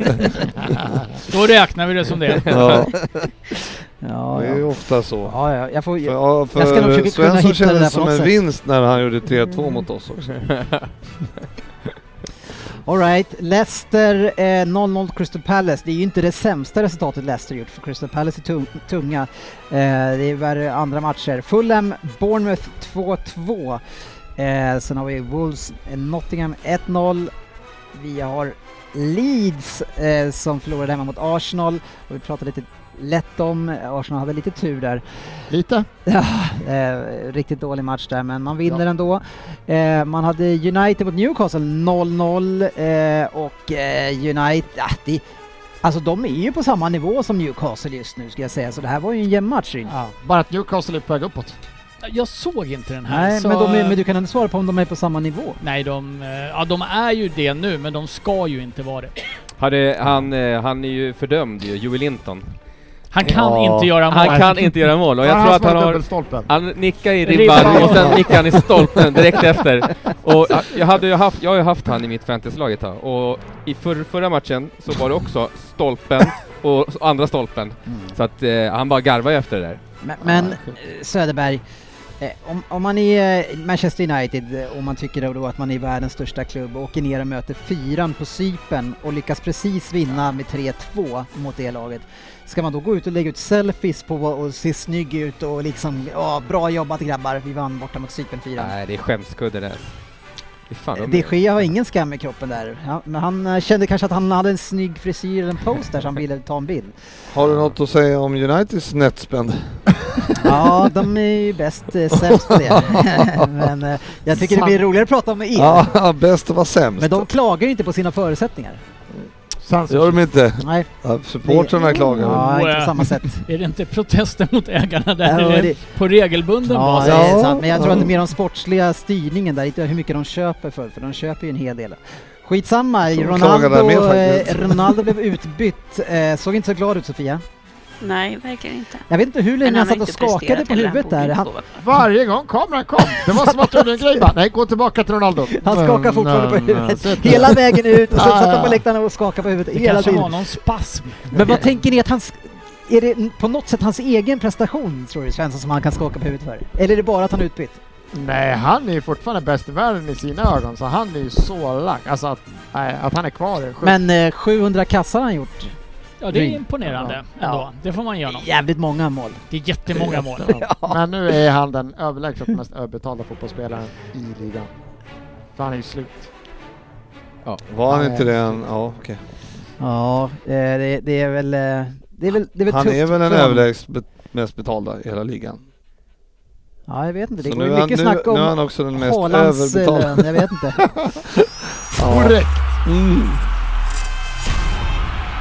S5: Då räknar vi det som det.
S4: Ja,
S1: Ja,
S4: det är ju
S1: ja.
S4: ofta så.
S1: ja, ja jag får...
S4: För, ja,
S1: Jag ska nog
S4: för
S1: försöka kunna hitta
S4: Svensson
S1: det
S4: kändes
S1: där
S4: det
S1: på
S4: som
S1: något
S4: en
S1: sätt. Mm.
S4: vinst när han gjorde 3-2 mot oss också.
S1: Alright, Leicester eh, 0-0 Crystal Palace. Det är ju inte det sämsta resultatet Leicester gjort för Crystal Palace är tung, tunga. Eh, det är värre andra matcher. Fulham, Bournemouth 2-2. Eh, sen har vi Wolves, eh, Nottingham 1-0. Vi har Leeds eh, som förlorade hemma mot Arsenal och vi pratade lite lätt om, eh, Arsenal hade lite tur där.
S3: Lite.
S1: Eh, riktigt dålig match där, men man vinner ändå. Eh, man hade United mot Newcastle 0-0 eh, och eh, United... Ah, det, alltså de är ju på samma nivå som Newcastle just nu ska jag säga, så det här var ju en jämn match. Ryn.
S3: Ja. Bara att Newcastle är på väg uppåt.
S5: Jag såg inte den här.
S1: Nej,
S5: så,
S1: men, de är, men du kan ändå svara på om de är på samma nivå.
S5: Nej, de, eh, ja, de är ju det nu, men de ska ju inte vara det.
S6: Hade, han, eh, han är ju fördömd ju, Joel Linton.
S5: Han kan
S4: Ja.
S5: inte göra mål.
S6: Han kan inte göra mål och
S3: Var
S6: jag
S3: det
S6: tror
S3: han
S6: att
S3: som
S6: han
S3: hade
S6: har...
S3: dubbelstolpen?
S6: Han nickar i
S5: Ribban.
S6: ribban och sen nickar han i stolpen direkt efter. Och jag- jag, hade ju haft, jag har ju haft han i mitt fantasylag ett tag och i förr, förra matchen så var det också stolpen och s- andra stolpen.
S1: Mm.
S6: Så att eh, han bara garvar ju efter det där.
S1: Men, men eh, Söderberg, eh, om, om man är eh, Manchester United eh, och man tycker då- då att man är världens största klubb och åker ner och möter fyran på Cypern och lyckas precis vinna med 3-2 mot det laget. Ska man då gå ut och lägga ut selfies på och se snygg ut och liksom ja, bra jobbat grabbar, vi vann borta mot Cypern 4.
S6: Nej, det är skämskudde det. Fy fan, de-
S1: De Gea har ingen skam i kroppen där, ja, men han eh, kände kanske att han hade en snygg frisyr eller en pose där så han ville ta en bild.
S4: Har du något att säga om Uniteds netspend?
S1: Ja, de är ju bäst eh, sämst på det. Men eh, jag tycker det blir roligare att prata om er.
S4: Ja, bäst att vara sämst.
S1: Men de klagar ju inte på sina förutsättningar.
S4: Det gör de inte.
S1: Nej.
S4: Ja, Supportrarna klagar.
S5: Ja.
S1: Ja, inte på samma sätt.
S5: Är det inte protester mot ägarna där?
S1: Ja,
S5: Är
S1: det-
S5: det på regelbunden
S1: Ja,
S5: bas?
S1: det är
S4: Ja.
S1: sant. Men jag tror att det är mer den sportsliga styrningen där, inte hur mycket de köper för, för de köper ju en hel del. Skitsamma,
S4: Så de klagar där
S1: Ronaldo,
S4: med
S1: eh,
S4: faktiskt.
S1: Ronaldo blev utbytt. Eh, såg inte så glad ut Sofia.
S8: Nej, verkligen inte.
S1: Jag vet inte hur
S8: Men
S1: länge han
S8: har
S1: satt och
S8: inte presterat
S1: skakade på
S8: heller,
S1: huvudet
S8: borde
S1: där.
S8: inte
S1: Han,
S8: sova.
S3: Varje gång kameran kom. Det var som att du gjorde en grej bara. Nej, gå tillbaka till Ronaldo.
S1: han skakar fortfarande på
S3: Mm, mm,
S1: huvudet.
S3: mm.
S1: Hela vägen ut och sen
S3: Ja,
S1: satt
S3: ja,
S4: Ah.
S1: han på
S3: ja.
S1: läktaren och skakade på huvudet
S5: Det
S1: hela
S5: kanske var
S1: tiden.
S5: någon spasm.
S1: Men vad tänker ni att han... sk- är det på något sätt hans egen prestation, tror du Svensson, som han kan skaka på huvudet för? Eller är det bara att han är utbytt?
S3: Nej, han är ju fortfarande bäst i världen i sina ögon, så han är ju så lack. Alltså att, nej, att han är kvar är sjukt.
S1: Men eh, 700 kassar har han gjort.
S5: Ja, det är
S3: Ring.
S5: imponerande
S1: Ja.
S5: ändå. Det får man ge honom.
S1: Jävligt många mål.
S5: Det är jättemånga mål.
S3: Men nu är han den överlägset mest överbetalda fotbollsspelaren i ligan. För han är ju slut.
S4: Var han
S3: Nej.
S4: inte det? än? Ja, okej.
S1: Ja, eh, det, det är väl... eh, Det är väl, det är väl
S4: Han
S1: tufft
S4: är väl den
S1: för honom.
S4: överlägset be- mest betalda i hela ligan.
S1: Ja, jag vet inte. Det
S4: Så
S1: går
S4: nu
S1: ju
S4: är, han,
S1: mycket
S4: nu,
S1: snack
S4: nu
S1: om eh,
S4: är han också den mest
S1: Haalands
S4: överbetalda.
S1: lön. Jag vet inte.
S3: Korrekt!
S4: Mm.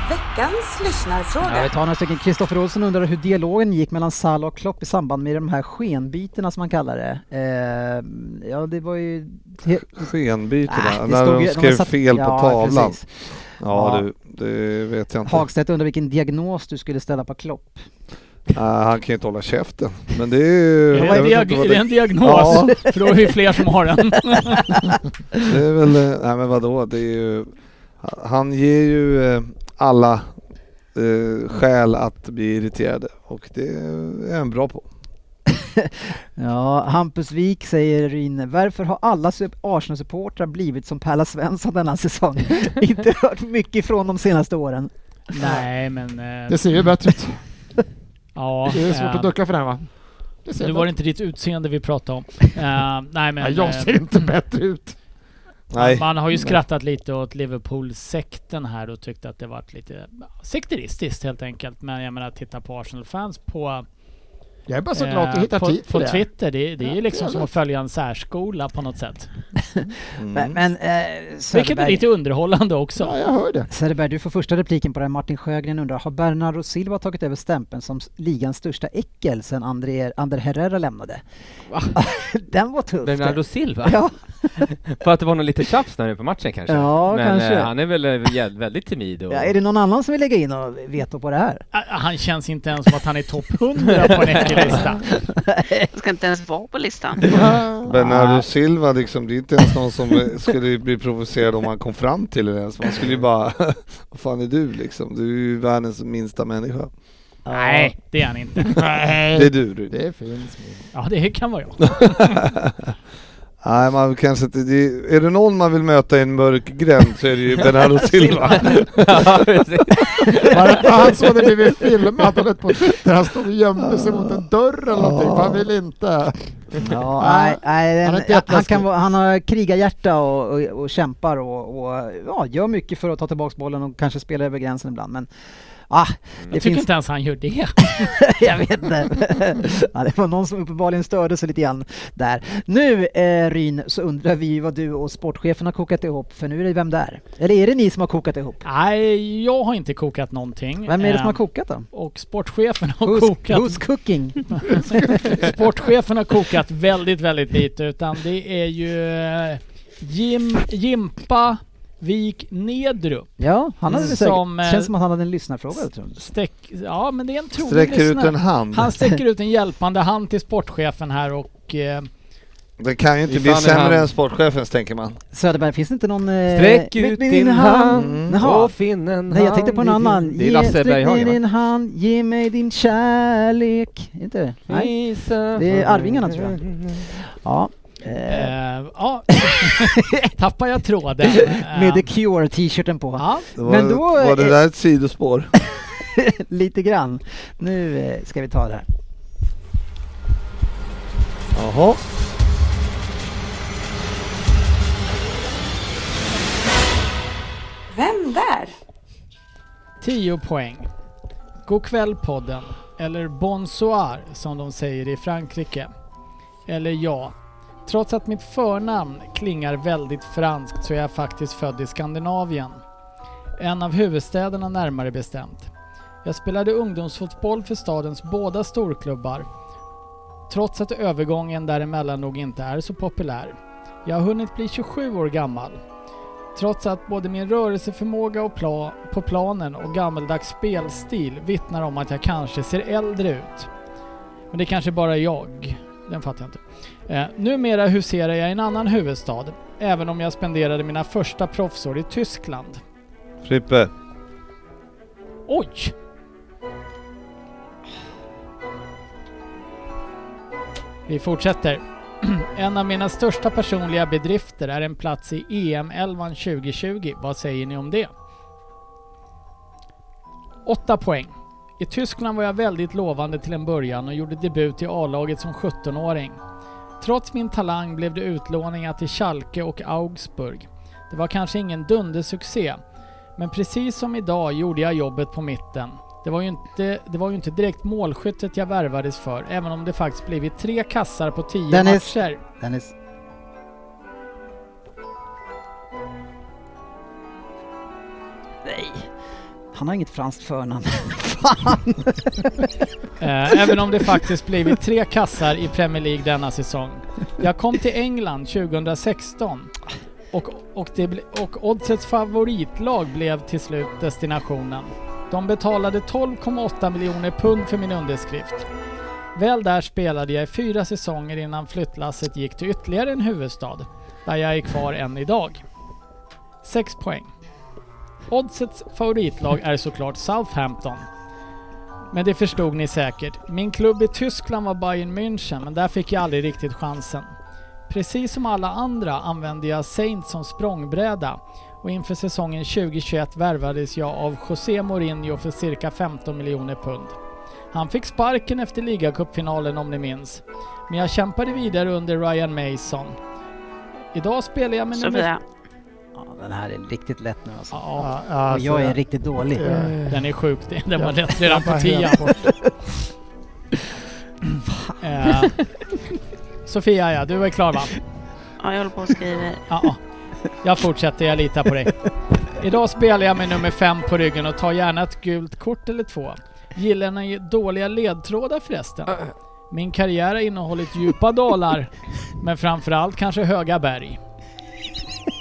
S7: Veckans
S1: Ja, vi
S7: lyssnarfråga.
S1: tar några stycken. Kristoffer Olsson undrar hur dialogen gick mellan Salah och Klopp i samband med de här skenbytena som man kallar det. Eh, ja, det var ju... He-
S4: Skenbyte
S1: Ah,
S4: där,
S1: det
S4: när
S1: stod
S4: de
S1: ju-
S4: skrev
S1: satt-
S4: fel på
S1: Ja,
S4: tavlan.
S1: precis. Ja.
S4: Ja, du, det vet jag inte.
S1: Hagstedt undrar vilken diagnos du skulle ställa på Klopp.
S4: Nej, han kan ju inte hålla käften. Men det är ju...
S5: Det
S4: jag
S5: är,
S4: vet inte
S5: diag-
S4: vad
S5: det är en diagnos. För då är vi fler som har den.
S4: Det är väl, eh, nej men vadå, det är ju, han ger ju eh, alla eh, skäl att bli irriterade och det är han bra på.
S1: Ja, Hampus Wik säger Ryn, varför har alla sup- Arsenal-supportrar blivit som Perla Svensson denna säsong? Inte hört mycket från de senaste åren.
S5: Nej, men... eh,
S3: Det ser ju bättre ut.
S5: ja,
S3: Det är svårt
S5: eh,
S3: att ducka för den va? Det ser
S5: Nu var det inte ditt utseende vi pratade om. Eh, nej, men,
S3: Nej, jag
S5: eh,
S3: ser inte bättre ut.
S4: Nej,
S5: Man har ju skrattat lite åt Liverpool-sekten här och tyckt att det varit lite sekteristiskt helt enkelt. Men jag menar, titta på Arsenal-fans på,
S3: Jag är bara så glad att du Alltså,
S5: eh,
S3: hittar
S5: på,
S3: tid för
S5: på
S3: det.
S5: Twitter. Det, det är
S3: Ja,
S5: ju liksom som
S3: jävlar.
S5: att följa en särskola på något sätt.
S4: mm.
S1: Men, men eh,
S5: Vilket är
S1: Söderberg,
S5: lite underhållande också.
S3: Ja, jag hör det.
S1: Söderberg, du får första repliken på det här. Martin Sjögren undrar, har Bernardo Silva tagit över stämpeln som s- ligans största äckel sedan André, Ander Herrera lämnade?
S6: Va?
S1: Den var tuff.
S6: Bernardo Silva?
S1: Ja,
S6: För att det var någon lite tjafs där nu på matchen kanske?
S1: Ja,
S6: Men
S1: kanske.
S6: eh, han är väl eh, jä- väldigt timid och...
S1: ja, är det någon annan som vill lägga in och veto på det här?
S5: Ah, Han känns inte ens som att han är topp 100 på en äckellista.
S8: Jag ska inte ens vara på listan.
S4: Bernardo Silva liksom, det är inte ens någon som eh, skulle bli provocerad om han kom fram till det ens. Man skulle ju bara, vad fan är du liksom? Du är ju världens minsta människa.
S5: Nej, det är han inte.
S4: Det är du Rune.
S3: Det finns min.
S5: Ja, det kan vara jag.
S4: Nej, man kanske inte, det, är det någon man vill möta i en mörk gränd så är det ju Bernardo Silva.
S6: Ja, precis.
S3: Var- Han såg det blivit filmat och lät på Twitter. Han stod och gömde sig mot en dörr eller någonting. för Han vill inte.
S1: Ja, nej, nej,
S3: Han är
S1: den,
S3: inte
S1: han,
S3: jätteläskig.
S1: kan, vara- han har krigarhjärta och, och, och kämpar och, och ja, gör mycket för att ta tillbaka bollen och kanske spelar över gränsen ibland. Men ah, det
S5: Jag tycker
S1: finns...
S5: inte ens han gör det.
S1: jag vet inte. ja, det var någon som uppenbarligen störde sig lite grann där. Nu eh, Ryn, så undrar vi vad du och sportchefen har kokat ihop, för nu är det Vem där? Eller är det ni som har kokat ihop?
S5: Nej, jag har inte kokat någonting.
S1: Vem är det som har
S5: Eh,
S1: kokat då?
S5: Och sportchefen har
S1: Who's,
S5: kokat
S1: who's cooking?
S5: Sportchefen har kokat väldigt, väldigt lite utan det är ju eh, Jim, Jimpa Vik Nedrup.
S1: Ja, han hade
S5: Mm.
S1: säkert,
S5: Som, eh,
S1: känns som att han hade en lyssnarfråga. jag tror.
S5: Stäck, ja men det är en trogen
S4: Sträcker ut
S5: lyssnare.
S4: en hand.
S5: Han sträcker ut en hjälpande hand till sportchefen här och... Eh,
S4: Det kan ju inte
S6: Ifall
S4: bli
S6: en
S4: sämre
S6: hand-
S4: än sportchefens tänker man.
S1: Söderberg, finns det inte någon... eh,
S6: Sträck
S1: med-
S6: ut
S1: med
S6: din
S4: Mm.
S6: hand
S1: Jaha.
S6: och finn en
S1: Nej, jag tänkte
S6: hand
S1: på en
S6: i din-
S1: annan.
S6: Det är
S1: Ge-
S6: Lasse
S1: Sträck
S6: Berghagen
S1: ner
S6: va?
S1: din hand, ge mig din kärlek. Är Inte det?
S6: Mm.
S1: Nej.
S6: Visa-
S1: Det är Arvingarna, tror jag. Ja. Eh,
S5: eh, ja, tappar jag tråden. Eh,
S1: med The Cure t-shirten på.
S5: ja,
S4: Det var,
S1: Men då
S4: var det
S1: är-
S4: där ett sidospår?
S1: Lite grann. Nu eh, ska vi ta det här.
S4: Jaha.
S7: Vem där?
S5: 10 poäng. God kväll podden. Eller bonsoir som de säger i Frankrike. Eller ja. Trots att mitt förnamn klingar väldigt franskt så är jag faktiskt född i Skandinavien. En av huvudstäderna närmare bestämt. Jag spelade ungdomsfotboll för stadens båda storklubbar. Trots att övergången däremellan nog inte är så populär. Jag har hunnit bli 27 år gammal. Trots att både min rörelseförmåga och pla- på planen och gammeldags spelstil vittnar om att jag kanske ser äldre ut. Men det kanske bara är jag. Den fattar jag inte. Eh, numera huserar jag i en annan huvudstad, även om jag spenderade mina första proffsår i Tyskland.
S4: Frippe.
S5: Oj! Vi fortsätter. En av mina största personliga bedrifter är en plats i E EM-11 2020. Vad säger ni om det? 8 poäng. I Tyskland var jag väldigt lovande till en början och gjorde debut i A-laget som 17-åring. Trots min talang blev det utlåningar till Schalke och Augsburg. Det var kanske ingen dundersuccé, men precis som idag gjorde jag jobbet på mitten. Det var ju inte, det var ju inte direkt målskyttet jag värvades för, även om det faktiskt blivit tre kassar på tio
S1: Dennis.
S5: matcher.
S1: Dennis. Nej. Han har inget franskt förnamn. Fan!
S5: Eh, även om det faktiskt blivit tre kassar i Premier League denna säsong. Jag kom till England 2016 och, och, det, ble- och Oddsets favoritlag blev till slut destinationen. De betalade 12,8 miljoner pund för min underskrift. Väl där spelade jag i fyra säsonger innan flyttlasset gick till ytterligare en huvudstad, där jag är kvar än idag. 6 poäng. Oddsets favoritlag är såklart Southampton. Men det förstod ni säkert. Min klubb i Tyskland var Bayern München, men där fick jag aldrig riktigt chansen. Precis som alla andra använde jag Saint som språngbräda och inför säsongen 2021 värvades jag av José Mourinho för cirka 15 miljoner pund. Han fick sparken efter ligacupfinalen om ni minns. Men jag kämpade vidare under Ryan Mason. Idag spelar jag med nummer...
S8: Sofia,
S1: Ja, den här är riktigt lätt nu alltså.
S5: Ja, alltså, eh,
S1: Och jag är riktigt dålig.
S3: Ja.
S6: Eh.
S5: Den är sjuk, det- den var rätt redan på tian. Eh, Sofia ja, du är klar va?
S8: ja, jag håller på att skriva.
S5: Ja, ja. jag fortsätter, jag litar på dig. Idag spelar jag med nummer fem på ryggen och tar gärna ett gult kort eller två. Gillar ni dåliga ledtrådar förresten? Min karriär har innehållit djupa dalar, men framförallt kanske höga berg.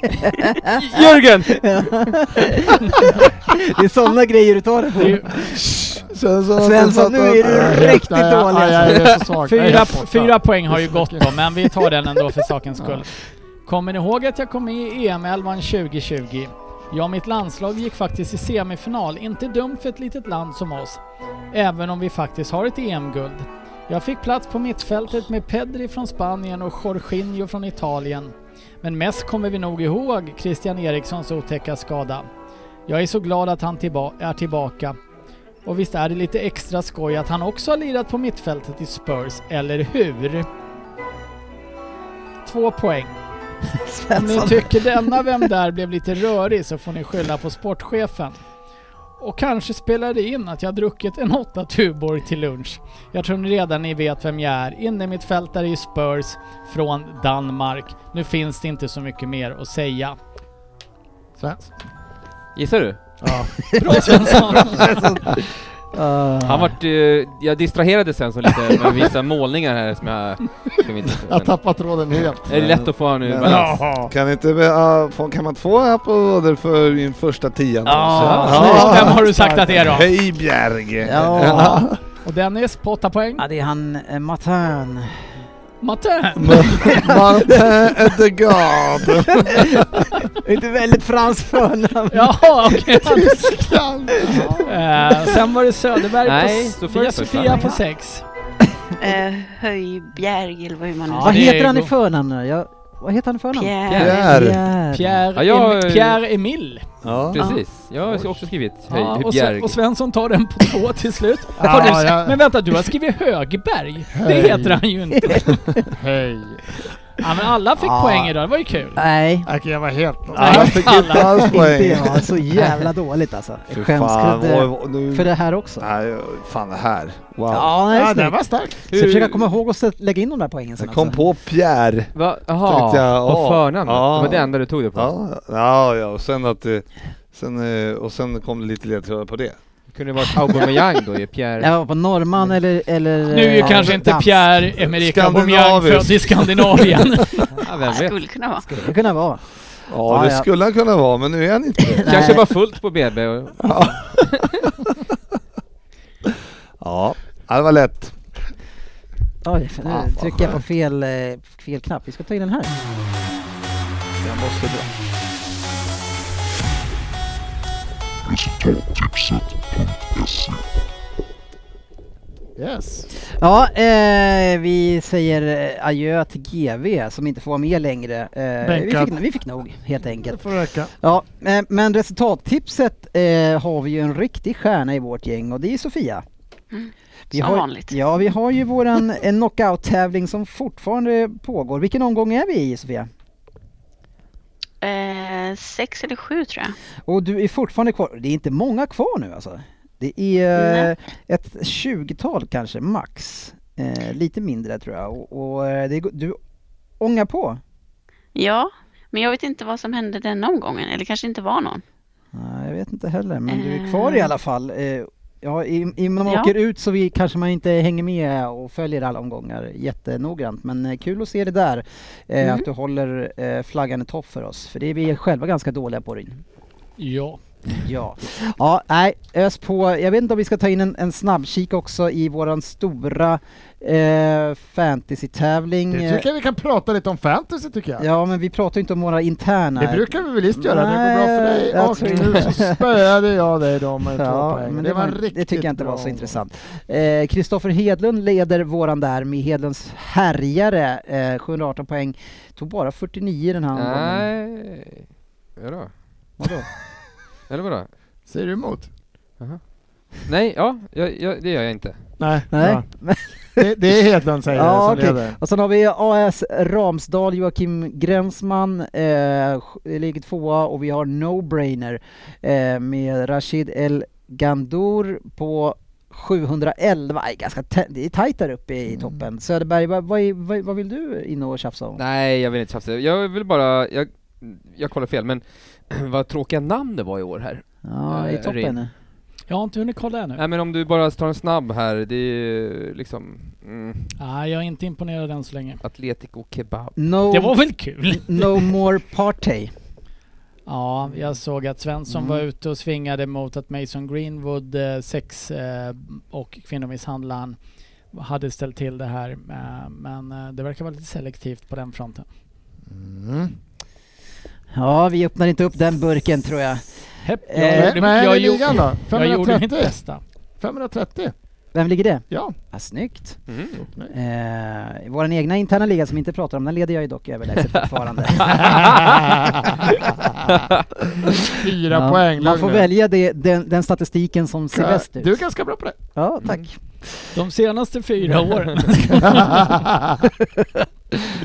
S1: Eh.
S6: Jörgen!
S1: Det är sådana grejer du tar det på.
S5: Det är ju
S3: Alltså,
S1: Svensson, nu är du riktigt dålig alltså.
S3: dålig.
S5: Fyra, fyra poäng har ju gått då, men vi tar den ändå för sakens skull. Kommer ni ihåg att jag kom med i EM-elvan 2020? Ja, mitt landslag gick faktiskt i semifinal. Inte dumt för ett litet land som oss. Även om vi faktiskt har ett EM-guld. Jag fick plats på mittfältet med Pedri från Spanien och Jorginho från Italien. Men mest kommer vi nog ihåg Christian Erikssons otäcka skada. Jag är så glad att han tillba- är tillbaka. Och visst är det lite extra skoj att han också har lirat på mittfältet i Spurs, eller hur? Två poäng. Om ni
S1: Svensson.
S5: tycker denna Vem där blev lite rörig så får ni skylla på sportchefen. Och kanske spelar det in att jag druckit en åtta Tuborg till lunch. Jag tror ni redan ni vet vem jag är. Inne mitt fält är i Spurs från Danmark. Nu finns det inte så mycket mer att säga.
S3: Svensson.
S6: Gissar du?
S5: Bra Svensson!
S1: Ah.
S6: Han vart, eh, jag distraherade sen så lite med vissa målningar här som jag... Som inte,
S3: Jag har tappat tråden helt.
S6: är det lätt att få honom ur
S4: Men-
S6: balans?
S4: Kan, inte, ah, få- kan man få applåder för min första tian?
S5: Ja,
S4: Så-
S5: snyggt. Vem har du sagt att det är då?
S4: Hej Bjerge!
S1: Ja.
S5: Och Dennis på åtta poäng.
S1: ja, det är han eh, Matan.
S5: Matte!
S4: Martin Edegard!
S1: Det är inte väldigt franskt förnamn.
S5: Jaha, okej. Eh, sen var det Söderberg på...
S6: Nej, Sofia
S5: Var det
S6: först,
S5: Sofia
S6: va?
S5: på sex?
S8: Eh, Höjbjerg eller vad hur man nu
S5: Ja,
S1: Vad
S5: det
S8: säger.
S5: är
S1: heter han i
S5: gott.
S1: förnamn nu? Jag, vad heter han i förnamn?
S8: Pierre.
S4: Pierre!
S5: Pierre,
S6: Ja, jag-
S5: Em- Pierre Emil.
S4: Ja.
S6: Precis. Jag har också skrivit Höj,
S5: Ja, och,
S6: Bjerg.
S5: Sve- och Svensson tar den på två till slut.
S3: Ja,
S5: Har du,
S3: ja.
S5: Men vänta, du har skrivit Högberg. Det
S3: Höj.
S5: heter han ju inte.
S3: Hej.
S5: Ja, men alla fick
S1: Ja.
S5: poäng idag, det var ju kul.
S1: Nej,
S3: Okej, jag var helt...
S4: Han fick inte alls
S1: inte
S4: poäng.
S1: jag. Så jävla dåligt alltså.
S4: Fy fan,
S1: Skämskudde.
S4: oj, oj, nu...
S1: För det här också.
S4: Nej, fan det här. Wow.
S1: Ja, det är
S3: Ja,
S1: snyggt.
S3: den var stark.
S1: Så jag försöker komma ihåg att sätt- lägga in de där poängen sen
S4: Jag kom
S1: alltså.
S4: på Pierre.
S6: Va?
S4: Tänkte
S6: Jaha,
S4: jag,
S6: på
S4: ja.
S6: förnamnet?
S4: Ja.
S6: Det var det enda du tog det på?
S4: Ja, ja, ja. och sen att... eh, Sen, eh, och sen kom det lite ledtrådar på det.
S6: Det kunde det varit Aubameyang då ju, Pierre.
S1: Jag var på norrman eller... eller
S5: Nu är ju
S1: eh,
S5: kanske inte
S1: dans.
S5: Pierre Emerick Aubameyang
S4: Skandinavisk.
S5: född i Skandinavien.
S6: Ja,
S8: Ja,
S6: vem vet?
S8: skulle kunna vara.
S1: Skulle det kunna vara.
S4: Ja,
S1: Ja,
S4: det
S1: ja.
S4: skulle han kunna vara, men nu är han inte det.
S6: Kanske
S1: Nej.
S6: var fullt på BB och...
S4: Ja, Ja, det var lätt.
S1: Oj,
S4: Fan,
S1: nu
S4: vad
S1: trycker jag på
S4: skönt.
S1: fel, eh, fel knapp. Vi ska ta in den här.
S4: Jag måste dra.
S3: Yes.
S1: Ja, eh, vi säger eh, adjö till GV som inte får vara med längre. Eh, vi,
S3: Bänkad.
S1: fick, vi fick nog helt enkelt.
S3: Det får räcka.
S1: Ja, eh, men resultattipset eh, har vi ju en riktig stjärna i vårt gäng och det är Sofia. Vi
S8: Mm. Som
S1: har,
S8: vanligt.
S1: Ja, vi har ju våran eh, knockout-tävling som fortfarande pågår. Vilken omgång är vi i Sofia?
S8: Eh, sex eller sju tror jag.
S1: Och du är fortfarande kvar. Det är inte många kvar nu alltså. Det är eh,
S8: Nej.
S1: ett 20-tal kanske, max. Eh, lite mindre tror jag. Och, och eh, det, går- du ångar på.
S8: Ja, men jag vet inte vad som hände denna omgången. Eller kanske inte var någon.
S1: Nej, jag vet inte heller, men du är kvar i alla fall. Eh, Ja, i, i, när man
S8: Ja.
S1: åker ut så vi, kanske man inte hänger med och följer alla omgångar jättenoggrant. Men eh, kul att se det där, eh,
S8: Mm.
S1: att du håller eh, flaggan i topp för oss. För det är vi själva ganska dåliga på Ryn.
S5: Ja.
S1: Ja, ja nej, ös på. Jag vet inte om vi ska ta in en, en snabbkik också i våran stora eh, fantasy-tävling.
S3: Det tycker jag vi kan prata lite om fantasy tycker jag.
S1: Mm. Ja, men vi pratar ju inte om våra interna.
S3: Det brukar vi väl visst göra, det går bra för
S1: Nej,
S3: dig.
S1: jag
S3: Och
S1: tror
S3: nu
S1: inte.
S3: så spöade jag dig då med två poäng.
S1: men det, var,
S3: en
S1: det
S3: riktigt
S1: tycker jag inte var
S3: bra
S1: så
S3: omgång.
S1: intressant. Eh, Kristoffer Hedlund leder våran där med Hedlunds härjare, eh, 718 poäng. Tog bara 49 den här omgången.
S6: Nej. Vadå?
S1: Vadå?
S6: Eller vadå?
S3: Säger du emot?
S6: Nej, ja, jag, jag, det gör jag inte.
S3: Nej.
S1: Nej.
S3: Ja. Det, det är Hedlund säger
S1: Ja,
S3: som
S1: okej.
S3: leder.
S1: Och sen har vi AS Ramsdal, Joakim Gränsman, eh, sj- ligger tvåa och vi har No Brainer eh, med Rashid El Gandour på 711. Aj, ganska tä- det är tajt där uppe
S5: Mm.
S1: i toppen. Söderberg, vad, vad, är- vad, vad vill du in och tjafsa om?
S6: Nej, jag vill inte tjafsa. Jag vill bara, jag, jag kollar fel, men vad tråkiga namn det var i år här.
S1: Ja, i
S6: Eh, Rin.
S1: toppen.
S5: Jag har inte hunnit kolla ännu.
S6: Nej men om du bara tar en snabb här, det är ju liksom mm,
S5: Nej, jag är inte imponerad än så länge.
S6: Atletico Kebab.
S1: No,
S5: Det var väl kul?
S1: no More Partey.
S5: Ja, jag såg att Svensson
S1: Mm.
S5: var ute och svingade mot att Mason Greenwood, eh, sex eh, och kvinnomisshandlaren, hade ställt till det här. Eh, men eh, det verkar vara lite selektivt på den fronten.
S3: Mm.
S1: Ja, vi öppnar inte upp den burken tror jag.
S5: Hepp,
S1: Eh,
S5: jag,
S3: Men-
S5: gjorde,
S3: Men här är
S5: jag, gjorde-
S3: ligan då?
S5: jag gjorde mitt
S3: 530?
S5: bästa.
S3: 530?
S1: Vem ligger det?
S3: Ja.
S1: Ja, snyggt.
S6: Mm.
S1: Eh, vår egna interna liga som vi inte pratar om, den leder jag ju dock överlägset fortfarande.
S3: Fyra
S1: Ja,
S3: poäng.
S1: Man
S3: lugn
S1: får
S3: nu.
S1: välja det, den, den statistiken som ser bäst ut.
S3: Du är ganska bra på det.
S1: Ja, tack.
S5: De senaste fyra åren.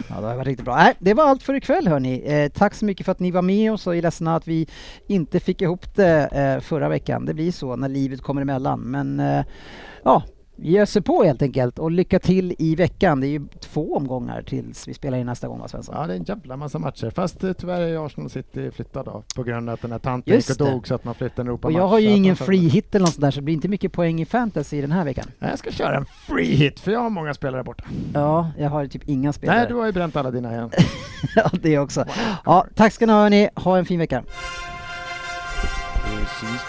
S1: Ja, det har varit riktigt bra. Nej, det var allt för ikväll hörni. Eh, tack så mycket för att ni var med oss och är ledsna att vi inte fick ihop det eh, förra veckan. Det blir så när livet kommer emellan. Men eh, ja, vi öser på helt enkelt och lycka till i veckan. Det är ju två omgångar tills vi spelar in nästa gång va Svensson?
S3: Ja, det är en jävla massa matcher. Fast eh, tyvärr är Arsenal City flyttad då, på grund av att den här tanten
S1: Just
S3: gick och
S1: det.
S3: dog så att man flyttade en
S1: och
S3: Europamatch.
S1: jag har ju
S3: så att
S1: ingen
S3: man får-
S1: free hit eller något sånt där så det blir inte mycket poäng i fantasy den här veckan.
S3: Nej, Jag ska köra en free hit, för jag har många spelare borta.
S1: Ja, jag har ju typ inga
S3: Nej,
S1: spelare.
S3: du har ju bränt alla dina igen.
S1: ja, det också. Ja, tack ska ni ha hörni. Ha en fin vecka.
S4: Precis